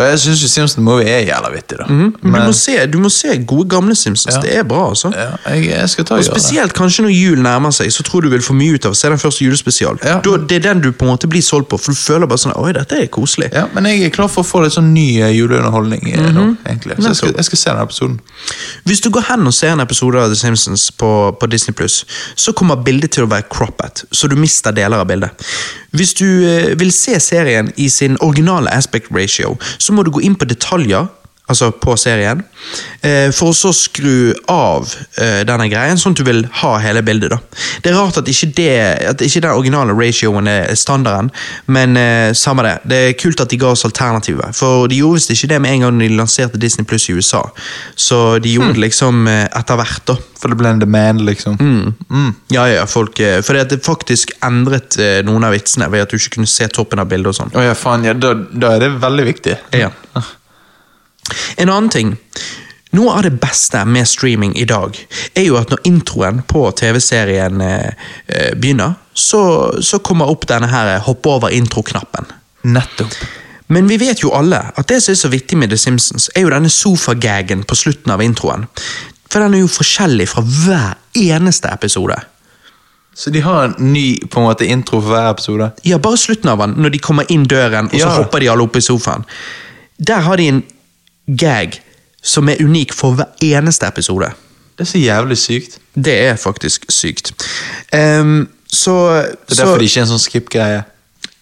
Og jeg syns jo Simpsons The Movie er jævla vittig, da.
Men du må, se, du må se gode, gamle Simpsons. Det er bra, altså.
ja, jeg, jeg skal ta
Og
og gjøre det.
Spesielt kanskje når jul nærmer seg, så tror du vil få mye ut av å se den første julespesial.
Ja.
Da, det er den du på en måte blir solgt på, for du føler bare sånn Oi, dette er koselig.
Ja, men jeg er klar for å få litt sånn ny eh, juleunderholdning eh, nå, egentlig. Så jeg skal, jeg skal se den episoden.
Hvis du går hen og ser en episode av The Simpsons på, på Disney+, så kommer bildet til å være croppet, så du mister deler av bildet.
Hvis du eh, vil se serien i sin originale aspect ratio, så må du gå inn på detaljer, altså på serien, eh, for å så skru av eh, denne greien, sånn at du vil ha hele bildet. da. Det er rart at ikke, det, at ikke den originale ratioen er standarden, men eh, samme det. Det er kult at de ga oss alternativet, for de gjorde visst ikke det med en gang de lanserte Disney Pluss i USA. Så de gjorde det liksom eh, etter hvert, da.
For det ble en demand, liksom.
Ja, ja, folk, eh, fordi at det faktisk endret eh, noen av vitsene ved at du ikke kunne se toppen av bildet og sånn.
Å ja, faen, ja, da, da er det veldig viktig.
Ja. En annen ting. Noe av det beste med streaming i dag er jo at når introen på TV-serien eh, eh, begynner, så, så kommer opp denne her eh, hoppe over intro-knappen.
Nettopp.
Men vi vet jo alle at det som er så vittig med The Simpsons, er jo denne sofagagen på slutten av introen. For den er jo forskjellig fra hver eneste episode.
Så de har en ny på en måte intro for hver episode?
Ja, bare slutten av den, når de kommer inn døren, og så
Ja.
hopper de alle opp i sofaen. Der har de en gag som er unik for hver eneste episode.
Det er så jævlig sykt.
Det er faktisk sykt. Ehm, så
Det er derfor
så-
det ikke er en sånn skip-greie.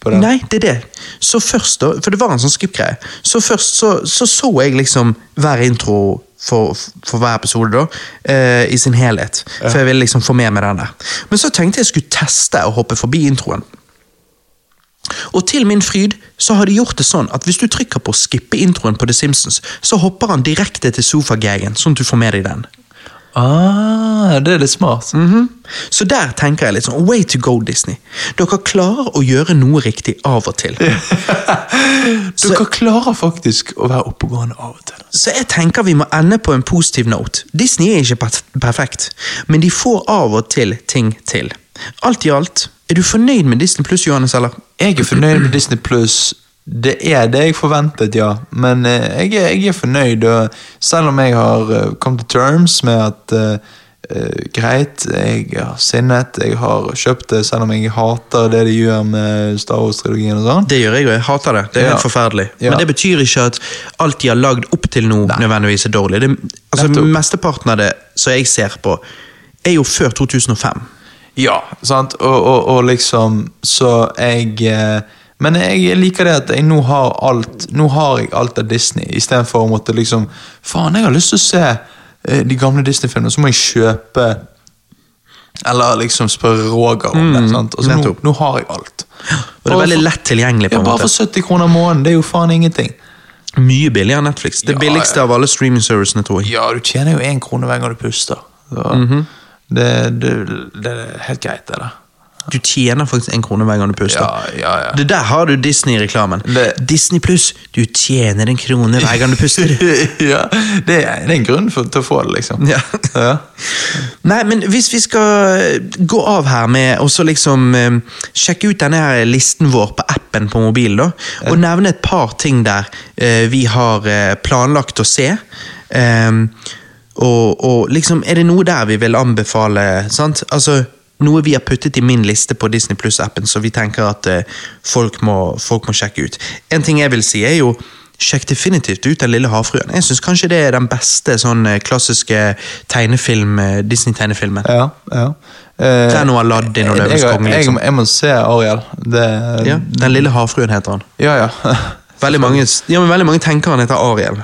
på den.
Nei, det er det. Så først da, For det var en sånn skip-greie. Så først så, så så jeg liksom hver intro for, for hver episode da, eh, i sin helhet. For jeg ville liksom få med meg den der. Men så tenkte jeg skulle teste å hoppe forbi introen. Og til min fryd så har de gjort det sånn at hvis du trykker på 'skippe introen' på The Simpsons, så hopper han direkte til sofagagen, sånn at du får med deg den.
Ah, det er litt smart.
Mhm. Så der tenker jeg litt sånn Way to go, Disney. Dere klarer å gjøre noe riktig av og til.
Dere klarer faktisk å være oppegående av og til.
Så jeg tenker vi må ende på en positiv note. Disney er ikke perf- perfekt, men de får av og til ting til. Alt i alt, er du fornøyd med Disney pluss, Johannes, eller?
Jeg er fornøyd med Disney Pluss. Det er det jeg forventet, ja. Men eh, jeg, er- jeg er fornøyd, og selv om jeg har eh, kommet til terms med at eh, eh, greit, jeg har sinnet, jeg har kjøpt det, selv om jeg hater det de gjør med Star Wars-trilogien og sånn.
Det gjør jeg, og jeg hater det. Det er
Ja.
helt forferdelig.
Ja.
Men det betyr ikke at alt de har lagd opp til nå, nødvendigvis er dårlig. Det, altså,
Nettopp.
mesteparten av det som jeg ser på, er jo før 2005.
Ja, sant? Og, og, og liksom Så jeg eh, Men jeg liker det at jeg nå har alt Nå har jeg alt av Disney, istedenfor å måtte liksom Faen, jeg har lyst til å se eh, de gamle Disney-filmene, så må jeg kjøpe Eller liksom spørre Roger om det. sant? Altså, nå,
Mm, nettopp.
nå har jeg alt.
Og det er
Bare
veldig
for-
lett tilgjengelig. på
Ja,
en
bare
måte.
for 70 kroner måneden. Det er jo faen ingenting.
Mye billigere enn Netflix. Det
Ja,
billigste av alle streaming-servicene, tror jeg.
Ja, du tjener jo én krone hver gang du puster. Så
Mhm.
det, det, det er helt greit, det der.
Du tjener faktisk en krone hver gang du puster.
Ja, ja, ja.
Det der har du Disney-reklamen.
Det-
Disney pluss, du tjener en krone hver gang du puster.
ja, det er, det er en grunn for, til å få det, liksom.
Ja.
Ja.
Nei, men hvis vi skal eh, gå av her med og så liksom eh, sjekke ut denne her listen vår på appen på mobilen, da, og nevne et par ting der eh, vi har eh, planlagt å se. eh, og, og liksom, er det noe der vi vil anbefale? sant? Altså, noe vi har puttet i min liste på Disney Pluss-appen, så vi tenker at eh, folk, må, folk må sjekke ut. En ting jeg vil si, er jo Sjekk definitivt ut Den lille havfruen. Jeg syns kanskje det er den beste sånn eh, klassiske tegnefilm, eh, Disney-tegnefilmen.
ja, ja. Eh,
Det er noe Aladdin og
jeg-
Løvens
jeg-
konge,
Jeg,
liksom.
må- jeg må se Ariel. Det,
Ja, den lille havfruen heter han.
ja. ja.
Veldig mange, ja, men veldig mange tenker han heter Ariel.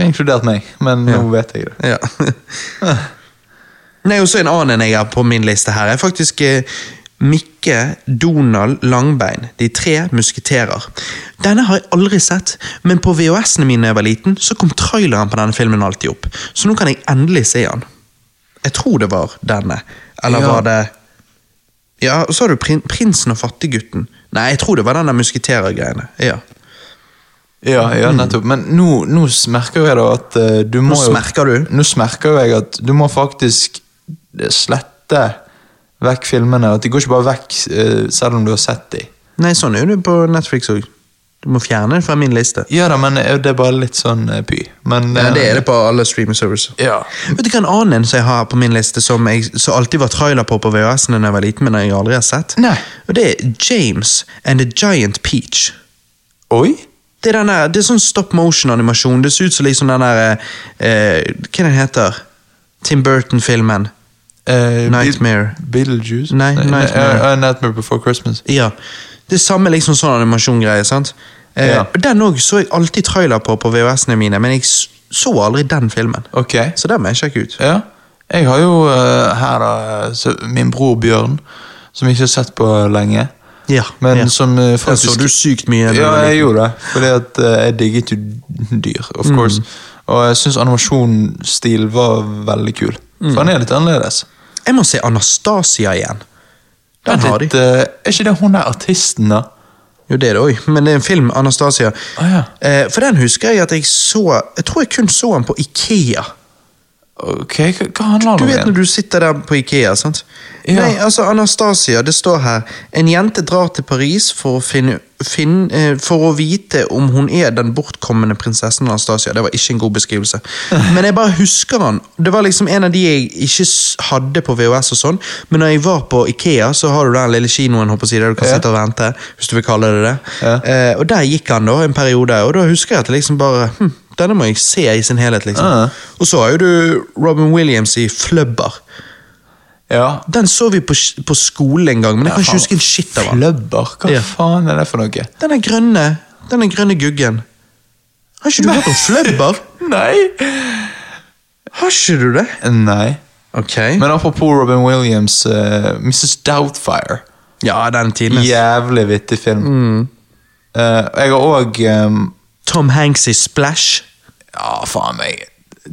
Inkludert meg, men nå vet jeg det.
Ja. Nei, og så en annen jeg har på min liste her, er faktisk eh, Mikke, Donald, Langbein. De tre musketerer. Denne har jeg aldri sett, men på VHS-ene mine da jeg var liten, så kom traileren på denne filmen alltid opp. Så nå kan jeg endelig se han. Jeg tror det var denne. Eller
Ja.
var det Ja, og så har du prin Prinsen og fattiggutten. Nei, jeg tror det var den der musketerergreiene. Ja.
Ja, ja, nettopp. Men nå, nå merker jeg da at eh, du må jo
smerker du.
Nå smerker jo jeg at du må faktisk slette vekk filmene. At de går ikke bare vekk eh, selv om du har sett dem.
Nei, sånn er det på Netflix òg. Du må fjerne det fra min liste.
Ja da, men eh, det er bare litt sånn eh, py. Men
Ja,
eh,
det er det på alle streaming services.
Ja.
Vet du hva en annen en som jeg har her på min liste, som jeg som alltid var trailer på på VHS-en da jeg var liten, men jeg aldri har sett?
Nei.
Og det er James and the Giant Peach.
Oi!
Det er, den der, det er sånn stop motion-animasjon. Det ser ut som liksom den der eh, eh, Hva den heter Tim Burton-filmen.
eh,
Nightmare.
Be- Beetlejuice?
Nei, Nightmare.
eh, eh, Nightmare Before Christmas.
Ja. Det samme liksom sånn animasjongreie, sant? Eh,
Ja.
Den òg så jeg alltid trailer på på VHS-ene mine, men jeg s- så aldri den filmen.
Ok.
Så den må jeg sjekke ut.
Ja. Jeg har jo eh, her da så, min bror Bjørn, som jeg ikke har sett på lenge.
Ja,
Men
ja.
som eh,
Den så
faktisk
du sykt mye. når
Ja,
du var
jeg
liten. Mm.
gjorde det. Fordi at eh, jeg digget jo dyr, of course. Og jeg syns animasjonsstil var veldig kul.
Mm.
For han er litt annerledes.
Jeg må se Anastasia igjen. Den
Vent
har de.
litt, eh, er ikke det hun der artisten, da?
Jo, det er det òg, men det er en film. Anastasia.
Ah, ja.
eh, for den husker jeg at jeg så Jeg tror jeg kun så den på Ikea.
Ok, hva, hva handler
Du
det om
vet når
igjen?
du sitter der på Ikea, sant?
Ja.
Nei, altså Anastasia, det står her En jente drar til Paris for å, finne, finne, eh, for å vite om hun er den bortkommende prinsessen Anastasia. Det var ikke en god beskrivelse. Men jeg bare husker han. Det var liksom en av de jeg ikke s- hadde på VHS og sånn, men når jeg var på Ikea, så har du den lille kinoen håper jeg, å si, der du kan
Ja.
sitte og vente, hvis du vil kalle det det.
Ja.
Eh, og der gikk han da en periode, og da husker jeg at jeg liksom bare hm, denne må jeg se i sin helhet, liksom.
Ja.
Og så har jo du Robin Williams i Flubber.
Ja.
Den så vi på, sk- på skolen en gang, men jeg kan ikke huske en shit av den.
Flubber? Hva
Ja.
faen er det for noe?
Den er grønne, den er grønne guggen. Har ikke du hørt om Flubber?
Nei!
Har ikke du det?
Nei.
Ok.
Men apropos Robin Williams, eh, Mrs. Doubtfire.
Ja, den er tidenes.
Jævlig vittig film. Eh, jeg har òg
Tom Hanks i Splash.
Ja, faen meg.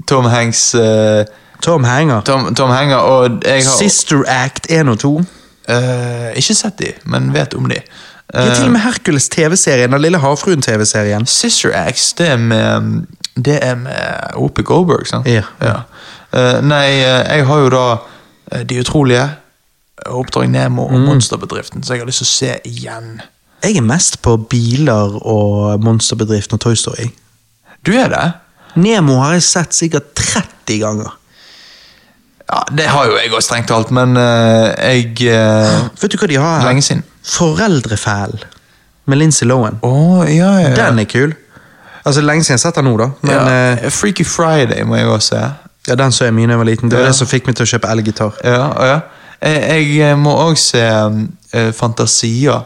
Tom Hanks eh,
Tom Hanger.
Tom, Tom Hanger og jeg har
Sister Act 1 og 2.
Eh, Ikke sett de, men vet om de. Eh,
Det er til og med Hercules TV-serien, den lille havfruen-TV-serien.
Sister Acts, det er med ehm, Det er med Whoopi Goldberg, sant?
Ja.
Eh, nei, eh, jeg har jo da eh, De utrolige, Oppdrag Nemo og Monsterbedriften, så jeg har lyst til å se igjen.
Jeg er mest på biler og monsterbedriften og Toy Story.
Du er det?
Nemo har jeg sett sikkert 30 ganger.
Ja, det har jo jeg òg, strengt talt, men eh, jeg eh,
Vet du hva de har her?
Lenge siden.
Foreldrefæl med Lindsay Lohan.
Å, ja, ja. ja.
Den er kul. Altså Lenge siden jeg har sett den nå, da. Men
ja.
eh,
Freaky Friday må jeg òg se.
ja, den så jeg mye da jeg var liten. Det var
Ja.
det som fikk meg til å kjøpe elgitar.
Ja, ja. Jeg, jeg eh, må òg se eh, Fantasia.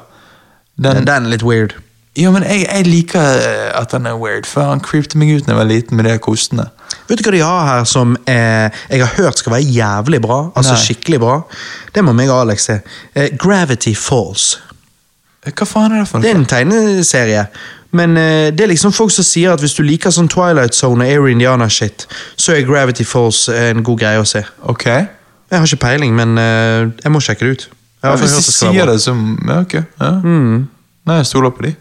Den,
Den er litt weird.
Ja, men jeg, jeg liker eh, at han er weird, for han creepte meg ut da jeg var liten med de her kostene.
Vet du hva de har her som eh, jeg har hørt skal være jævlig bra? Altså
Nei.
skikkelig bra. Det må meg og Alex se. Eh, Gravity Falls.
Eh, Hva faen er det for
Det
noe?
er en tegneserie. Men eh, det er liksom folk som sier at hvis du liker sånn Twilight Zone og Air Indiana-shit, så er Gravity Falls eh, en god greie å se.
Ok.
Jeg har ikke peiling, men eh, jeg må sjekke det ut. Jeg
Ja,
har
hvis
hørt
de
det skal være
sier
bra.
det som Ja, ok. Ja. Mm. Nei, jeg stoler på de.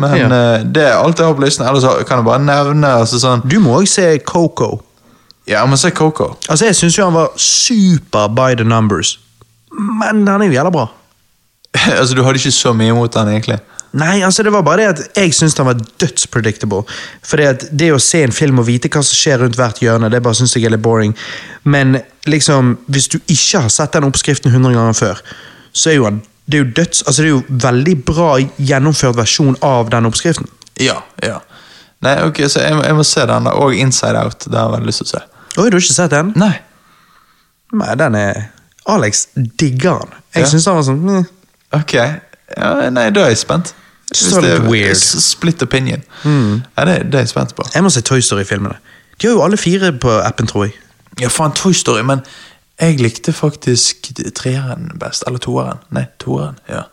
Men
Ja.
eh, det er alt jeg har på listen. Ellers har- kan jeg bare nevne altså sånn
Du må òg se Coco.
Ja, men se Coco.
Altså, Jeg syns jo han var super by the numbers, men han er jo jævla bra.
altså, du hadde ikke så mye imot den, egentlig.
Nei, altså det var bare det at jeg syns han var dødspredictable. For det, at det å se en film og vite hva som skjer rundt hvert hjørne, det bare syns jeg er litt boring. Men liksom, hvis du ikke har sett den oppskriften 100 ganger før, så er jo han det er jo døds, altså det er jo veldig bra gjennomført versjon av den oppskriften.
Ja, ja. Nei, ok, så jeg, må- jeg må se den, da. Og Inside Out. Den har jeg veldig lyst til å se.
Oi, du har ikke sett den?
Nei.
Nei, den er Alex digger han.
Ja.
Jeg synes syns han var sånn meh.
Ok. Ja, nei, da er jeg spent.
Så litt weird.
s- Split opinion. Ja, det, det er jeg spent på.
Jeg må se Toy Story-filmene. De har jo alle fire på appen, tror jeg.
Ja, faen, Toy Story, men jeg likte faktisk treeren best. Eller toeren. Nei, toeren. Ja.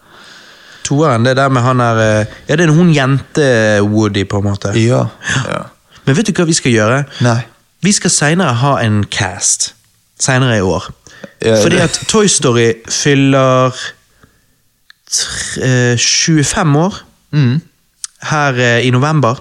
Toeren, det der med han der eh, Ja, det er hun jente-Woody, på en måte.
Ja. ja.
Men vet du hva vi skal gjøre?
Nei.
Vi skal senere ha en cast. Senere i år.
Ja,
Fordi
det-
at Toy Story fyller tr- eh, 25 år
Mm.
her eh, i november.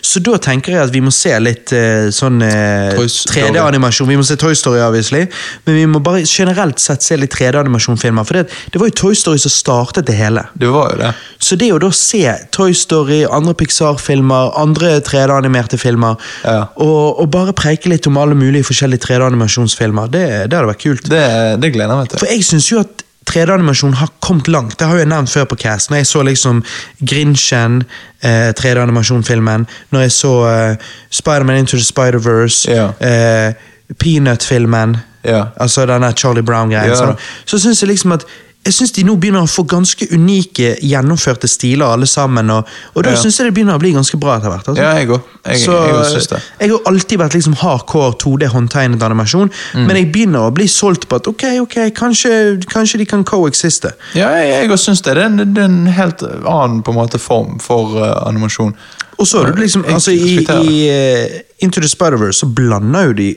Så da tenker jeg at vi må se litt eh, sånn eh,
Toy Story.
3D-animasjon. Vi må se Toy Story, obviously, men vi må bare generelt sett se litt 3D-animasjonfilmer. For det, det var jo Toy Story som startet det hele.
Det var jo det.
Så det å da se Toy Story, andre Pixar-filmer, andre 3D-animerte filmer,
Ja.
og, og bare preike litt om alle mulige forskjellige 3D-animasjonsfilmer, det, det hadde vært kult.
Det, det gleder jeg meg til.
For jeg syns jo at 3D-animasjon har kommet langt. Det har jo jeg nevnt før på Cast. Når jeg så liksom Grinchen, eh, 3D-animasjonfilmen, når jeg så eh, Spider-Man Into the Spider-Verse,
Ja.
eh, Peanut-filmen
Ja.
Altså denne Charlie Brown-greien.
Ja.
sånn. Så synes jeg liksom at jeg synes de nå begynner å få ganske unike, gjennomførte stiler alle sammen, og, og da
Ja.
synes jeg det begynner å bli ganske bra etter hvert. Altså.
Ja, jeg òg. Jeg,
Så,
jeg også synes det.
jeg har alltid vært liksom hardcore 2D håndtegnet animasjon,
Mm.
men jeg begynner å bli solgt på at ok, ok, kanskje, kanskje de kan coexiste.
Ja, jeg, jeg også synes det. Det er, en, det er en helt annen på en måte form for eh, animasjon.
Og så er det liksom,
Jeg
altså i,
respekterer
i eh, Into the Spider-Verse så blander jo de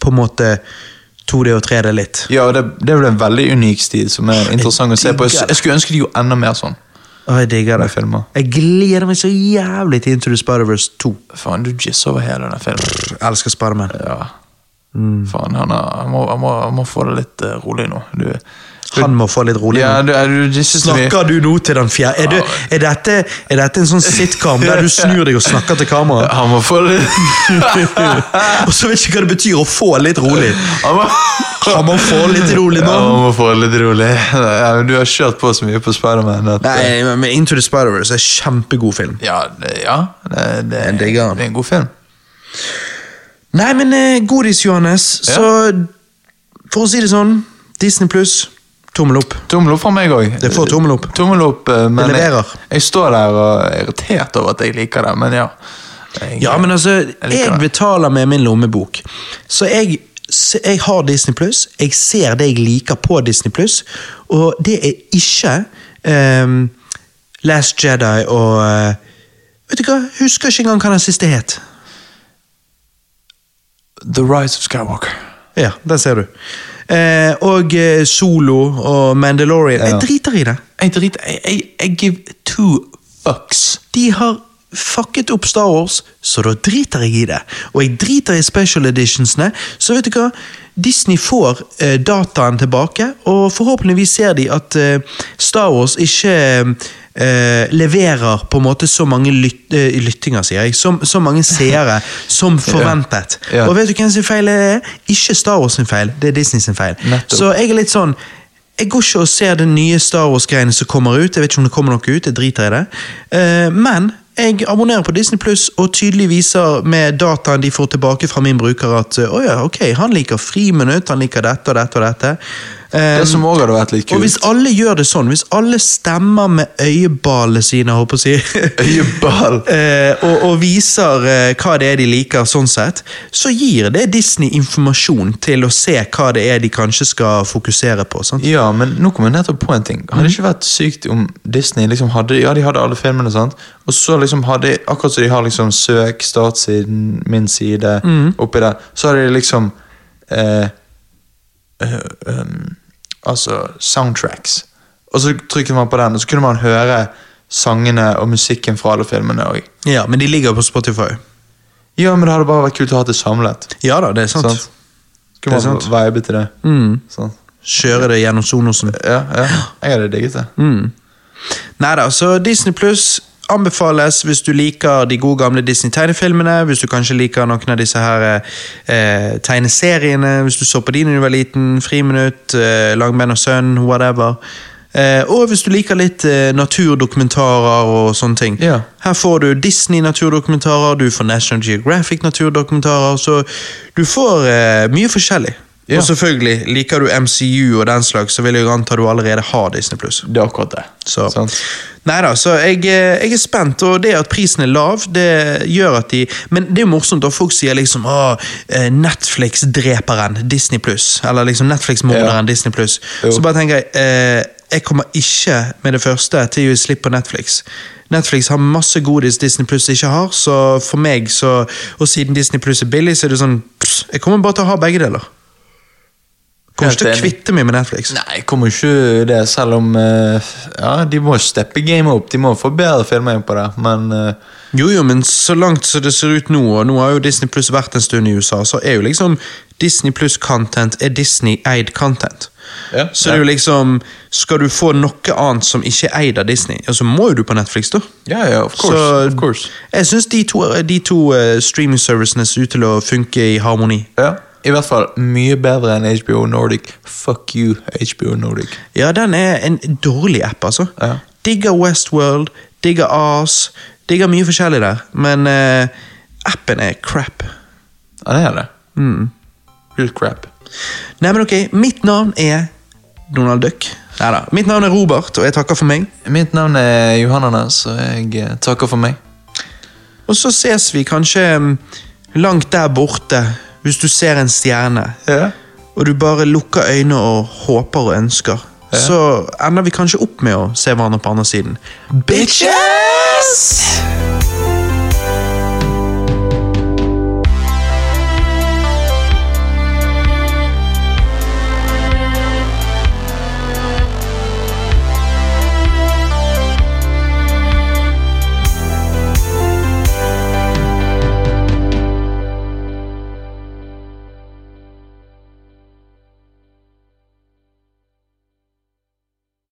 på en måte 2D og 3D litt.
Ja, og det, det er vel en veldig unik stil som er interessant å se på.
digger
Jeg,
det.
jeg skulle ønske de gjorde enda mer sånn.
Å, jeg digger det.
Med filmer.
Jeg gleder meg så jævlig til Into the Spider-Verse 2.
Faen, du jizz over hele den filmen.
Jeg elsker Spider-Man.
Ja.
Mm.
Faen, han, er, han, må, han, må, han må få det litt eh, rolig nå. Du, du,
Han må få litt rolig.
ja,
nå.
du, du jizzes så mye.
Snakker du nå til den fjerde? Er, du, er, dette, er dette en sånn sitcom der du snur deg og snakker til kameraet?
Han må få det
Og så vet ikke hva det betyr å få litt rolig.
Han må,
Han må få litt rolig
Ja,
nå.
han må få det litt rolig. Ja, men du har kjørt på så mye på Spiderman at
Nei, men Into the Spider-Verse er en kjempegod film.
Ja, det, ja det,
Jeg
det, det
digger han.
er en god film.
Nei, men eh, godis, Johannes.
Ja.
Så for å si det sånn, Disney pluss, tommel opp.
Tommel opp fra meg òg.
Det får tommel opp.
Tommel opp, eh, men
Det
jeg,
leverer.
jeg står der og er irritert over at jeg liker det, men ja. Jeg,
Ja, men altså,
liker
jeg
det.
betaler med min lommebok. Så jeg, se- jeg har Disney Pluss, jeg ser det jeg liker på Disney Pluss, og det er ikke ehm, Last Jedi og eh, Vet du hva, husker ikke engang hva den siste het.
The Rise of Skywalker.
Ja, der ser du. Eh, og eh, Solo og Mandalorian.
Ja.
Jeg driter i det.
Jeg driter jeg, jeg, jeg give two fucks.
De har fucket opp Star Wars, så da driter jeg i det. Og jeg driter i special editionsene, så vet du hva? Disney får eh, dataen tilbake, og forhåpentligvis ser de at eh, Star Wars ikke eh, leverer på en måte så mange lyt, eh, lyttinger, sier jeg, som, så mange seere som forventet.
Ja.
Og vet du hvem sin feil det er? Ikke Star Wars sin feil, det er Disney sin feil.
Nettopp.
Så jeg er litt sånn Jeg går ikke og ser det nye Star Wars-greiene som kommer ut. Jeg vet ikke om det kommer noe ut, jeg driter i det. Eh, men jeg abonnerer på Disney Pluss og tydelig viser med dataen de får tilbake fra min bruker at eh, å ja, ok, han liker friminutt, han liker dette og dette og dette. Eh,
Det som òg hadde vært litt
og
kult.
hvis alle gjør det sånn, hvis alle stemmer med øyeballene sine, håper jeg å si
Øyeball!
Eh, og, og viser eh, hva det er de liker, sånn sett, så gir det Disney informasjon til å se hva det er de kanskje skal fokusere på. Sant?
Ja, men nå kom jeg nettopp på en ting. Hadde det ikke vært sykt om Disney liksom hadde Ja, de hadde alle filmene, sant? og så liksom hadde Akkurat som de har liksom Søk, startsiden, min side, oppi der, så hadde de liksom eh, eh, um, Altså soundtracks. Og så trykket man på den, og så kunne man høre sangene og musikken fra alle filmene òg.
Ja, men de ligger på Spotify.
Ja, men det hadde bare vært kult å ha det samlet.
Ja da, det er sant.
Sant. Skulle
Det er
man vibe til det. Sånn.
Kjøre det gjennom Sonosen.
Ja, ja. Jeg hadde digget det.
Nei da, Mm. så Disney Pluss anbefales hvis du liker de gode gamle Disney-tegnefilmene, hvis du kanskje liker noen av disse her eh, tegneseriene, hvis du så på de når du var liten, Friminutt, eh, Langben og Sønn, whatever. Eh, og hvis du liker litt eh, naturdokumentarer og sånne ting.
Ja.
Her får du Disney-naturdokumentarer, du får National Geographic-naturdokumentarer, så du får eh, mye forskjellig.
Ja.
Og selvfølgelig, liker du MCU og den slags, så vil jeg jo anta du allerede har Disney Pluss.
Det er akkurat det.
Så.
Sant?
Neida, så jeg, eh, jeg er spent, og det at prisen er lav, det gjør at de Men det er jo morsomt da folk sier liksom «Åh, eh, Netflix-dreperen Disney Pluss. Eller liksom Netflix-morderen
Ja.
Disney Pluss.
Jo.
Så bare tenker jeg eh, Jeg kommer ikke med det første til å gi slipp på Netflix. Netflix har masse godis Disney Pluss ikke har, så for meg så Og siden Disney Pluss er billig, så er det sånn pss, Jeg kommer bare til å ha begge deler. Kommer
Helt
ikke til å
enig.
kvitte meg med Netflix.
Nei, jeg kommer ikke det, selv om eh, Ja, de må steppe gamet opp. De må få bedre filmer inn på det, men eh,
Jo, jo, men så langt som det ser ut nå, og nå har jo Disney Pluss vært en stund i USA, så er jo liksom Disney Pluss-content er Disney-eid content.
Ja,
så det er jo liksom Skal du få noe annet som ikke er eid av Disney, ja, så må jo du på Netflix, da.
Ja, ja, of course.
Så-
of course.
Jeg syns de to, de to eh, streaming-servicene ser ut til å funke i harmoni.
Ja, I hvert fall mye bedre enn HBO Nordic. Fuck you, HBO Nordic.
Ja, den er en dårlig app, altså.
Ja.
Digger Westworld, digger Ars, digger mye forskjellig der, men eh, appen er crap.
Mm. Ja, det er det. Real crap.
Nei, men ok, mitt navn er Donald Duck. Neida. Mitt navn er Robert, og jeg takker for meg.
Mitt navn er Johananas, og jeg eh, takker for meg.
Og så ses vi kanskje mm, langt der borte, hvis du ser en stjerne, og du bare lukker øynene og håper og ønsker. Så ender vi kanskje opp med å se hverandre på andre siden.
Bitches!